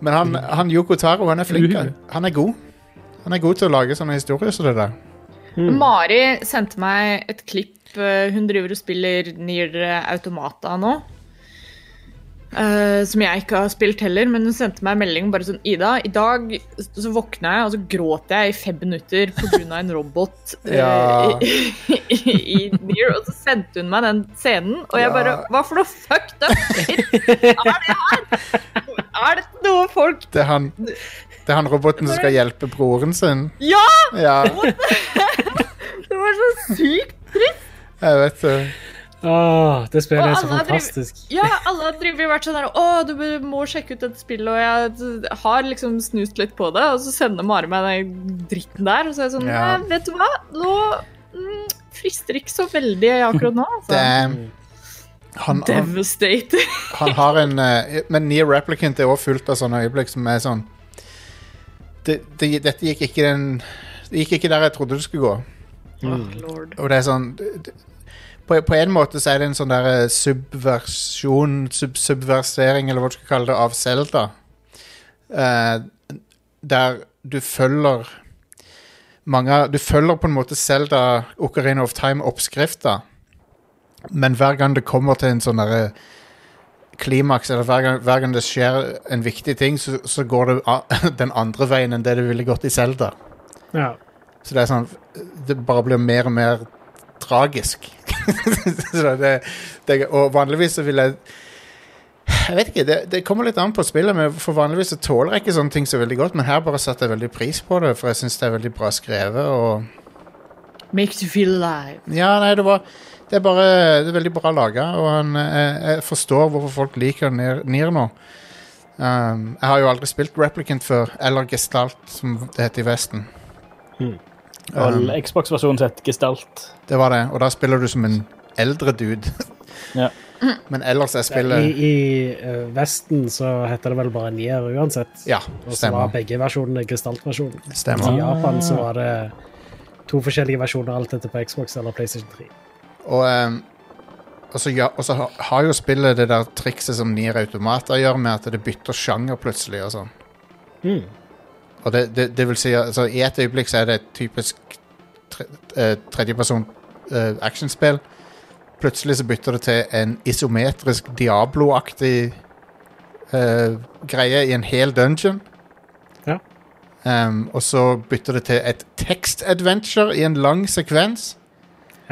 [SPEAKER 2] Men han, han Yoko Taro, han er flink. Han, han er god. Han er god til å lage sånne historier som det der. Mm.
[SPEAKER 3] Mari sendte meg et klipp. eh, Hun driver og spiller Nier Automata nå. eh, som jeg ikke har spilt heller, men hun sendte meg en melding bare sånn Ida, i dag så våkna jeg, og så gråt jeg i fem minutter pga. en robot eh,
[SPEAKER 2] Ja.
[SPEAKER 3] i, i, i Nier. Og så sendte hun meg den scenen, og jeg
[SPEAKER 2] Ja.
[SPEAKER 3] bare Hva for noe fucked up shit er det her?! Er dette noe folk
[SPEAKER 2] Det er han, det er han roboten som skal hjelpe broren sin.
[SPEAKER 3] Ja!
[SPEAKER 2] Ja,
[SPEAKER 3] Det var så sykt
[SPEAKER 2] jeg vet det.
[SPEAKER 6] Åh, Ah, det spillet
[SPEAKER 3] Og
[SPEAKER 6] er så
[SPEAKER 3] alle driver-
[SPEAKER 6] fantastisk.
[SPEAKER 3] Ja, alle har drivet vært sånn der Å, du må sjekke ut dette spillet, og jeg har liksom snust litt på det, og så sender Mari meg den dritten der, og så er jeg sånn
[SPEAKER 2] Ja.
[SPEAKER 3] «Nei, Vet du hva, nå mm, frister ikke så veldig akkurat nå, altså.
[SPEAKER 2] Damn. Han, han,
[SPEAKER 3] Devastating.
[SPEAKER 2] han har en eh, Men Near Replicant er også fullt av sånne øyeblikk som er sånn det, det, Dette gikk ikke den Det gikk ikke der jeg trodde det skulle gå.
[SPEAKER 3] Åh, lord.
[SPEAKER 2] Og det er sånn d- d- på, på en måte så er det en sånn der eh, subversjon, sub, subversering, eller hva du skal kalle det, av Zelda. Eh, der du følger mange av- Du følger på en måte Zelda Ocarina of Time-oppskrifta, men hver gang det kommer til en sånn derre klimaks, eller hver gang, hver gang det skjer en viktig ting, så, så går det a- den andre veien enn det det ville gått i Zelda.
[SPEAKER 6] Ja.
[SPEAKER 2] Så det er sånn Det bare blir mer og mer tragisk. så det, det, og vanligvis så vil jeg Jeg vet ikke, det, det kommer litt an på spillet, men for vanligvis så tåler jeg ikke sånne ting så veldig godt, men her bare satte jeg veldig pris på det, for jeg syns det er veldig bra skrevet. og
[SPEAKER 3] Makes you feel alive.
[SPEAKER 2] ja, nei, det var Det er bare det er veldig bra laga, og han, eh, jeg forstår hvorfor folk liker Nier Nier nå. Um, jeg har jo aldri spilt Replicant før, eller Gestalt, som det heter i Vesten.
[SPEAKER 4] Og Xbox-versjonen sett gestalt.
[SPEAKER 2] Det var det, og da spiller du som en eldre dude.
[SPEAKER 4] Ja.
[SPEAKER 2] Men ellers er
[SPEAKER 6] I,
[SPEAKER 2] spillet
[SPEAKER 6] I eh, Vesten så heter det vel bare Nier uansett.
[SPEAKER 2] Ja,
[SPEAKER 6] Og så var
[SPEAKER 2] stemmer.
[SPEAKER 6] begge versjonene krystallversjonen. I
[SPEAKER 2] stemmer.
[SPEAKER 6] Japan så var det to forskjellige versjoner alt dette på Xbox eller PlayStation 3.
[SPEAKER 2] Og, um, og, så, ja, og så har- har jo spillet det der trikset som Nier Automata gjør, med at det bytter sjanger plutselig og sånn.
[SPEAKER 6] Mm.
[SPEAKER 2] Og det, det, det vil si, altså, i et øyeblikk så er det et typisk tre, eh, tredjeperson eh, actionspill. Plutselig så bytter det til en isometrisk Diablo-aktig eh, greie i en hel dungeon.
[SPEAKER 6] Ja.
[SPEAKER 2] Ehm, og så bytter det til et tekst-adventure i en lang sekvens.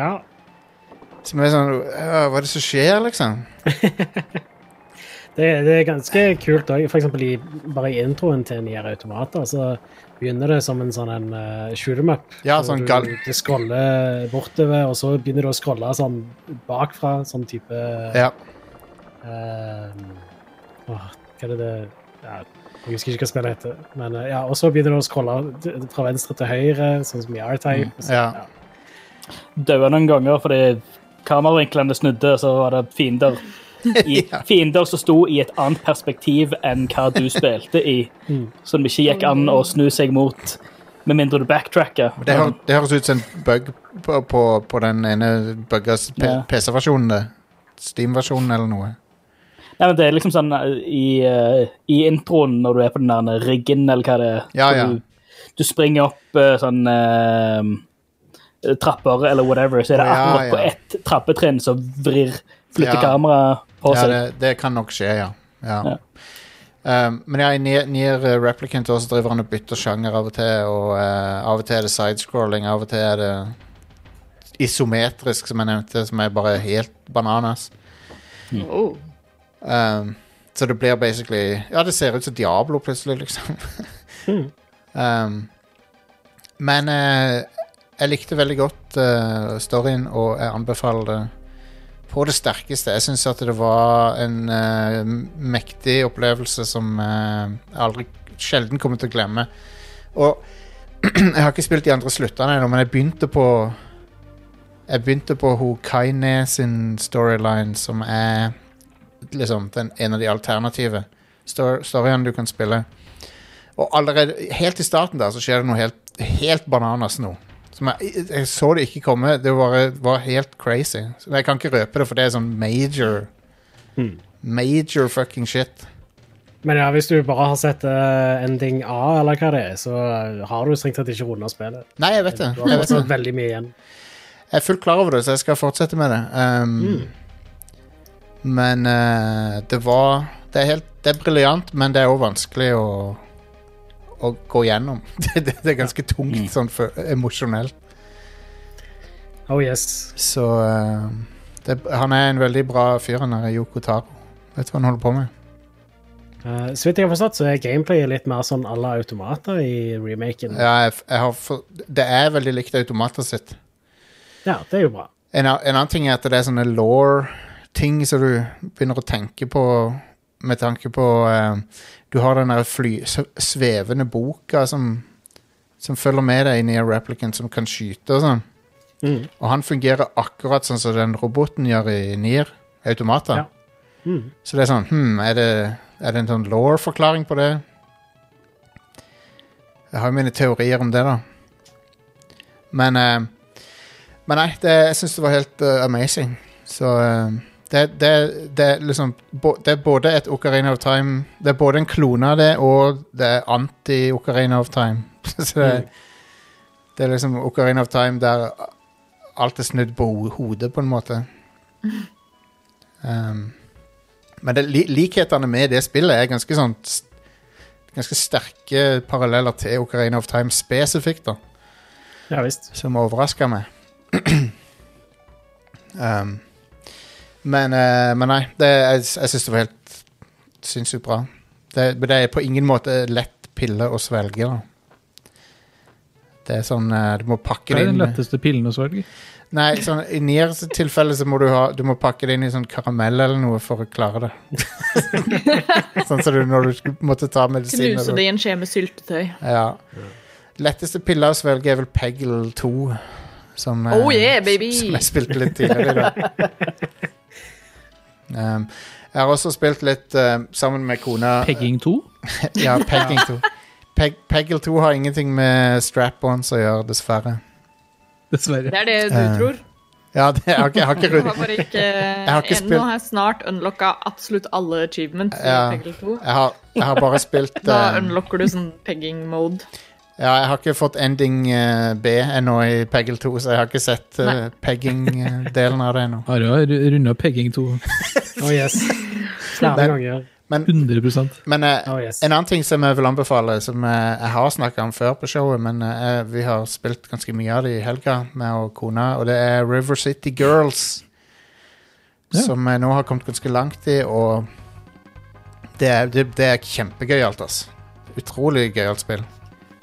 [SPEAKER 6] Ja.
[SPEAKER 2] Som er sånn «Øh, Hva er det som skjer, liksom?
[SPEAKER 6] Det, det er ganske kult òg. For eksempel i, bare i introen til Nier Automata så begynner det som en sånn en eh, shoot 'em up.
[SPEAKER 2] Ja,
[SPEAKER 6] Hvor
[SPEAKER 2] sånn
[SPEAKER 6] du,
[SPEAKER 2] gal-
[SPEAKER 6] du scroller bortover, og så begynner du å scrolle sånn bakfra, sånn type
[SPEAKER 2] Ja.
[SPEAKER 6] Eh, åh, hva er det det ja, Jeg husker ikke hva spillet heter. Men, eh, ja, og så begynner du å scrolle d- fra venstre til høyre, sånn som i R-Type. og så-
[SPEAKER 2] ja.
[SPEAKER 4] Daua noen ganger fordi kameravinklene snudde, så var det fiender. I, Fiender som sto i et annet perspektiv enn hva du spilte i.
[SPEAKER 2] Mm.
[SPEAKER 4] Som ikke gikk an å snu seg mot, med mindre du backtracker.
[SPEAKER 2] Det, hø det høres ut som en bug på, på, på den ene bugga
[SPEAKER 4] Ja.
[SPEAKER 2] PC-versjonen. det. Steam-versjonen eller noe.
[SPEAKER 4] Nei, men det er liksom sånn eh, i, eh, i introen når du er på den der riggen, eller hva det er.
[SPEAKER 2] Ja,
[SPEAKER 4] så
[SPEAKER 2] ja.
[SPEAKER 4] Du, du springer opp eh, sånn eh, trapper eller whatever, så er det
[SPEAKER 2] Å, ja,
[SPEAKER 4] akkurat på
[SPEAKER 2] ja.
[SPEAKER 4] ett trappetrinn som vrir, flytter
[SPEAKER 2] Ja.
[SPEAKER 4] kameraet på
[SPEAKER 2] Ja,
[SPEAKER 4] seg.
[SPEAKER 2] det, det kan nok skje, ja. ja. Um, men ja, i Nier- Nier eh, Replicant også driver han og bytter sjanger av og til, og eh, av og til er det sidescrolling, av og til er det isometrisk, som jeg nevnte, som er bare helt bananas. Mm.
[SPEAKER 3] Oh.
[SPEAKER 2] Um, så det blir basically Ja, det ser ut som Diablo plutselig, liksom. um, men eh, jeg likte veldig godt eh, storyen, og jeg anbefaler det på det sterkeste. Jeg syns at det var en eh, mektig opplevelse som eh, jeg aldri sjelden kommer til å glemme. Og jeg har ikke spilt de andre sluttene ennå, men jeg begynte på Jeg begynte på ho Kaine sin storyline, som er liksom, den, en av de alternative stor- storyene du kan spille. Og allerede helt i starten der så skjer det noe helt, helt bananas nå. Som jeg, jeg så det ikke komme. Det var, var helt crazy. Så jeg kan ikke røpe det, for det er sånn major Major fucking shit.
[SPEAKER 6] Men ja, hvis du bare har sett eh, ending A, eller hva det er, så har du strengt tatt ikke runda spillet.
[SPEAKER 2] Nei, jeg vet det.
[SPEAKER 6] Du
[SPEAKER 2] Jeg,
[SPEAKER 6] har
[SPEAKER 2] vet
[SPEAKER 6] fortsatt
[SPEAKER 2] det.
[SPEAKER 6] veldig mye igjen.
[SPEAKER 2] jeg er fullt klar over det, så jeg skal fortsette med det. Um, Men eh, det var Det er, helt- det er briljant, men det er òg vanskelig å å gå gjennom. Det, det, det er ganske tungt sånn for, emosjonelt.
[SPEAKER 6] Oh yes.
[SPEAKER 2] Så eh, det, han er en veldig bra fyr, han der Yoko Taro. Vet du hva han holder på med?
[SPEAKER 6] Eh, så vidt jeg har forstått, så er gameplayet litt mer sånn alle automater i remaken. Ja.
[SPEAKER 2] Ja, jeg, f- jeg har for, det er veldig likt automatet sitt.
[SPEAKER 6] det er jo bra.
[SPEAKER 2] En, a- en annen ting er at det er sånne law-ting som du begynner å tenke på med tanke på eh, Du har den der fly, s- svevende boka som, som følger med deg inn i en replicant som kan skyte og sånn.
[SPEAKER 6] Mm.
[SPEAKER 2] Og han fungerer akkurat sånn som den roboten gjør i Nier, automater.
[SPEAKER 6] Ja. Mm.
[SPEAKER 2] Så det er sånn hmm, er, det, er det en sånn law-forklaring på det? Jeg har jo mine teorier om det, da. Men eh, Men nei, det, jeg syns det var helt eh, amazing. Så eh, det, det, det er liksom bo, Det er både et Ocarina of Time Det er både en klone av det, og det er anti-Ocarina of Time. Så det, det er liksom Ocarina of Time der alt er snudd på ho hodet, på en måte. Um, men det, li likhetene med det spillet er ganske sånn s- Ganske sterke paralleller til Ocarina of Time spesifikt, da.
[SPEAKER 6] Ja visst.
[SPEAKER 2] Som overraska meg. um, men, eh, men nei, det, jeg, jeg syns det var helt sinnssykt bra. Det, men det er på ingen måte lett pille å svelge, da. Det er sånn eh, Du må pakke
[SPEAKER 5] Det
[SPEAKER 2] det
[SPEAKER 5] er den
[SPEAKER 2] inn
[SPEAKER 5] letteste pillen å svelge.
[SPEAKER 2] Nei, sånn, i Niers tilfelle så må du, ha, du må pakke det inn i sånn karamell eller noe for å klare det. sånn som du når du skulle- måtte ta medisin.
[SPEAKER 3] Knuse det i en skje med syltetøy.
[SPEAKER 2] Ja. Letteste pille å svelge er vel Peggle 2, som, eh,
[SPEAKER 3] Oh yeah, baby!
[SPEAKER 2] som jeg spilte litt tidligere i dag. Um, jeg har også spilt litt eh, sammen med kona
[SPEAKER 5] Pegging 2.
[SPEAKER 2] Ja, Pegging 2. Peg, Peggle 2 har ingenting med strap-ons å gjøre, dessverre.
[SPEAKER 5] Dessverre.
[SPEAKER 3] Det er det du
[SPEAKER 2] Eh,
[SPEAKER 3] tror.
[SPEAKER 2] Ja, det, jeg har ikke, jeg har ikke
[SPEAKER 3] Jeg
[SPEAKER 2] rund-
[SPEAKER 3] har bare ikke,
[SPEAKER 2] har ikke
[SPEAKER 3] Nå
[SPEAKER 2] spilt-
[SPEAKER 3] har jeg snart unlocka absolutt alle achievements. i
[SPEAKER 2] Ja.
[SPEAKER 3] Peggle 2.
[SPEAKER 2] Jeg har, jeg har bare spilt
[SPEAKER 3] Da
[SPEAKER 2] eh,
[SPEAKER 3] unlocker du sånn pegging mode.
[SPEAKER 2] Ja, jeg har ikke fått ending eh, B ennå i Peggle 2, så jeg har ikke sett eh,
[SPEAKER 3] Nei.
[SPEAKER 2] pegging-delen av det ennå.
[SPEAKER 5] Har jo runda pegging 2
[SPEAKER 6] Oh yes. Flere ganger.
[SPEAKER 5] 100
[SPEAKER 2] Men eh,
[SPEAKER 6] Oh yes.
[SPEAKER 2] en annen ting som jeg vil anbefale, som eh, jeg har snakka om før på showet, men eh, vi har spilt ganske mye av det i helga med og kona, og det er River City Girls.
[SPEAKER 5] Ja.
[SPEAKER 2] Som jeg nå har kommet ganske langt i, og det er, det, det er kjempegøyalt, altså. Utrolig gøyalt spill.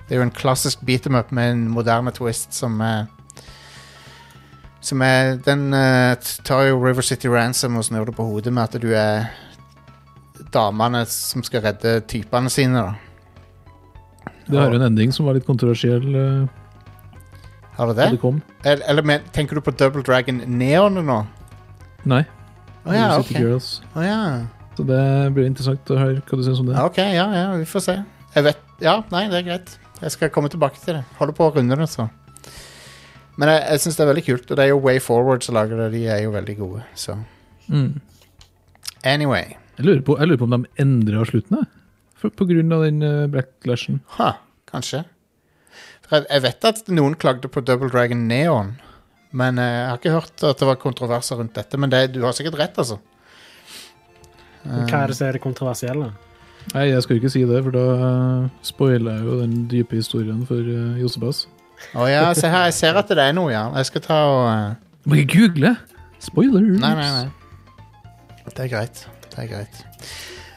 [SPEAKER 2] Det er jo en klassisk beat em up med en moderne twist som er Som er Den eh, tar jo River City Ransom og snur det på hodet med at du er damene som skal redde typene sine, da.
[SPEAKER 5] Det har jo en ending som var litt kontroversiell eh,
[SPEAKER 2] Har du
[SPEAKER 5] da
[SPEAKER 2] det?
[SPEAKER 5] det kom.
[SPEAKER 2] Eller, eller men, tenker du på Double Dragon Neon nå?
[SPEAKER 5] Nei.
[SPEAKER 2] Å ja,
[SPEAKER 5] New
[SPEAKER 2] ok.
[SPEAKER 5] City Girls.
[SPEAKER 2] Å ja.
[SPEAKER 5] Så det blir interessant å høre hva du syns om det.
[SPEAKER 2] Ja, Ok, ja, ja, vi får se. Jeg vet Ja, nei, det er greit. Jeg skal komme tilbake til det. Holder på å runde det, så. Men jeg, jeg syns det er veldig kult, og det er jo Way Forward som lager det. De er jo veldig gode, så
[SPEAKER 5] Mm.
[SPEAKER 2] Anyway.
[SPEAKER 5] Jeg lurer på, jeg lurer på om de endra slutten, jeg. For- på grunn av den eh, backlashen.
[SPEAKER 2] Ha, kanskje. For jeg, jeg vet at noen klagde på Double Dragon Neon, men eh, jeg har ikke hørt at det var kontroverser rundt dette. Men det, du har sikkert rett, altså.
[SPEAKER 6] Hva er det som er det kontroversielle?
[SPEAKER 5] Nei, jeg skal ikke si det, for da eh, spoiler jeg jo den dype historien for eh, Josebas.
[SPEAKER 2] Å ja, se her, jeg ser at det er noe, ja. Jeg skal ta og eh,
[SPEAKER 5] Må ikke google! Spoilers!
[SPEAKER 2] Nei, nei, nei. Det er greit. Det er greit.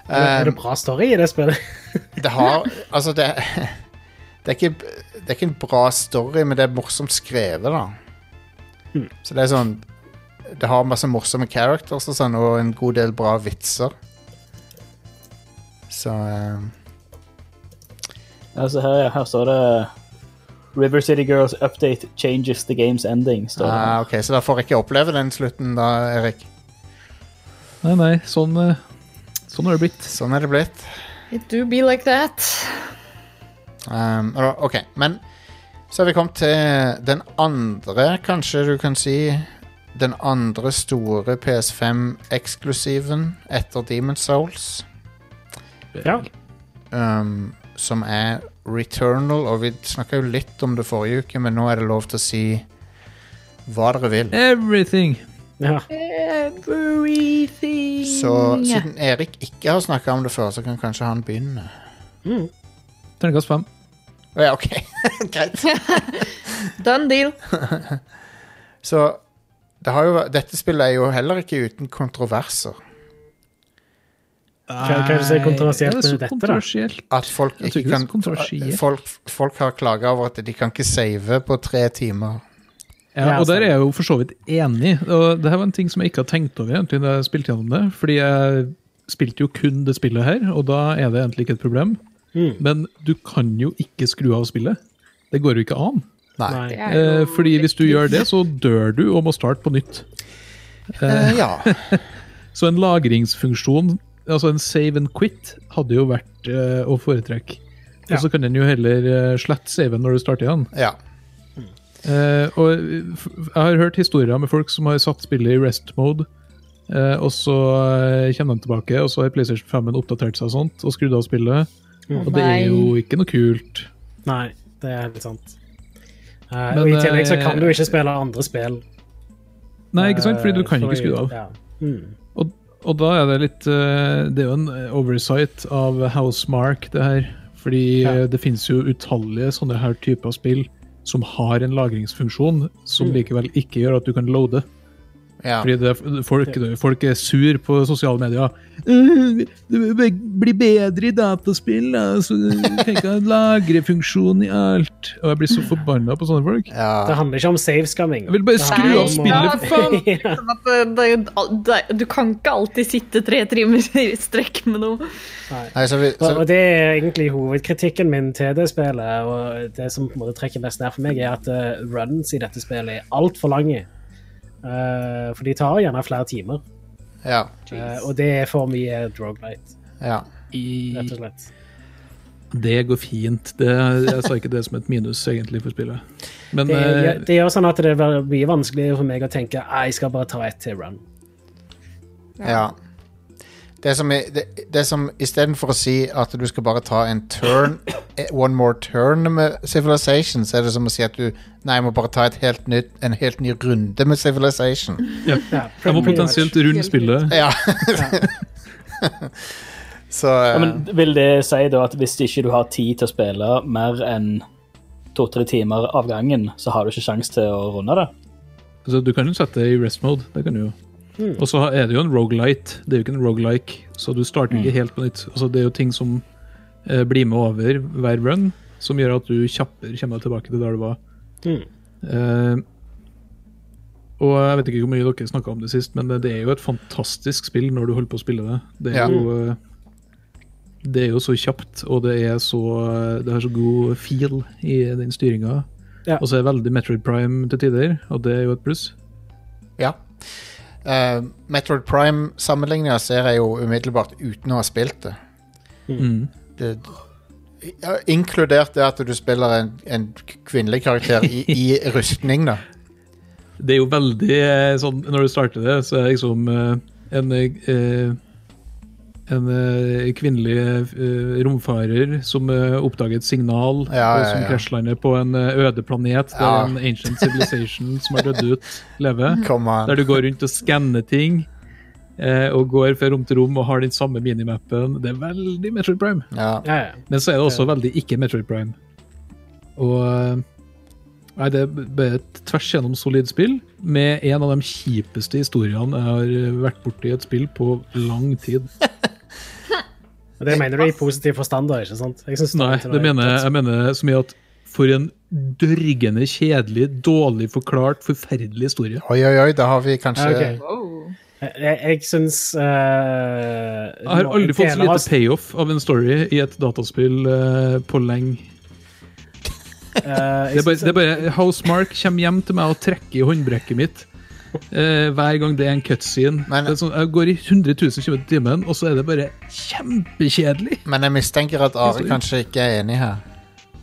[SPEAKER 6] er det bra story i det spillet?
[SPEAKER 2] Det har Altså, det det er, ikke, det er ikke en bra story, men det er morsomt skrevet, da.
[SPEAKER 4] Hmm.
[SPEAKER 2] Så det er sånn Det har masse morsomme characters og sånn, og en god del bra vitser. Så eh,
[SPEAKER 4] Altså, her, ja, her står det River City Girls update changes the game's ending. Står det.
[SPEAKER 2] ah, OK, så da får jeg ikke oppleve den slutten, da, Erik.
[SPEAKER 5] Nei, nei, sånn, eh, sånn har det blitt.
[SPEAKER 2] Sånn er det blitt.
[SPEAKER 3] It do be like that.
[SPEAKER 2] Um, og da- OK, men så har vi kommet til den andre, kanskje du kan si Den andre store PS5-eksklusiven etter Demon's Souls.
[SPEAKER 6] Ja.
[SPEAKER 2] um, som er Returnal, og vi snakka jo litt om det forrige uke, men nå er det lov til å si hva dere vil.
[SPEAKER 5] Everything!
[SPEAKER 6] ja.
[SPEAKER 3] Everything.
[SPEAKER 2] Så siden Erik ikke har snakka om det før, så kan kanskje han begynne.
[SPEAKER 5] Terningkast fem.
[SPEAKER 2] Å ja, OK. Greit.
[SPEAKER 3] Done deal.
[SPEAKER 2] Så det har jo, vært- dette spillet er jo heller ikke uten kontroverser.
[SPEAKER 6] Hva, hva er det som er kontroversielt
[SPEAKER 5] så
[SPEAKER 6] med dette, da?
[SPEAKER 5] kontroversielt.
[SPEAKER 2] At folk
[SPEAKER 5] Jeg
[SPEAKER 2] ikke
[SPEAKER 5] tror ikke det er så
[SPEAKER 2] kan
[SPEAKER 5] kontroversielt.
[SPEAKER 2] folk, folk har klaga over at de kan ikke save på tre timer.
[SPEAKER 5] Ja, og der er jeg jo for så vidt enig. Og det her var en ting som jeg ikke har tenkt over egentlig da jeg spilte gjennom det. Fordi jeg spilte jo kun det spillet her, og da er det egentlig ikke et problem. Men du kan jo ikke skru av spillet. Det går jo ikke an.
[SPEAKER 2] Nei.
[SPEAKER 6] Nei.
[SPEAKER 3] Det er
[SPEAKER 5] Eh,
[SPEAKER 3] jo-
[SPEAKER 5] fordi hvis du gjør det, så dør du og må starte på nytt.
[SPEAKER 2] Eh, ja.
[SPEAKER 5] Så en lagringsfunksjon, altså en save and quit, hadde jo vært eh, å foretrekke.
[SPEAKER 6] Ja.
[SPEAKER 5] Og så kan den jo heller eh, slette saven når du starter igjen.
[SPEAKER 2] ja.
[SPEAKER 5] Eh, og eh, f- jeg har hørt historier med folk som har satt spillet i rest mode, eh, og så eh, kommer de tilbake, og så har PlayStation 5 oppdatert seg og sånt, og skrudd av spillet.
[SPEAKER 3] Mm.
[SPEAKER 5] Og det er jo ikke noe kult.
[SPEAKER 6] Nei, det er helt sant. Eh,
[SPEAKER 5] Men,
[SPEAKER 6] og I tillegg så
[SPEAKER 5] eh,
[SPEAKER 6] kan du ikke spille andre spill.
[SPEAKER 5] Nei, ikke sant? Fordi du kan
[SPEAKER 6] Eh,
[SPEAKER 5] jo ikke skru av.
[SPEAKER 6] Ja. Mm.
[SPEAKER 5] Og, og da er det litt eh, Det er jo en eh, oversight av Housemark, det her. Fordi
[SPEAKER 6] Ja.
[SPEAKER 5] eh, det finnes jo utallige sånne her typer spill som har en lagringsfunksjon, som likevel ikke gjør at du kan loade.
[SPEAKER 2] ja.
[SPEAKER 5] Fordi det, er- folk, folk er sur på sosiale medier. «Øh, Det be- blir bedre i dataspill, da. Så tenk deg lagrefunksjon i alt. Og jeg blir så forbanna på sånne folk.
[SPEAKER 2] ja.
[SPEAKER 6] Det handler ikke om save-skamming.
[SPEAKER 5] Jeg vil bare skru
[SPEAKER 3] Nei,
[SPEAKER 5] av spillet.
[SPEAKER 3] ja, faen. Sånn at det- det- det- Du kan ikke alltid sitte tre timer i strekk med noe.
[SPEAKER 2] Nei, så vi,
[SPEAKER 6] Og
[SPEAKER 2] så,
[SPEAKER 6] og det er egentlig hovedkritikken min til det spillet. Og det som på en måte trekker mest ned for meg, er at eh, runs i dette spillet er altfor lange. Eh, for de tar gjerne flere timer.
[SPEAKER 2] ja.
[SPEAKER 6] Eh, og det er for mye drogelight,
[SPEAKER 2] ja.
[SPEAKER 6] rett og slett.
[SPEAKER 5] Det går fint. Det, jeg sa ikke det som et minus egentlig for spillet. Men
[SPEAKER 6] Det, gjør-
[SPEAKER 5] eh,
[SPEAKER 6] det gjør sånn at det er mye vanskeligere for meg å tenke «Nei, jeg skal bare ta ett til run.
[SPEAKER 2] Ja. Det som, er- det, det som istedenfor å si at du skal bare ta en turn, eh, one more turn med Civilization, så er det som å si at du Nei, jeg må bare ta et helt nytt, en helt ny runde med Civilization.
[SPEAKER 6] Ja,
[SPEAKER 5] jeg må
[SPEAKER 6] pretty much.
[SPEAKER 5] potensielt runde spillet.
[SPEAKER 2] Ja. så
[SPEAKER 4] Ja,
[SPEAKER 2] eh,
[SPEAKER 4] men vil det si da at hvis ikke du har tid til å spille mer enn to-tre timer av gangen, så har du ikke sjanse til å runde det?
[SPEAKER 5] Så du kan jo sette det i rest mode. Det kan du jo. Og så er det jo en rogelite. Det er jo ikke en rogelike, så du starter ikke helt på nytt. Altså, det er jo ting som eh, blir med over hver run, som gjør at du kjappere kommer deg tilbake til der du var. Eh, og jeg vet ikke hvor mye dere snakka om det sist, men det er jo et fantastisk spill når du holder på å spille det. Det er
[SPEAKER 2] Ja.
[SPEAKER 5] jo eh, det er jo så kjapt, og det er så eh, det har så god feel i den styringa.
[SPEAKER 6] Ja.
[SPEAKER 5] Og så er det veldig Metroid Prime til tider, og det er jo et pluss.
[SPEAKER 2] ja. Eh, Metroid Prime-sammenligninga ser jeg jo umiddelbart uten å ha spilt det.
[SPEAKER 5] Mm.
[SPEAKER 2] det ja, inkludert det at du spiller en, en kvinnelig karakter i, i rustning, da.
[SPEAKER 5] Det er jo veldig eh, sånn Når du starter det, så er det liksom eh, en eh, eh, en eh, kvinnelig eh, romfarer som eh, oppdaget signal,
[SPEAKER 2] Ja,
[SPEAKER 5] og
[SPEAKER 2] ja,
[SPEAKER 5] som
[SPEAKER 2] ja.
[SPEAKER 5] krasjlander på en eh, øde planet der
[SPEAKER 2] Ja.
[SPEAKER 5] en ancient civilization som har dødd ut, lever.
[SPEAKER 2] Come on.
[SPEAKER 5] Der du går rundt og skanner ting, eh, og går fra rom til rom og har den samme minimappen. Det er veldig Metroid Prime.
[SPEAKER 2] Ja.
[SPEAKER 6] Ja, ja.
[SPEAKER 5] Men så er det også veldig ikke Metroid Prime. Og eh, Nei, det er bare et tvers gjennom solid spill, med en av de kjipeste historiene jeg har eh, vært borti et spill på lang tid.
[SPEAKER 6] Og Det mener du i positiv forstand, da, ikke sant? Jeg synes
[SPEAKER 5] Nei,
[SPEAKER 6] til
[SPEAKER 5] det
[SPEAKER 6] er-
[SPEAKER 5] mener jeg, jeg mener så mye at for en dørgende kjedelig, dårlig forklart, forferdelig historie.
[SPEAKER 2] Oi, oi, oi, da har vi kanskje
[SPEAKER 6] Ja, ok.
[SPEAKER 3] Wow.
[SPEAKER 6] Jeg, jeg eh, syns
[SPEAKER 5] Jeg har aldri fått så lite payoff av en story i et dataspill eh, på lenge.
[SPEAKER 6] eh,
[SPEAKER 5] Det er bare, det er bare Housemark kommer hjem til meg og trekker i håndbrekket mitt. eh, hver gang det er en cutscene.
[SPEAKER 2] Men-
[SPEAKER 5] det er sånn, jeg går i 100 000 km i timen, og så er det bare kjempekjedelig!
[SPEAKER 2] Men jeg mistenker at Are
[SPEAKER 5] Historie.
[SPEAKER 2] kanskje ikke er enig her.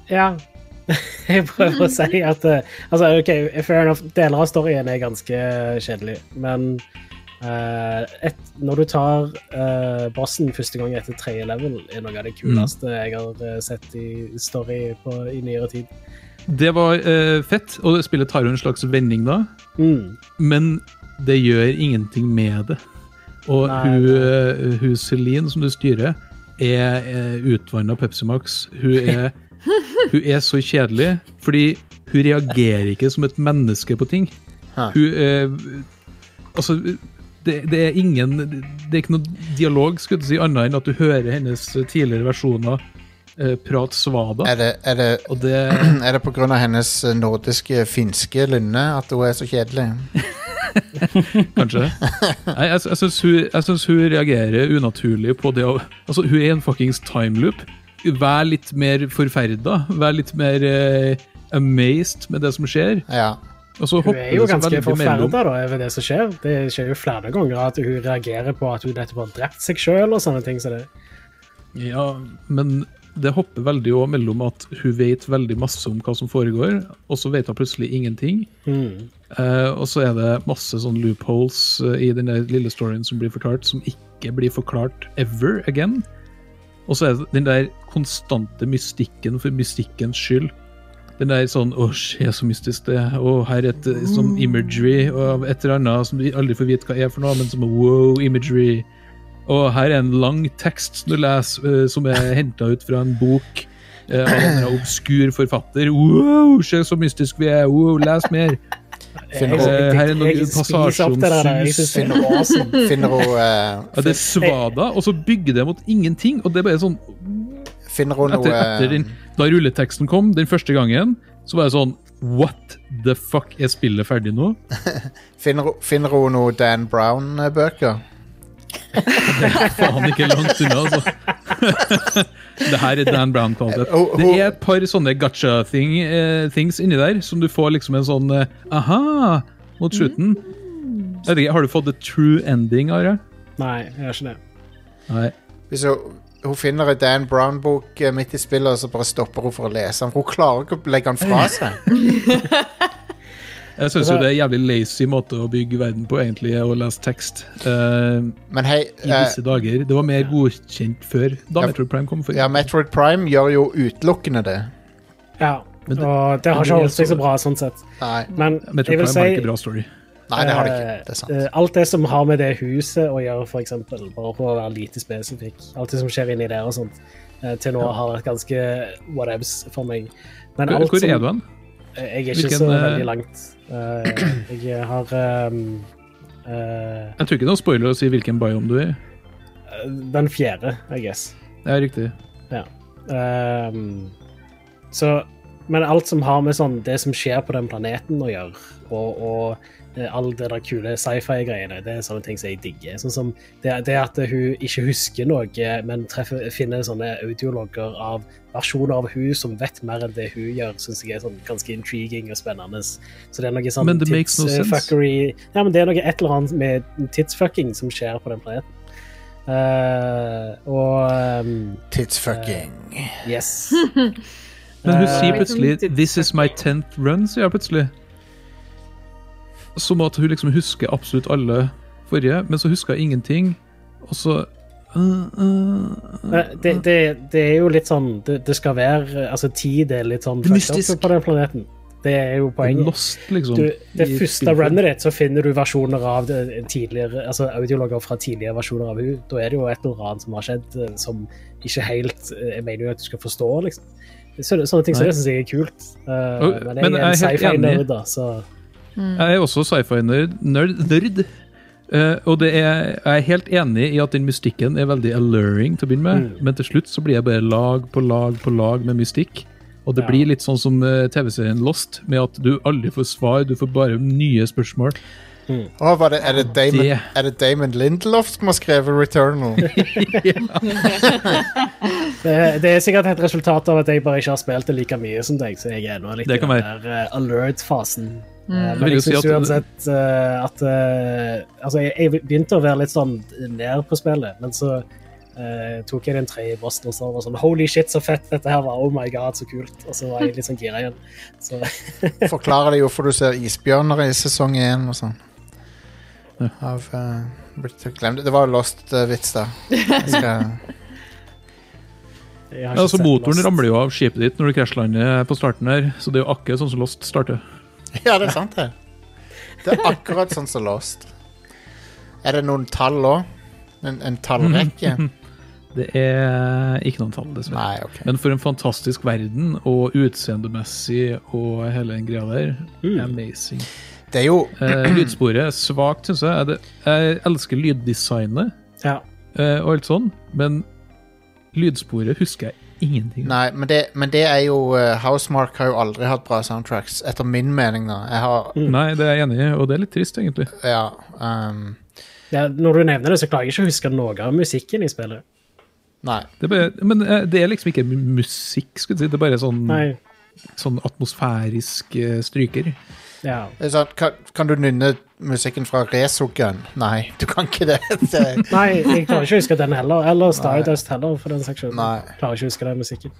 [SPEAKER 6] Ja. Jeg prøver å si at eh, Altså, OK, fair enough. Deler av storyen er ganske eh, kjedelig, men eh, et, når du tar eh, bossen første gang etter tredje level, er noe av det
[SPEAKER 5] Mm.
[SPEAKER 6] kuleste jeg har eh, sett i story på, i nyere tid.
[SPEAKER 5] Det var eh, fett, og spillet tar jo en slags vending da,
[SPEAKER 6] Mm.
[SPEAKER 5] men det gjør ingenting med det. Og
[SPEAKER 6] Nei,
[SPEAKER 5] hun,
[SPEAKER 6] nei.
[SPEAKER 5] eh, hun Celine som du styrer, er uh, utvanna Pepsi Max. Hun er, hun er så kjedelig, fordi hun reagerer ikke som et menneske på ting.
[SPEAKER 2] Hæ.
[SPEAKER 5] Hun eh, Altså, det, det er ingen Det er ikke noe dialog, skulle jeg til å si, annet enn at du hører hennes tidligere versjoner eh, prate svada.
[SPEAKER 2] Er det, er det,
[SPEAKER 5] Og det
[SPEAKER 2] er det på grunn av hennes eh, nordiske finske lynne at hun er så kjedelig?
[SPEAKER 5] Kanskje. Nei, jeg, jeg, syns hun, jeg synes hun reagerer unaturlig på det å Altså, hun er en fuckings timeloop. Vær litt mer forferda. Vær litt mer eh, amazed med det som skjer.
[SPEAKER 2] Ja.
[SPEAKER 5] Og så
[SPEAKER 6] Hun
[SPEAKER 5] hopper
[SPEAKER 6] er jo
[SPEAKER 5] det så
[SPEAKER 6] ganske
[SPEAKER 5] veldig
[SPEAKER 6] forferda
[SPEAKER 5] mellom.
[SPEAKER 6] da, over det som skjer. Det skjer jo flere ganger at hun reagerer på at hun nettopp har drept seg sjøl og sånne ting. Så det,
[SPEAKER 5] Ja, men det hopper veldig også mellom at hun vet veldig masse om hva som foregår, og så vet hun plutselig ingenting.
[SPEAKER 6] mm.
[SPEAKER 5] Eh, og så er det masse sånn loopholes eh, i den der lille storyen som blir fortalt, som ikke blir forklart ever again. Og så er det den der konstante mystikken for mystikkens skyld. Den der sånn Å, se så mystisk det er. Å, her er et eh, sånn imagery av et eller annet som vi aldri får vite hva er for noe, men som er wow imagery. Og her er en lang tekst som du leser, eh, som er henta ut fra en bok eh, av en eller annen obskur forfatter. Wow, se så mystisk vi er! Wow, les mer!
[SPEAKER 6] Jeg-
[SPEAKER 2] Finner
[SPEAKER 5] Eh,
[SPEAKER 6] jeg-
[SPEAKER 5] her er noen
[SPEAKER 6] jeg spiser
[SPEAKER 5] passasjer
[SPEAKER 6] opp det der,
[SPEAKER 5] om
[SPEAKER 6] jeg
[SPEAKER 5] sus.
[SPEAKER 6] synes det er awesome.
[SPEAKER 2] Finner hun, eh,
[SPEAKER 5] Ja, det er svada, og så bygger det mot ingenting. Og det er bare sånn
[SPEAKER 2] finner hun
[SPEAKER 5] etter,
[SPEAKER 2] noe eh,
[SPEAKER 5] etter den, Da rulleteksten kom den første gangen, så var det sånn What the fuck? Er spillet ferdig nå?
[SPEAKER 2] Finner, hun- finner hun noe Dan Brown-bøker?
[SPEAKER 5] Faen, ikke langt unna, altså. det her er Dan Brown-kvalitet.
[SPEAKER 2] Ho- ho-
[SPEAKER 5] Det er et par sånne gacha-things inni der, som du får liksom en sånn eh, aha mot
[SPEAKER 2] Mm.
[SPEAKER 5] slutten. Jeg vet ikke, Har du fått the true ending, Are?
[SPEAKER 6] Nei, jeg gjør ikke det.
[SPEAKER 5] Nei.
[SPEAKER 2] Hvis hun, hun finner en Dan Brown-bok eh, midt i spillet, og så bare stopper hun for å lese den. for Hun klarer ikke å legge den fra seg.
[SPEAKER 5] Jeg syns jo det er en jævlig lazy måte å bygge verden på, egentlig, å lese tekst. Eh,
[SPEAKER 2] Men hei,
[SPEAKER 5] i
[SPEAKER 2] eh,
[SPEAKER 5] disse dager. Det var mer godkjent før, da
[SPEAKER 2] Ja.
[SPEAKER 5] Metroid Prime kom. For.
[SPEAKER 2] eh, ja, Metroid Prime gjør jo utelukkende det.
[SPEAKER 6] Ja,
[SPEAKER 5] Men det-
[SPEAKER 6] og det
[SPEAKER 5] men
[SPEAKER 6] har
[SPEAKER 5] det
[SPEAKER 6] ikke
[SPEAKER 5] er
[SPEAKER 6] holdt seg
[SPEAKER 5] så-
[SPEAKER 6] så bra sånn sett.
[SPEAKER 2] Nei,
[SPEAKER 6] Men jeg vil
[SPEAKER 5] Metroid Prime
[SPEAKER 6] si
[SPEAKER 5] har ikke bra story.
[SPEAKER 2] nei det har det ikke. Det er sant.
[SPEAKER 6] eh, alt det som har med det huset å gjøre, for eksempel, bare for å være lite spesifikk, alt det som skjer inni der og sånt, eh, til nå har vært ganske whatevs for meg. Men
[SPEAKER 5] Hvor,
[SPEAKER 6] alt
[SPEAKER 5] hvor
[SPEAKER 6] som-
[SPEAKER 5] er du hen?
[SPEAKER 6] Jeg er ikke
[SPEAKER 5] Hvilken,
[SPEAKER 6] så
[SPEAKER 5] eh,
[SPEAKER 6] veldig langt. Eh, jeg har ehm, eh,
[SPEAKER 5] Jeg tror ikke det er noen spoiler å si hvilken biome du er i.
[SPEAKER 6] den fjerde, I guess.
[SPEAKER 5] Det er riktig.
[SPEAKER 6] Ehm, så Men alt som har med sånn det som skjer på den planeten å gjøre, og, og eh, all det der kule sci-fi-greiene, det er sånne ting som jeg digger. Sånn som det, det at hun ikke husker noe, men treffer, finner sånne audiologer av versjoner av hun som vet mer enn det hun gjør, syns jeg er sånn ganske intriguing og spennende. Så det er noe sånn
[SPEAKER 5] Men det makes no sense.
[SPEAKER 6] tidsfuckery Ja, men det er noe et eller annet med tidsfucking som skjer på den planeten. Eh, og ehm,
[SPEAKER 2] Tidsfucking.
[SPEAKER 6] Yes.
[SPEAKER 5] Men hun
[SPEAKER 6] Eh,
[SPEAKER 5] sier plutselig 'This is my tenth run', sier hun plutselig. Som at hun liksom husker absolutt alle forrige, men så husker hun ingenting. Og så
[SPEAKER 6] Men Det, det, det er jo litt sånn Det, det skal være Altså, tid er litt sånn fucked up
[SPEAKER 5] Mystisk.
[SPEAKER 6] på den planeten. Det er jo poenget.
[SPEAKER 5] Lost, liksom.
[SPEAKER 6] Du, det
[SPEAKER 5] i
[SPEAKER 6] første
[SPEAKER 5] spillform.
[SPEAKER 6] runnet ditt, så finner du versjoner av det tidligere Altså audiologer fra tidligere versjoner av henne. Da er det jo et eller annet som har skjedd eh, som ikke helt eh, Jeg mener jo at du skal forstå, liksom. Så, sånne ting som
[SPEAKER 5] Nei.
[SPEAKER 6] det syns jeg er kult. Eh,
[SPEAKER 5] Og-
[SPEAKER 6] men
[SPEAKER 5] men
[SPEAKER 6] jeg er en
[SPEAKER 5] jeg er helt enig.
[SPEAKER 6] sci-fi-nerd, da, så
[SPEAKER 5] Jeg er også sci-fi-nerd. Nerd, nerd. Eh, og det er, jeg er helt enig i at den mystikken er veldig alluring til å begynne med,
[SPEAKER 6] Mm.
[SPEAKER 5] men til slutt så blir jeg bare lag på lag på lag med mystikk. Og det blir litt sånn som eh, TV-serien Lost, med at du aldri får svar, du får bare nye spørsmål.
[SPEAKER 2] Å, var det, er, det Damon,
[SPEAKER 5] Det-
[SPEAKER 2] er det Damon Lindelof som har skrevet 'Returnal'?
[SPEAKER 6] Det, det er sikkert et resultat av at jeg bare ikke har spilt det like mye som deg, så jeg er nå litt i
[SPEAKER 5] Det kan
[SPEAKER 6] den
[SPEAKER 5] være.
[SPEAKER 6] der eh, alert-fasen. Eh,
[SPEAKER 5] vil
[SPEAKER 6] Men
[SPEAKER 5] jo
[SPEAKER 6] jeg
[SPEAKER 5] si
[SPEAKER 6] syns
[SPEAKER 5] at-
[SPEAKER 6] uansett eh, at eh, Altså, jeg, jeg begynte å være litt sånn ned på spillet, men så eh, tok jeg den tredje bossen og så var det sånn Holy shit, så fett dette her var. Oh my god, så kult. Og så var jeg litt sånn gira igjen. Så
[SPEAKER 2] Forklarer det hvorfor du ser isbjørner i sesong én og sånn. Av eh, Britt- Glem det. Det var jo Lost-vits, da. Jeg skal,
[SPEAKER 6] jeg har
[SPEAKER 5] Ja,
[SPEAKER 6] ikke
[SPEAKER 5] så
[SPEAKER 6] sett
[SPEAKER 5] Motoren
[SPEAKER 6] Lost.
[SPEAKER 5] ramler jo av skipet ditt når du krasjlander på starten her, så det er jo akkurat sånn som Lost starter.
[SPEAKER 2] ja, det er sant, det. Det er akkurat sånn som Lost. Er det noen tall òg? En, en tallrekke?
[SPEAKER 5] Det er ikke noen tall, dessverre.
[SPEAKER 2] Nei, OK.
[SPEAKER 5] Men for en fantastisk verden, og utseendemessig og hele den greia der. Amazing.
[SPEAKER 2] Det er jo
[SPEAKER 5] Eh, lydsporet er svakt, syns jeg. Det, jeg elsker lyddesignet
[SPEAKER 6] Ja.
[SPEAKER 5] eh, og alt sånn, men lydsporet husker jeg ingenting om.
[SPEAKER 2] Nei, men det, men det er jo eh, Housemark har jo aldri hatt bra soundtracks, etter min mening, da. Jeg har
[SPEAKER 5] Nei, det er jeg enig i, og det er litt trist, egentlig.
[SPEAKER 2] Ja. Um,
[SPEAKER 6] Ja, når du nevner det, så klarer jeg ikke å huske noe av musikken i spillet.
[SPEAKER 2] nei.
[SPEAKER 5] Det er bare, men eh, det er liksom ikke mu- musikk, skulle jeg si. Det er bare sånn,
[SPEAKER 6] Nei.
[SPEAKER 5] sånn atmosfærisk eh, stryker.
[SPEAKER 6] Ja.
[SPEAKER 2] Det er sant, kan, kan du nynne musikken fra Resogun? Nei, du kan ikke det. det
[SPEAKER 6] Nei, jeg klarer ikke å huske den heller. Eller Stardust heller, for den saks skyld.
[SPEAKER 2] Nei.
[SPEAKER 6] Klarer ikke å huske den musikken.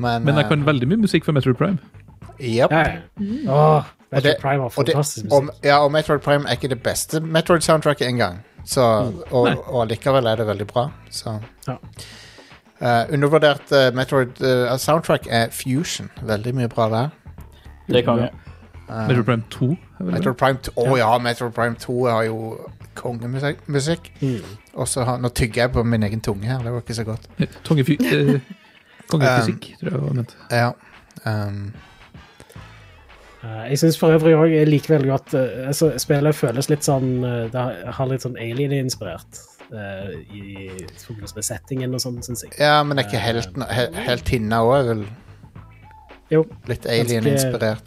[SPEAKER 2] men,
[SPEAKER 5] Men jeg
[SPEAKER 2] eh,
[SPEAKER 5] kan veldig mye musikk fra Metroid Prime.
[SPEAKER 2] Yep.
[SPEAKER 6] Ja, ja. Åh,
[SPEAKER 2] Og det-
[SPEAKER 6] Metroid Prime var
[SPEAKER 2] og det-
[SPEAKER 6] fantastisk
[SPEAKER 2] om,
[SPEAKER 6] musikk.
[SPEAKER 2] ja, og Metroid Prime er ikke det beste Metroid-soundtracket engang. Så- Og, og likevel er det veldig bra. Så.
[SPEAKER 6] Mm. Ja.
[SPEAKER 2] Eh, undervurdert eh, Metroid eh, soundtrack er Fusion. Veldig mye bra der. Eh,
[SPEAKER 4] Det er konge.
[SPEAKER 5] Metroid Prime 2. er vel det?
[SPEAKER 2] Metroid Prime 2, Å ja, Metroid Prime 2 har jo kongemusikk. musikk.
[SPEAKER 6] Mm.
[SPEAKER 2] Og så har- Nå tygger jeg på min egen tunge her, det var ikke så godt.
[SPEAKER 5] Eh, Tongefy... eh, Kongefysikk, tror jeg det var ment.
[SPEAKER 2] Ja. Um,
[SPEAKER 6] Eh, Jeg syns for øvrig òg jeg liker veldig godt eh, altså, Spillet føles litt sånn eh, Det har- har litt sånn alien-inspirert. eh, I forbindelse med settingen og sånn, syns jeg.
[SPEAKER 2] ja, men er ikke helten he,
[SPEAKER 5] Eh.
[SPEAKER 2] Heltinna òg er vel
[SPEAKER 6] Jo,
[SPEAKER 2] litt alien-inspirert?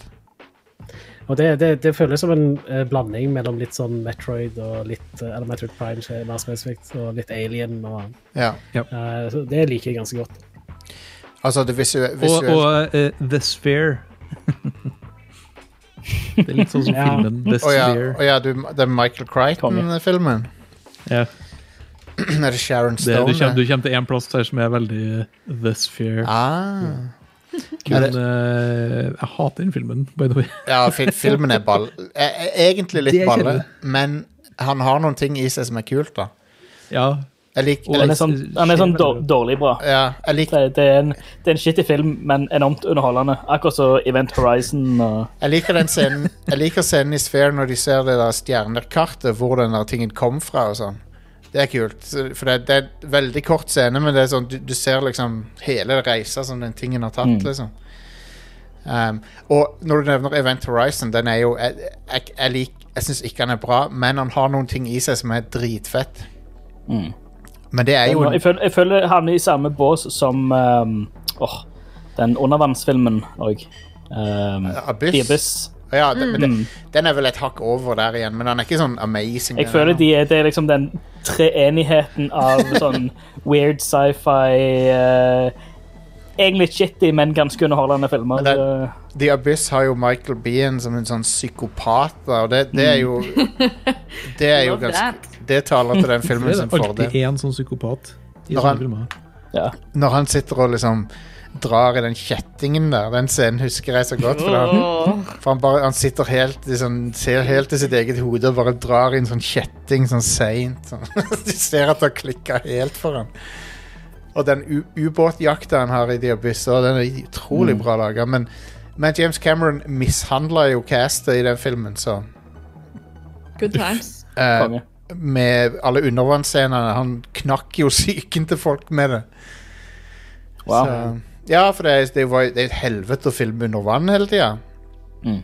[SPEAKER 6] og det, det, det føles som en eh, blanding mellom litt sånn Metroid og litt eh, Eller Metroid Prime, så er det mer spesifikt, og litt alien og
[SPEAKER 2] Ja.
[SPEAKER 6] eh, så Det liker jeg ganske godt.
[SPEAKER 2] Altså det visue-
[SPEAKER 5] Og,
[SPEAKER 2] visuelle
[SPEAKER 5] og eh, The Sphere. det er litt sånn som
[SPEAKER 6] Ja.
[SPEAKER 5] filmen The
[SPEAKER 2] Å ja,
[SPEAKER 5] Sphere.
[SPEAKER 2] å ja du, det er Michael Crichton-filmen.
[SPEAKER 5] Ja.
[SPEAKER 2] er det Sharon
[SPEAKER 5] Det,
[SPEAKER 2] Stone?
[SPEAKER 5] du, kommer, du kommer til én plass her som er veldig eh, The Sphere.
[SPEAKER 2] Ah.
[SPEAKER 5] Men,
[SPEAKER 2] Er det-
[SPEAKER 5] eh, jeg hater den filmen, by the way.
[SPEAKER 2] Ja, fil filmen er ball. e- e- Egentlig
[SPEAKER 5] Det
[SPEAKER 2] litt
[SPEAKER 5] er
[SPEAKER 2] balle,
[SPEAKER 5] kjedelig.
[SPEAKER 2] men han har noen ting i seg som er kult, da.
[SPEAKER 5] Ja,
[SPEAKER 2] Jeg liker
[SPEAKER 5] Og-
[SPEAKER 2] jeg lik,
[SPEAKER 4] Den er sånn, den er sånn dår- dårlig bra.
[SPEAKER 2] ja, jeg lik,
[SPEAKER 4] Det, det, er en, det er en shitty film, men enormt underholdende. Akkurat som Event Horizon og
[SPEAKER 2] jeg liker den scenen Jeg liker scenen i Sphere når de ser det der stjernekartet, hvor den der tingen kom fra og sånn. Det er kult. så- For det, det er en veldig kort scene, men det er sånn, du, du ser liksom hele reisa som den tingen har
[SPEAKER 4] Mm.
[SPEAKER 2] tatt, liksom. Um, og når du nevner Event Horizon, den er jo Jeg, jeg, jeg, lik, jeg syns ikke han er bra, men han har noen ting i seg som er dritfett.
[SPEAKER 4] Mm.
[SPEAKER 2] Men det er jo
[SPEAKER 4] Jeg føler, jeg føler jeg havner i samme bås som ehm, åh, den undervannsfilmen Ehm, òg.
[SPEAKER 2] Abyss. ja, det, men
[SPEAKER 4] Mm.
[SPEAKER 2] det, Den er vel et hakk over der igjen, men han er ikke sånn amazing.
[SPEAKER 4] Jeg
[SPEAKER 2] den
[SPEAKER 4] føler
[SPEAKER 2] er-
[SPEAKER 4] de er, det er liksom den treenigheten av sånn weird sci-fi eh, Egentlig shitty, men ganske underholdende filmer.
[SPEAKER 2] Men det-
[SPEAKER 4] Eh,
[SPEAKER 2] The Abyss har jo Michael Bean som en sånn psykopat, da, og det, det er jo Det er jo
[SPEAKER 3] Love
[SPEAKER 2] ganske Det taler til den filmen
[SPEAKER 5] det er
[SPEAKER 2] sin
[SPEAKER 5] alltid
[SPEAKER 2] fordel.
[SPEAKER 5] én sånn psykopat i
[SPEAKER 2] Når
[SPEAKER 5] sånne
[SPEAKER 2] han-
[SPEAKER 5] filmer.
[SPEAKER 4] Ja.
[SPEAKER 2] Når han sitter og liksom drar i den kjettingen der. Den scenen husker jeg så godt. For, han, for han, bare, han sitter helt i sånn, ser helt i sitt eget hode og bare drar i en sånn kjetting sånn seint. Sånn. Du ser at det har klikka helt for han. Og den u- ubåtjakta han har i de abyssene, den er utrolig bra laga. Men, men James Cameron mishandla jo castet i den filmen, så
[SPEAKER 3] Good times.
[SPEAKER 2] eh,
[SPEAKER 4] Konge.
[SPEAKER 2] Med alle undervannsscenene. Han knakk jo psyken til folk med det.
[SPEAKER 4] Wow.
[SPEAKER 2] Så, ja, for det, er- det, var, det er et helvete å filme under vann hele tida.
[SPEAKER 4] Mm.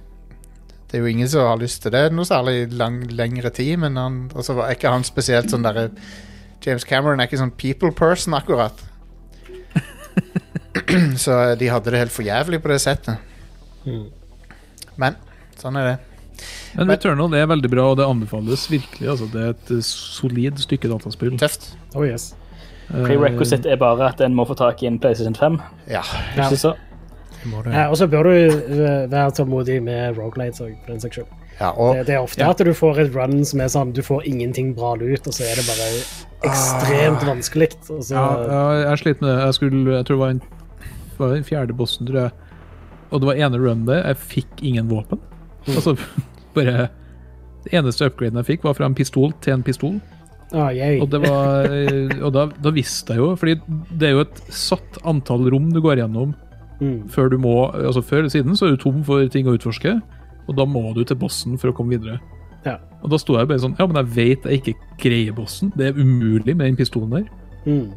[SPEAKER 2] Det er jo ingen som har lyst til det noe særlig lang, lengre tid, men han, og så var ikke han spesielt sånn derre James Cameron er ikke sånn people person, akkurat. så eh, de hadde det helt for jævlig på det settet. Men sånn er det.
[SPEAKER 5] Men
[SPEAKER 2] Men-
[SPEAKER 5] Returnal er veldig bra, og det anbefales virkelig. Altså, det er et eh, solid stykke dataspill.
[SPEAKER 2] Tøft.
[SPEAKER 6] Oh yes.
[SPEAKER 4] Prerequisite er bare at en må få tak i en PlayStation 5.
[SPEAKER 2] Ja.
[SPEAKER 6] Ja.
[SPEAKER 4] Ikke så?
[SPEAKER 6] Eh, Og så bør du eh, være tålmodig med rogelights òg, for den saks skyld.
[SPEAKER 2] ja og,
[SPEAKER 6] Det, det er ofte at du får et run som er sånn du får ingenting bra ut, og så er det bare ekstremt vanskelig. Og så,
[SPEAKER 5] Ah. Ja, ja, jeg slet med det. Jeg, skulle, jeg tror det var, en, det var den fjerde bossen, tror jeg. Og det var ene run der. Jeg fikk ingen våpen.
[SPEAKER 6] Mm.
[SPEAKER 5] Altså, bare Det eneste upgraden jeg fikk, var fra en pistol til en pistol.
[SPEAKER 6] Ah, yay.
[SPEAKER 5] Og, det var, eh, og da, da visste jeg jo Fordi det er jo et satt antall rom du går gjennom
[SPEAKER 6] Mm.
[SPEAKER 5] før du må Altså før eller siden så er du tom for ting å utforske, og da må du til bossen for å komme videre.
[SPEAKER 6] Ja.
[SPEAKER 5] Og da sto jeg bare sånn Ja, men jeg vet jeg ikke greier bossen. Det er umulig med den pistolen der.
[SPEAKER 6] Mm.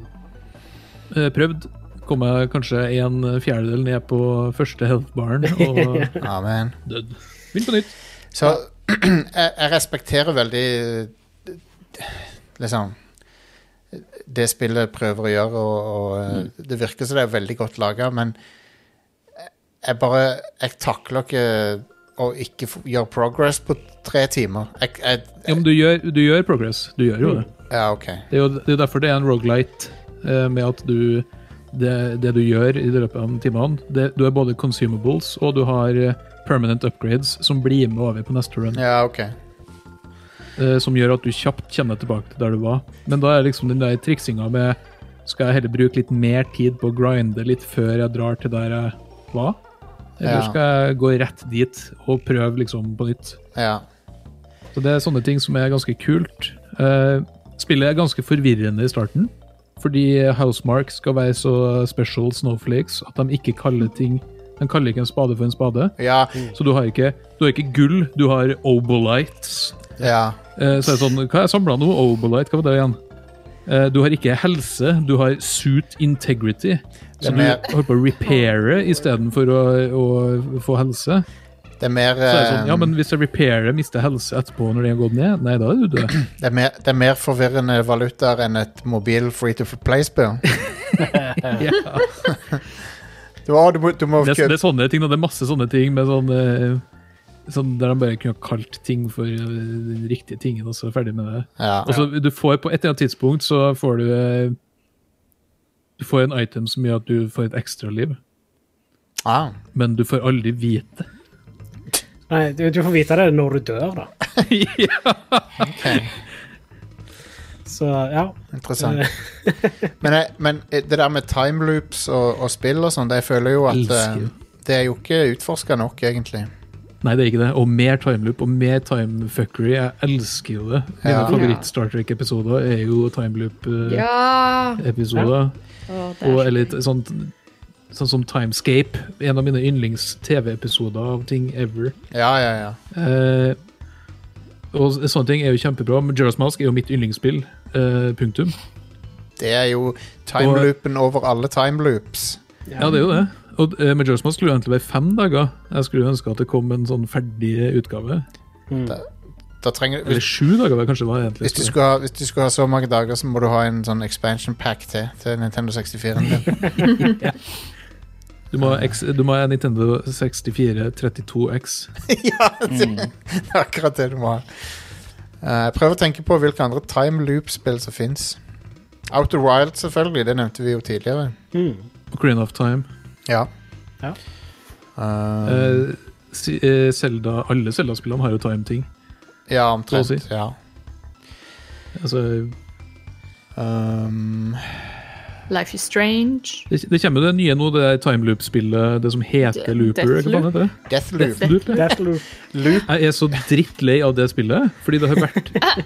[SPEAKER 5] Eh, prøvd. Kom jeg kanskje en fjerdedel ned på første health-baren og
[SPEAKER 2] amen.
[SPEAKER 5] dødd. Begynn på nytt.
[SPEAKER 2] Så jeg, jeg respekterer veldig eh, Liksom Det spillet prøver å gjøre, og, og eh,
[SPEAKER 5] Mm.
[SPEAKER 2] det virker som det er veldig godt laga, men jeg- jeg bare Jeg takler ikke å ikke få- gjøre progress på tre timer. Jeg, jeg,
[SPEAKER 5] Ja, men du gjør, du gjør progress. Du gjør jo det.
[SPEAKER 2] ja, OK.
[SPEAKER 5] Det er jo det er jo derfor det er en rogelight eh, med at du det, det du gjør i løpet av timene det, Du er både consumables og du har eh, permanent upgrades som blir med over på neste run.
[SPEAKER 2] Ja, ok
[SPEAKER 5] eh, som gjør at du kjapt kommer deg tilbake til der du var. Men da er liksom den der triksinga med Skal jeg heller bruke litt mer tid på å grinde litt før jeg drar til der jeg var? Eller
[SPEAKER 2] Ja.
[SPEAKER 5] skal jeg gå rett dit og prøve liksom på nytt?
[SPEAKER 2] Ja.
[SPEAKER 5] Så det er sånne ting som er ganske kult. Eh, spillet er ganske forvirrende i starten. Fordi Housemark skal være så special snowflakes at de ikke kaller ting De kaller ikke en spade for en spade.
[SPEAKER 2] Ja.
[SPEAKER 5] Så du har ikke, du har ikke gull, du har obolites.
[SPEAKER 2] ja.
[SPEAKER 5] Eh, Så er det sånn, hva er samla nå? Obolite, hva var det igjen? Eh, Du har ikke helse, du har suit integrity. Så
[SPEAKER 2] Det er
[SPEAKER 5] du
[SPEAKER 2] mer-
[SPEAKER 5] holder på å repaire istedenfor å, å få helse.
[SPEAKER 2] Det er mer
[SPEAKER 5] Så er det sånn, ja,
[SPEAKER 2] eh,
[SPEAKER 5] men hvis jeg repairer, mister jeg helse etterpå når det har gått ned? Nei, da er du død.
[SPEAKER 2] det er mer, det er mer forvirrende valutaer enn et mobil free to play-spill.
[SPEAKER 5] Ja.
[SPEAKER 2] Du, å, du, må- du må
[SPEAKER 5] Det, er-
[SPEAKER 2] kjøpe
[SPEAKER 5] det er sånne ting, da. Det er masse sånne ting med sånn eh, Sånn der de bare kunne ha kalt ting for eh, den riktige tingen, og så er ferdig med det.
[SPEAKER 2] ja.
[SPEAKER 5] Altså, du får på et eller annet tidspunkt så får du eh, Du får en item som gjør at du får et ekstraliv,
[SPEAKER 2] Ah.
[SPEAKER 5] men du får aldri vite det.
[SPEAKER 6] Nei, du, du får vite det når du dør, da. Så ja.
[SPEAKER 2] Interessant. men, jeg, men det der med timeloops og, og spill og sånn, det jeg føler jo at
[SPEAKER 5] Elsker.
[SPEAKER 2] eh, Det er jo ikke utforska nok, egentlig.
[SPEAKER 5] Nei, det er ikke det. Og mer timeloop og mer timefuckery. Jeg elsker jo det. Mine
[SPEAKER 2] Ja.
[SPEAKER 5] favoritt-Star Trek-episoder er jo timeloop-episoder.
[SPEAKER 3] Ja! Å, det er
[SPEAKER 5] Eh, Og
[SPEAKER 3] så
[SPEAKER 5] eller et sånt Sånn som Timescape. En av mine yndlings-TV-episoder av ting ever.
[SPEAKER 2] Ja, ja, ja.
[SPEAKER 5] Eh, og så- sånne ting er jo kjempebra. Men Juras Mask er jo mitt yndlingsspill. Eh, punktum.
[SPEAKER 2] Det er jo timeloopen over alle timeloops.
[SPEAKER 5] Ja, det er jo det. Og eh, med Juras Mask skulle det egentlig være fem dager. Jeg skulle ønske at det kom en sånn ferdig utgave.
[SPEAKER 2] Da trenger,
[SPEAKER 5] Eller
[SPEAKER 2] hvis,
[SPEAKER 5] sju dager, var det kanskje det var egentlig.
[SPEAKER 2] hvis, du skulle ha, hvis du skulle ha så mange dager, så må du ha en sånn expansion pack til til Nintendo 64-en din.
[SPEAKER 5] Du må, ha X, du må ha Nintendo 64 32X.
[SPEAKER 2] ja, det, det er akkurat det du må ha. Eh, Jeg prøver å tenke på hvilke andre timeloop-spill som fins. Outer Wild, selvfølgelig. Det nevnte vi jo tidligere.
[SPEAKER 5] Ocarina of Time.
[SPEAKER 2] Ja.
[SPEAKER 6] Ja.
[SPEAKER 2] Eh,
[SPEAKER 5] Eh, si- eh, Zelda, alle Zelda-spillene har jo time-ting.
[SPEAKER 2] ja,
[SPEAKER 5] så å
[SPEAKER 2] omtrent.
[SPEAKER 5] si.
[SPEAKER 2] Ja.
[SPEAKER 5] Altså,
[SPEAKER 2] Um,
[SPEAKER 3] Life is Strange.
[SPEAKER 5] Det, det kommer jo det nye nå, det der timeloop-spillet, det som heter
[SPEAKER 3] Det-
[SPEAKER 5] Looper. Hva faen heter det?
[SPEAKER 2] Deathloop.
[SPEAKER 5] Loop, ja.
[SPEAKER 6] Deathloop.
[SPEAKER 5] Jeg er så drittlei av det spillet, fordi det har vært
[SPEAKER 2] Ah!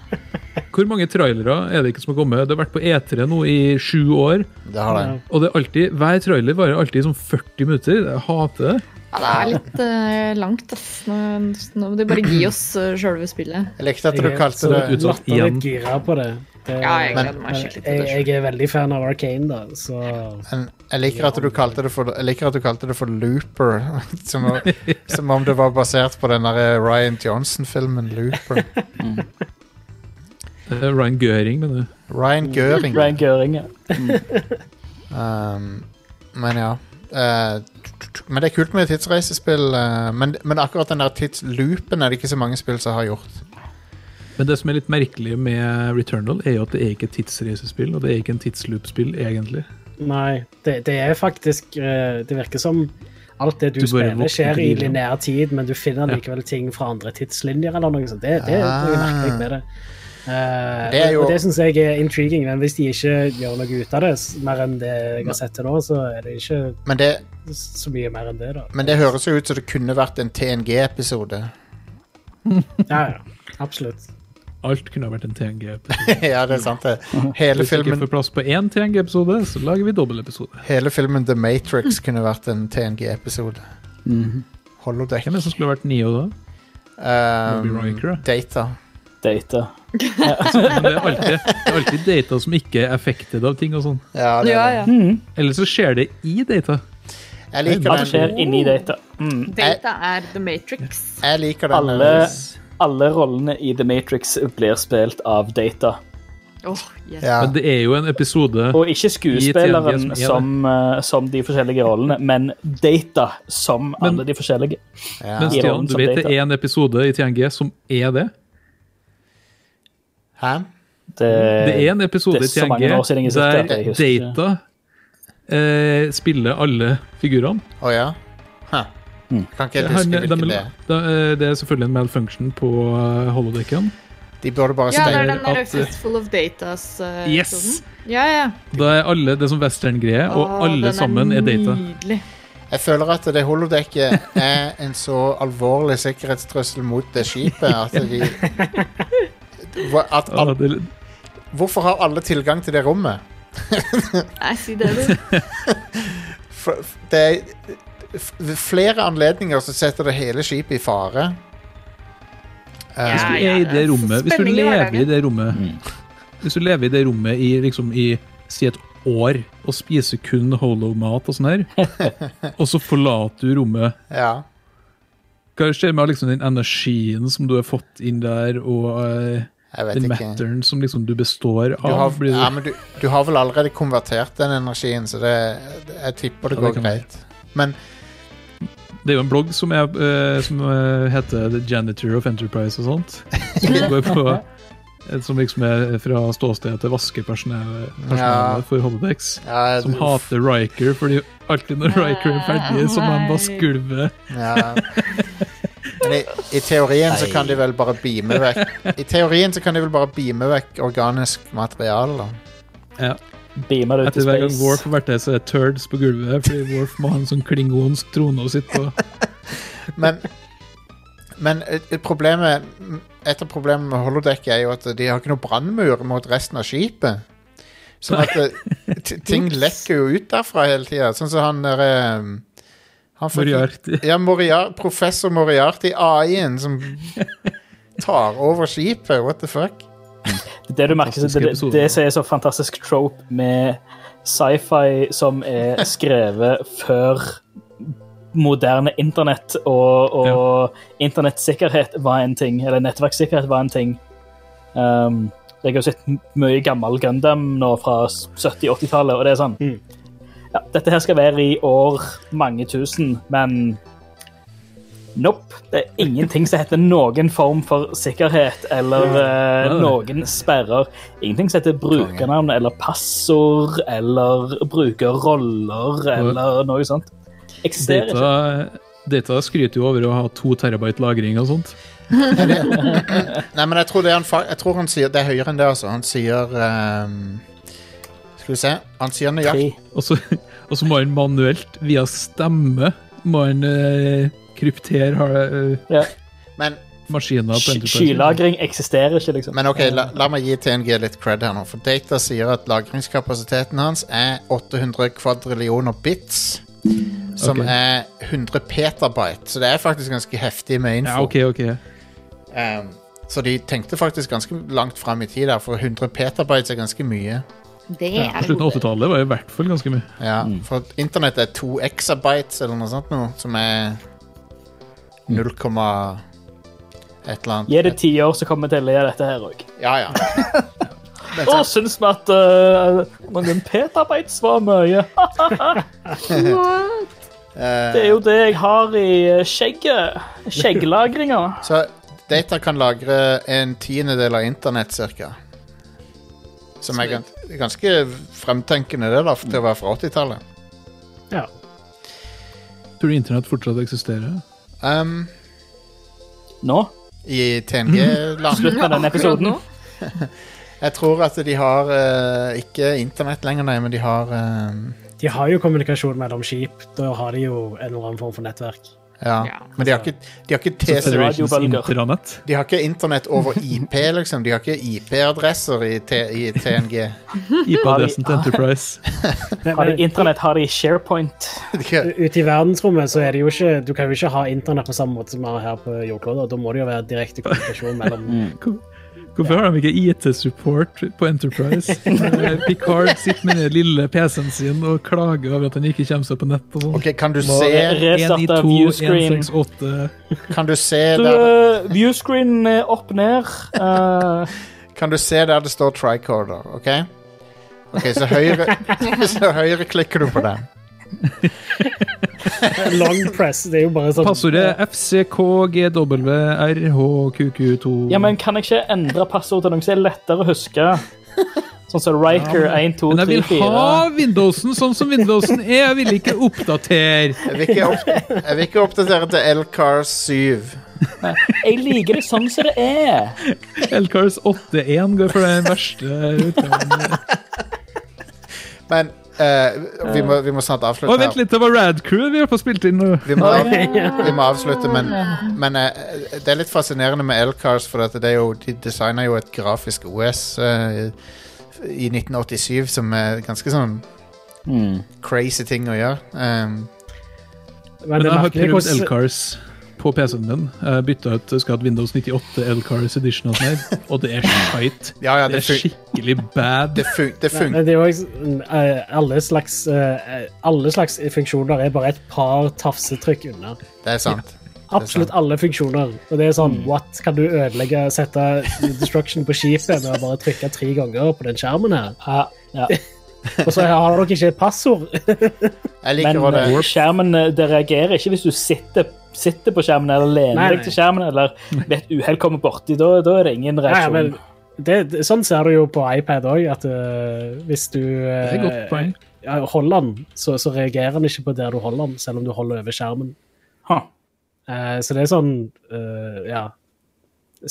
[SPEAKER 5] Hvor mange trailere er det ikke som har kommet? Det har vært på E3 nå i sju år,
[SPEAKER 2] Det har det.
[SPEAKER 5] og det er alltid, hver trailer varer alltid som 40 minutter. Jeg hater det.
[SPEAKER 3] Ja, det er litt eh, langt, ass. Nå, nå må de bare gi oss uh, sjølve spillet.
[SPEAKER 2] Jeg likte at du
[SPEAKER 6] Jeg er
[SPEAKER 2] kalte
[SPEAKER 6] så
[SPEAKER 2] det
[SPEAKER 5] utsatt igjen.
[SPEAKER 6] latterlig gira på det. det
[SPEAKER 3] Ja, jeg
[SPEAKER 2] Men-
[SPEAKER 3] gleder meg skikkelig til
[SPEAKER 6] jeg,
[SPEAKER 3] det. selv.
[SPEAKER 6] jeg er veldig fan av Arcane, da, så
[SPEAKER 2] Men jeg liker at du kalte det for, jeg liker at du kalte det for Looper. Som, om- som om det var basert på den der Ryan Johnson-filmen Looper.
[SPEAKER 5] Eh, Ryan Gøring, mener du?
[SPEAKER 2] Ryan Gøring.
[SPEAKER 4] Ryan Gøring, ja.
[SPEAKER 2] Um, men ja. Eh, men det er kult med tidsreisespill. eh, men, men akkurat den der tidsloopen er det ikke så mange spill som har gjort.
[SPEAKER 5] Men det som er litt merkelig med Returnal, er jo at det er ikke et tidsreisespill, og det er ikke en tidsloop-spill, egentlig.
[SPEAKER 6] Nei, det, det er faktisk eh, Det virker som alt det du,
[SPEAKER 5] Du bare
[SPEAKER 6] spiller,
[SPEAKER 5] våkner
[SPEAKER 6] skjer i
[SPEAKER 5] til livet.
[SPEAKER 6] lineær tid, men du finner likevel ting fra andre tidslinjer eller noe sånt. Det, det er noe
[SPEAKER 2] Ah.
[SPEAKER 6] merkelig med det. Eh,
[SPEAKER 2] Det er jo-
[SPEAKER 6] og det syns jeg er intriguing, men hvis de ikke gjør noe ut av det, s- mer enn det jeg har sett til nå, så er det ikke
[SPEAKER 2] Men det,
[SPEAKER 6] så mye mer enn det, da.
[SPEAKER 2] men det høres jo ut som det kunne vært en TNG-episode.
[SPEAKER 6] Ja, ja. Absolutt.
[SPEAKER 5] Alt kunne ha vært en TNG-episode.
[SPEAKER 2] ja, det er sant, det.
[SPEAKER 5] Mm.
[SPEAKER 2] Hele
[SPEAKER 5] Hvis vi ikke
[SPEAKER 2] filmen,
[SPEAKER 5] får plass på én TNG-episode, så lager vi dobbeltepisode.
[SPEAKER 2] hele filmen The Matrix kunne vært en TNG-episode. Holodeck.
[SPEAKER 5] Mhm. Hvem er det som skulle ha vært Neo da?
[SPEAKER 2] Um,
[SPEAKER 5] Robbie Riker, da?
[SPEAKER 2] data.
[SPEAKER 4] Date.
[SPEAKER 5] Men det er alltid, det er alltid data som ikke er affected av ting og sånn.
[SPEAKER 2] Ja, det,
[SPEAKER 3] Ja,
[SPEAKER 2] er det. Mm.
[SPEAKER 3] ja.
[SPEAKER 5] Eller så skjer det i data.
[SPEAKER 2] Jeg liker
[SPEAKER 4] Alt skjer
[SPEAKER 2] den,
[SPEAKER 4] inni data. Mm.
[SPEAKER 3] Data er The Matrix.
[SPEAKER 2] jeg liker den
[SPEAKER 4] Alle, alle rollene i The Matrix blir spilt av data.
[SPEAKER 3] Åh, yes.
[SPEAKER 2] ja.
[SPEAKER 5] Men det er jo en episode
[SPEAKER 4] Og ikke
[SPEAKER 5] I TNG som
[SPEAKER 4] skuespilleren
[SPEAKER 5] er det.
[SPEAKER 4] som, eh, som de forskjellige rollene, men data som alle de forskjellige.
[SPEAKER 5] Men
[SPEAKER 2] ja.
[SPEAKER 5] Stian, du vet det er en episode i TNG som er det?
[SPEAKER 2] Hæ?
[SPEAKER 5] Det er en episode
[SPEAKER 4] Det
[SPEAKER 5] i
[SPEAKER 4] er så mange år siden
[SPEAKER 5] TNG
[SPEAKER 4] jeg har sett det,
[SPEAKER 5] der
[SPEAKER 4] jeg husker ikke.
[SPEAKER 5] data eh, spiller alle figurene.
[SPEAKER 2] Å ja? Hæ. Kan ikke jeg
[SPEAKER 5] Mm. Han-
[SPEAKER 2] huske
[SPEAKER 5] de-
[SPEAKER 2] hvilken det er.
[SPEAKER 5] da, eh, det er selvfølgelig en malfunction på eh, holodecken.
[SPEAKER 2] De burde bare
[SPEAKER 3] Ja, det er
[SPEAKER 2] stenge
[SPEAKER 3] den der
[SPEAKER 5] at- eh,
[SPEAKER 3] Fistful of Datas-episoden.
[SPEAKER 5] Yes!
[SPEAKER 3] Ja, ja.
[SPEAKER 5] Da er alle det som western-greie, og
[SPEAKER 3] Åh, den
[SPEAKER 5] alle sammen er data.
[SPEAKER 3] Nydelig.
[SPEAKER 2] Jeg føler at det holodekket er en så alvorlig sikkerhetstrussel mot det skipet at de Hva- at
[SPEAKER 5] Ja,
[SPEAKER 2] al
[SPEAKER 5] det,
[SPEAKER 2] Hvorfor har alle tilgang til det rommet?
[SPEAKER 3] Nei, si det, du.
[SPEAKER 2] For, f- det er f- ved flere anledninger så setter det hele skipet i fare. Eh,
[SPEAKER 5] hvis du
[SPEAKER 3] Ja,
[SPEAKER 5] er
[SPEAKER 3] ja,
[SPEAKER 5] i
[SPEAKER 3] det
[SPEAKER 5] det
[SPEAKER 3] er
[SPEAKER 5] rommet Hvis du
[SPEAKER 3] spenning i
[SPEAKER 5] lever i
[SPEAKER 3] hverdagen.
[SPEAKER 5] det rommet
[SPEAKER 2] Mm.
[SPEAKER 5] Hvis du lever i det rommet i liksom i si et år og spiser kun holomat og sånn her, og så forlater du rommet
[SPEAKER 2] ja.
[SPEAKER 5] Hva skjer med liksom den energien som du har fått inn der, og eh,
[SPEAKER 2] Jeg vet
[SPEAKER 5] den
[SPEAKER 2] ikke. Du
[SPEAKER 5] matteren som liksom du består av?
[SPEAKER 2] har,
[SPEAKER 5] blir du-
[SPEAKER 2] ja, men du, du har vel allerede konvertert den energien, så det, jeg tipper det
[SPEAKER 5] Ja,
[SPEAKER 2] går
[SPEAKER 5] det kan være.
[SPEAKER 2] greit. Men
[SPEAKER 5] Det er jo en blogg som, er, eh, som eh, heter The Janitor of Enterprise og sånt. Som, går på, eh, som liksom er fra ståstedet til vaskepersonalet
[SPEAKER 2] Ja.
[SPEAKER 5] personalet for Holodex.
[SPEAKER 2] ja,
[SPEAKER 5] Som
[SPEAKER 2] du-
[SPEAKER 5] hater Riker, fordi alltid når Riker er ferdig, så må han
[SPEAKER 3] Nei.
[SPEAKER 5] vaske gulvet.
[SPEAKER 2] Ja. Men i, i teorien så kan de vel bare beame vekk I teorien så kan de vel bare beame vekk organisk materiale, da.
[SPEAKER 5] Ja.
[SPEAKER 4] Beamer ut i
[SPEAKER 5] Etter hver gang Worf
[SPEAKER 4] space.
[SPEAKER 5] har vært der, så er det turds på gulvet. Fordi Worf må ha en sånn klingonsk trone å sitte på.
[SPEAKER 2] Men, men et- et problemet Et av problemene med holodeck er jo at de har ikke noe brannmur mot resten av skipet. Sånn at eh, t- ting lekker jo ut derfra hele tida. Sånn som han derre han fikk-
[SPEAKER 5] Moriarty.
[SPEAKER 2] Ja, Moriar professor Moriarty, AI-en, som tar over skipet. What the fuck?
[SPEAKER 4] Det du merker,
[SPEAKER 5] Fantastiske
[SPEAKER 4] det, det,
[SPEAKER 5] episoder.
[SPEAKER 4] det som er så fantastisk trope med sci-fi som er skrevet før moderne internett og, og internettsikkerhet var en ting, eller nettverkssikkerhet var en ting. Um, jeg har jo sett m- mye gammel Gundam nå fra s- 70-80-tallet, og det er sånn
[SPEAKER 2] Mm.
[SPEAKER 4] ja, Dette her skal være i år mange tusen, men Nope. Det er ingenting som heter noen form for sikkerhet eller eh,
[SPEAKER 5] Nei, nei.
[SPEAKER 4] noen sperrer. Ingenting som heter brukernavn eller passord eller brukerroller eller noe sånt. Eksisterer ikke.
[SPEAKER 5] Data, data skryter jo over å ha to terabyte lagring og sånt.
[SPEAKER 2] Nei, men jeg tror, det han, fa- jeg tror han sier Det er høyere enn det, altså. Han sier ehm, Skal vi se. Ansiennejakt.
[SPEAKER 5] Og så, og så må han manuelt, via stemme, må han eh, kryptere har- eh,
[SPEAKER 4] Ja.
[SPEAKER 2] Men,
[SPEAKER 5] maskiner på
[SPEAKER 4] Sky-
[SPEAKER 5] Enterprise.
[SPEAKER 4] Skylagring eksisterer ikke, liksom.
[SPEAKER 2] men OK, la, la meg gi TNG litt cred her nå. For Data sier at lagringskapasiteten hans er 800 kvadrillioner bits. Som
[SPEAKER 5] Ok.
[SPEAKER 2] er 100 petabyte, så det er faktisk ganske heftig med info.
[SPEAKER 5] Ja, OK, OK.
[SPEAKER 2] Um, så de tenkte faktisk ganske langt fram i tid, der, for 100 petabytes er ganske mye.
[SPEAKER 8] Det
[SPEAKER 5] Ja, på
[SPEAKER 8] er
[SPEAKER 5] slutten av
[SPEAKER 8] gode.
[SPEAKER 5] 80-tallet var det i hvert fall ganske mye.
[SPEAKER 2] Ja, For internett er 2 exabytes eller noe sånt nå, som er 0, et eller annet.
[SPEAKER 4] Gi det ti år, så kommer vi til å le av dette her òg.
[SPEAKER 2] Ja, ja. Men
[SPEAKER 4] Å,
[SPEAKER 2] så-
[SPEAKER 4] syns vi at uh, noen petabytes var mye?
[SPEAKER 2] eh,
[SPEAKER 4] Det er jo det jeg har i eh, skjegget. Skjegglagringa.
[SPEAKER 2] så data kan lagre en tiendedel av internett, cirka. Som er gans ganske fremtenkende, det, da, for til å være fra 80-tallet.
[SPEAKER 6] Ja.
[SPEAKER 5] Tror du internett fortsatt eksisterer?
[SPEAKER 2] Um,
[SPEAKER 4] Nå?
[SPEAKER 2] I TNG-land.
[SPEAKER 4] Slutt med denne episoden.
[SPEAKER 2] Jeg tror at de har eh, ikke internett lenger, nei, men de har eh,
[SPEAKER 6] De har jo kommunikasjon mellom skip. Da har de jo en eller annen form for nettverk.
[SPEAKER 2] ja.
[SPEAKER 3] Ja,
[SPEAKER 2] Men de har ikke, de har ikke TC
[SPEAKER 5] Federations
[SPEAKER 4] radiobølger.
[SPEAKER 5] intranett?
[SPEAKER 2] De har ikke internett over IP, liksom. De har ikke IP-adresser i, T- i TNG.
[SPEAKER 5] IP-adressen til Enterprise.
[SPEAKER 6] Men,
[SPEAKER 4] Har de
[SPEAKER 6] men,
[SPEAKER 4] internett, har de SharePoint.
[SPEAKER 2] De kan,
[SPEAKER 6] ute i verdensrommet så er det jo ikke Du kan jo ikke ha internett på samme måte som vi har her på jordkloden. Da må det jo være direkte kommunikasjon mellom
[SPEAKER 5] Hvor- Hvorfor har de ikke IT-support på Enterprise? Eh, Picard sitter med den lille PC-en sin og klager over at han ikke kommer seg på nett. og sånn.
[SPEAKER 2] ok, kan du
[SPEAKER 4] Må
[SPEAKER 2] se,
[SPEAKER 4] resette viewscreen.
[SPEAKER 5] 192-168
[SPEAKER 2] kan du se
[SPEAKER 4] Du,
[SPEAKER 2] der,
[SPEAKER 4] eh, viewscreen er opp ned. eh,
[SPEAKER 2] kan du se der det står tricorder, OK? Ok, så høyre, så høyre klikker du på den.
[SPEAKER 6] Long press. Det er jo bare sånn
[SPEAKER 5] Passordet FCKGWRHQQ2.
[SPEAKER 4] ja, men kan jeg ikke endre passord til noe som er lettere å huske? Sånn som Riker 1, 2,
[SPEAKER 5] Men jeg
[SPEAKER 4] 3,
[SPEAKER 5] vil
[SPEAKER 4] 4.
[SPEAKER 5] ha Windowsen sånn som Windowsen er! Jeg vil ikke oppdatere!
[SPEAKER 2] Jeg vil ikke, opp, jeg vil ikke oppdatere til LCAR 7.
[SPEAKER 4] Jeg liker det sånn som det er.
[SPEAKER 5] Elcars 8.1 går for den verste utgaven.
[SPEAKER 2] Men eh, vi, må, vi må snart
[SPEAKER 5] Å,
[SPEAKER 2] avslutte
[SPEAKER 5] vent litt, det var Radcrew vi har på spilt inn nå.
[SPEAKER 2] Vi må, av, vi må avslutte, men, men eh, det er litt fascinerende med L-Cars, for at det er jo, de designer jo et grafisk OS eh, i 1987 som er ganske sånn crazy ting å gjøre. Ehm,
[SPEAKER 6] Men det
[SPEAKER 5] Men
[SPEAKER 6] er
[SPEAKER 5] jeg har
[SPEAKER 6] merkelig
[SPEAKER 5] prøvd
[SPEAKER 6] hvordan-
[SPEAKER 5] Elcars på PC-en min. Jeg bytta ut jeg skal ha et Windows 98 Elcars Edition og sånn her, og det er skit.
[SPEAKER 2] ja, ja, det,
[SPEAKER 5] Det er
[SPEAKER 2] fun
[SPEAKER 5] skikkelig bad.
[SPEAKER 2] det, fun det
[SPEAKER 6] Men
[SPEAKER 2] funker.
[SPEAKER 6] det er jo også, mm, eh, alle slags, eh, alle slags funksjoner er bare et par tafsetrykk unna.
[SPEAKER 2] Det er sant.
[SPEAKER 6] Absolutt alle funksjoner. Og det er sånn What? Kan du ødelegge sette destruction på skipet med å bare trykke tre ganger på den skjermen her?
[SPEAKER 4] Ja, ja.
[SPEAKER 6] Og så har dere ikke et passord.
[SPEAKER 2] Jeg
[SPEAKER 4] Men
[SPEAKER 2] liker hva det
[SPEAKER 4] eh, skjermen eh, det reagerer ikke hvis du sitter, sitter på skjermen eller lener
[SPEAKER 6] Nei,
[SPEAKER 4] deg
[SPEAKER 6] nei.
[SPEAKER 4] til skjermen eller ved et uhell kommer borti. Da, da er det ingen
[SPEAKER 6] Ja,
[SPEAKER 4] reaksjon.
[SPEAKER 6] men det, det, sånn ser du jo på iPad òg, at eh, hvis du eh,
[SPEAKER 5] Det er et godt poeng.
[SPEAKER 6] ja, holder den, så, så reagerer den ikke på der du holder den, selv om du holder over skjermen.
[SPEAKER 4] Huh.
[SPEAKER 6] Eh, så det er sånn eh, Ja.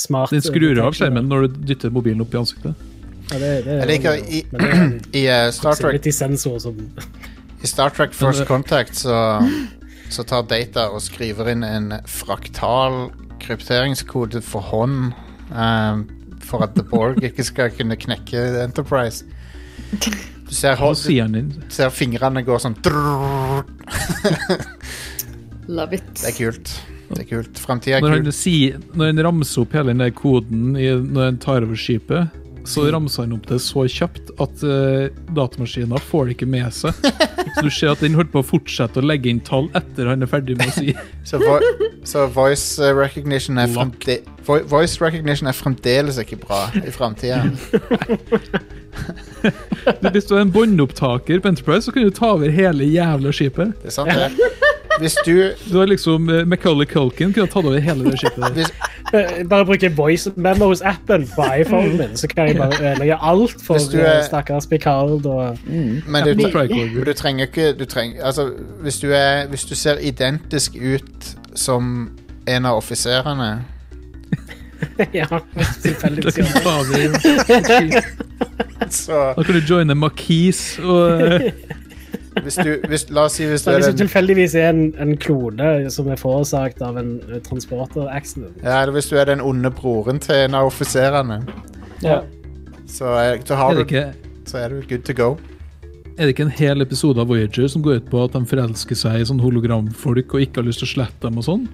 [SPEAKER 6] Smart.
[SPEAKER 5] Den skrur av
[SPEAKER 6] detection.
[SPEAKER 5] skjermen når du dytter mobilen opp i ansiktet.
[SPEAKER 6] Ja, det, sånn, det,
[SPEAKER 2] Jeg liker i,
[SPEAKER 6] men det er en
[SPEAKER 2] i, eh, Star Trek,
[SPEAKER 6] proximity-sensor som
[SPEAKER 2] i Star Trek First Contact så, så tar Data og skriver inn en fraktal krypteringskode for hånd ehm, for at The Borg ikke skal kunne knekke Enterprise. Du ser,
[SPEAKER 5] Så
[SPEAKER 2] hånd,
[SPEAKER 5] sier han inn.
[SPEAKER 2] ser fingrene går sånn drrrr.
[SPEAKER 3] Love it.
[SPEAKER 2] Det er kult. Det er kult. Fremtiden
[SPEAKER 5] Når
[SPEAKER 2] er
[SPEAKER 5] han,
[SPEAKER 2] kult.
[SPEAKER 5] sier, når han ramser opp hele den der koden i, når han tar over skipet, så
[SPEAKER 2] Mm.
[SPEAKER 5] ramser han opp det så kjapt at uh, datamaskina får det ikke med seg. Så du ser at den holder på å fortsette å legge inn tall etter han er ferdig med å si
[SPEAKER 2] Så, vo så voice eh, recognition er fremde vo Voice recognition er fremdeles ikke bra i framtida.
[SPEAKER 5] Du, Hvis du er en båndopptaker på Enterprise, så kan du ta over hele jævla skipet.
[SPEAKER 2] Det er sant, det. Hvis du
[SPEAKER 5] Du har liksom uh, Macaulay Culkin kunne tatt over hele det skipet. der.
[SPEAKER 2] hvis,
[SPEAKER 6] Eh, Bare bruke voice memos-appen på iPhonen min, så kan jeg bare ødelegge alt for
[SPEAKER 2] Hvis du
[SPEAKER 6] eh,
[SPEAKER 2] er-
[SPEAKER 6] stakkars Picard og
[SPEAKER 2] Men du, tre-
[SPEAKER 5] Tricorder.
[SPEAKER 2] du trenger ikke du trenger, altså, hvis, du er, hvis du ser identisk ut som en av offiserene
[SPEAKER 6] Ja, tilfeldigvis.
[SPEAKER 5] Da kan du ta over skip.
[SPEAKER 2] Så
[SPEAKER 5] Da kan du joine Maquis og eh,
[SPEAKER 2] hvis du hvis, La oss si hvis du
[SPEAKER 6] Så
[SPEAKER 2] er
[SPEAKER 6] hvis du
[SPEAKER 2] den
[SPEAKER 6] liksom tilfeldigvis er en, en klone som er forårsaket av en eh, transporter-accident
[SPEAKER 2] ja, eller hvis du er den onde broren til en av offiserene,
[SPEAKER 4] Ja.
[SPEAKER 2] så, er- så, har
[SPEAKER 5] er, det
[SPEAKER 2] du,
[SPEAKER 5] ikke,
[SPEAKER 2] så er du good to go.
[SPEAKER 5] er det ikke en hel episode av Voyager som går ut på at de forelsker seg i sånn hologramfolk og ikke har lyst til å slette dem og sånn?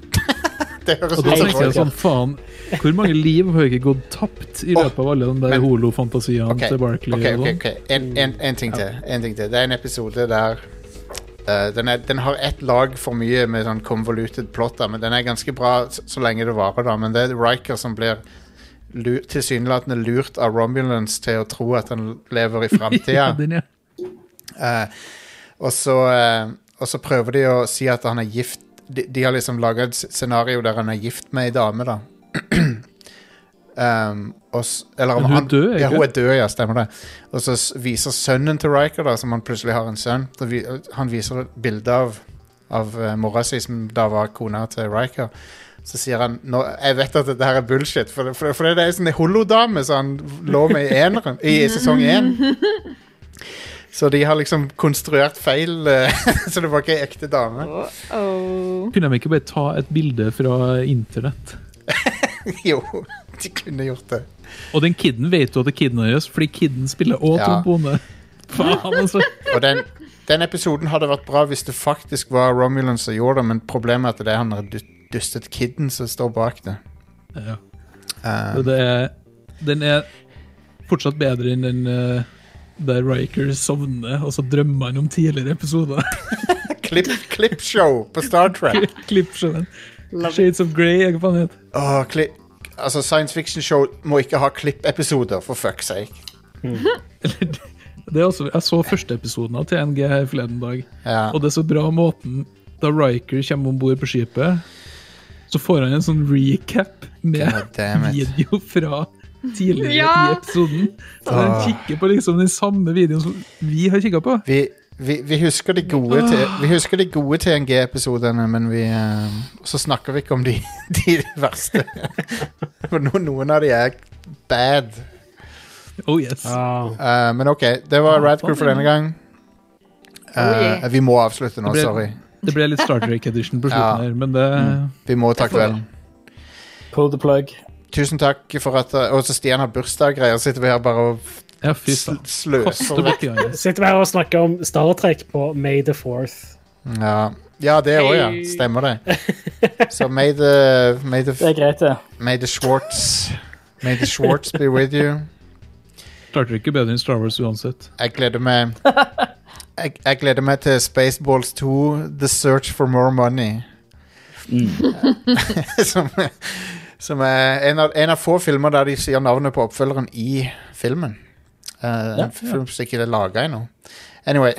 [SPEAKER 2] Det høres
[SPEAKER 5] Og
[SPEAKER 2] ut
[SPEAKER 5] da
[SPEAKER 2] som
[SPEAKER 5] tenker jeg
[SPEAKER 2] folk.
[SPEAKER 5] sånn, faen, hvor mange liv har ikke gått tapt i løpet av alle de der
[SPEAKER 2] men-
[SPEAKER 5] holofantasiene
[SPEAKER 2] Ok,
[SPEAKER 5] til Barkley
[SPEAKER 2] ok, ok,
[SPEAKER 5] og sånn?
[SPEAKER 2] ok. En, en, en ting til. En ting til. Det er en episode der eh, den, er, den har ett lag for mye med sånn convoluted plot, da, men den er ganske bra så, så lenge det varer. da, Men det er Riker som blir lu- tilsynelatende lurt av Romulans til å tro at han lever i framtida.
[SPEAKER 5] sånn? Ja, den er-
[SPEAKER 2] Eh, og, så, eh, og så prøver de å si at han er gift. De, de har liksom laga et s- scenario der han er gift med ei dame, da. um, og, s- eller om
[SPEAKER 5] Men hun er
[SPEAKER 2] han,
[SPEAKER 5] død, ikke?
[SPEAKER 2] Ja, hun er død, ja, stemmer det. Og så s- viser sønnen til Riker, da, som han plutselig har en sønn så vi, Han viser et bilde av, av eh, mora si, som da var kona til Riker. Så sier han Nå, Jeg vet at dette her er bullshit, for, for, for det er ei sånn holodame som han lå med i, eneren, i sesong én. Så de har liksom konstruert feil, eh, så det var ikke ei ekte dame.
[SPEAKER 3] Uh-oh.
[SPEAKER 5] Kunne de ikke bare ta et bilde fra internett?
[SPEAKER 2] Jo, de kunne gjort det.
[SPEAKER 5] Og den kiden vet jo at det er kiden hennes, fordi kiden spiller òg
[SPEAKER 2] Ja.
[SPEAKER 5] trombone. Faen, altså.
[SPEAKER 2] Og den, den episoden hadde vært bra hvis det faktisk var Romulan som gjorde det, men problemet er at det er han der du- dustet kidden som står bak det.
[SPEAKER 5] Ja.
[SPEAKER 2] Eh,
[SPEAKER 5] Og det er, den er fortsatt bedre enn den eh, der Riker sovner, og så drømmer han om tidligere episoder.
[SPEAKER 2] klipp, klippshow på Star Trek.
[SPEAKER 5] Klippsjøen. Shades of Grey, jeg faen heter.
[SPEAKER 2] Åh, klipp. Altså, Science fiction-show må ikke ha klippepisoder, for fuck's sake.
[SPEAKER 5] det. Er også, jeg så første episoden av TNG her forleden dag,
[SPEAKER 2] Ja.
[SPEAKER 5] og det er så bra måten da Riker kommer om bord på skipet, så får han en sånn recap
[SPEAKER 2] God
[SPEAKER 5] med
[SPEAKER 2] damn it.
[SPEAKER 5] video fra tidligere
[SPEAKER 3] Ja!
[SPEAKER 5] i episoden. Så
[SPEAKER 2] Ah.
[SPEAKER 5] han kikker på liksom den samme videoen som vi har kikka på.
[SPEAKER 2] Vi, vi, vi husker de gode, til- vi husker de gode TNG-episodene, men vi eh, Så snakker vi ikke om de, de verste. For no, noen av de er bad.
[SPEAKER 5] Oh yes.
[SPEAKER 2] Eh, men OK, det var Radcrew for denne gang. Eh,
[SPEAKER 3] yeah.
[SPEAKER 2] vi må avslutte nå,
[SPEAKER 5] Det ble-
[SPEAKER 2] sorry.
[SPEAKER 5] Det ble litt Star Trek Edition på
[SPEAKER 2] Ja. Mm.
[SPEAKER 5] slutten her, men det
[SPEAKER 2] Vi må ta kvelden.
[SPEAKER 4] Pull the plug.
[SPEAKER 2] Tusen takk for at eh, Og så Stian har bursdag og greier, sitter vi her bare og
[SPEAKER 5] Ja, fy
[SPEAKER 2] sl
[SPEAKER 5] faen.
[SPEAKER 2] sløser
[SPEAKER 5] Kaster
[SPEAKER 2] vekk.
[SPEAKER 5] borti hans.
[SPEAKER 6] Sitter vi her og snakker om Star Trek på May the 4th.
[SPEAKER 2] Ja. ja, det òg, ja.
[SPEAKER 3] Hey.
[SPEAKER 2] Stemmer det. Så may the, may the
[SPEAKER 4] Det er greit, det.
[SPEAKER 2] May the Schwartz May the Schwartz be with you.
[SPEAKER 5] Star Trek er bedre enn Star Wars uansett.
[SPEAKER 2] Jeg gleder meg jeg, jeg gleder meg til Spaceballs 2 The Search for More Money. som som er en av, en av få filmer der de sier navnet på oppfølgeren i filmen. Eh, en film som ikke er laga ennå. Anyway.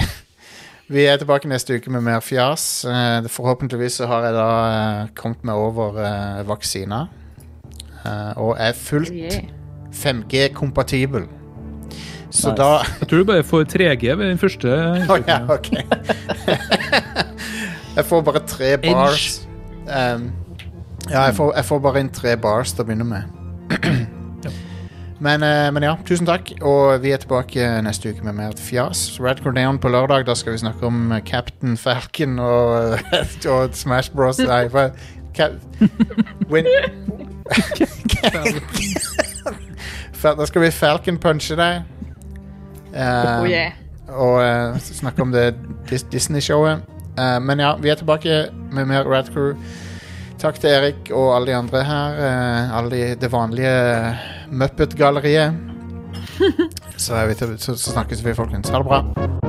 [SPEAKER 2] Vi er tilbake neste uke med mer fjas. Eh, forhåpentligvis så har jeg da eh, kommet meg over eh, vaksina. Eh, og er fullt
[SPEAKER 3] Oh, Yeah.
[SPEAKER 2] 5G-kompatibel. Så
[SPEAKER 4] Nice.
[SPEAKER 2] da
[SPEAKER 5] Jeg tror du bare får 3G ved den første.
[SPEAKER 2] Å ja, ok. jeg får bare tre bars. Um, ja, jeg får, jeg får bare inn tre bars til å begynne med. men, eh, men ja, tusen takk. Og vi er tilbake neste uke med mer fjas. Red Corneon på lørdag. Da skal vi snakke om eh, Captain Falcon og, og Smash Bros. Nei, hva? Cap... Win... Fa- da skal vi Falcon-punche deg. Eh,
[SPEAKER 3] Oh yeah.
[SPEAKER 2] og eh, snakke om det Dis Disney-showet. Eh, men ja, vi er tilbake med mer Rad Crew. Takk til Erik og alle de andre her. eh, alle de, det vanlige Muppet-galleriet. Så, er vi til- så, så snakkes vi, folkens. Ha det bra.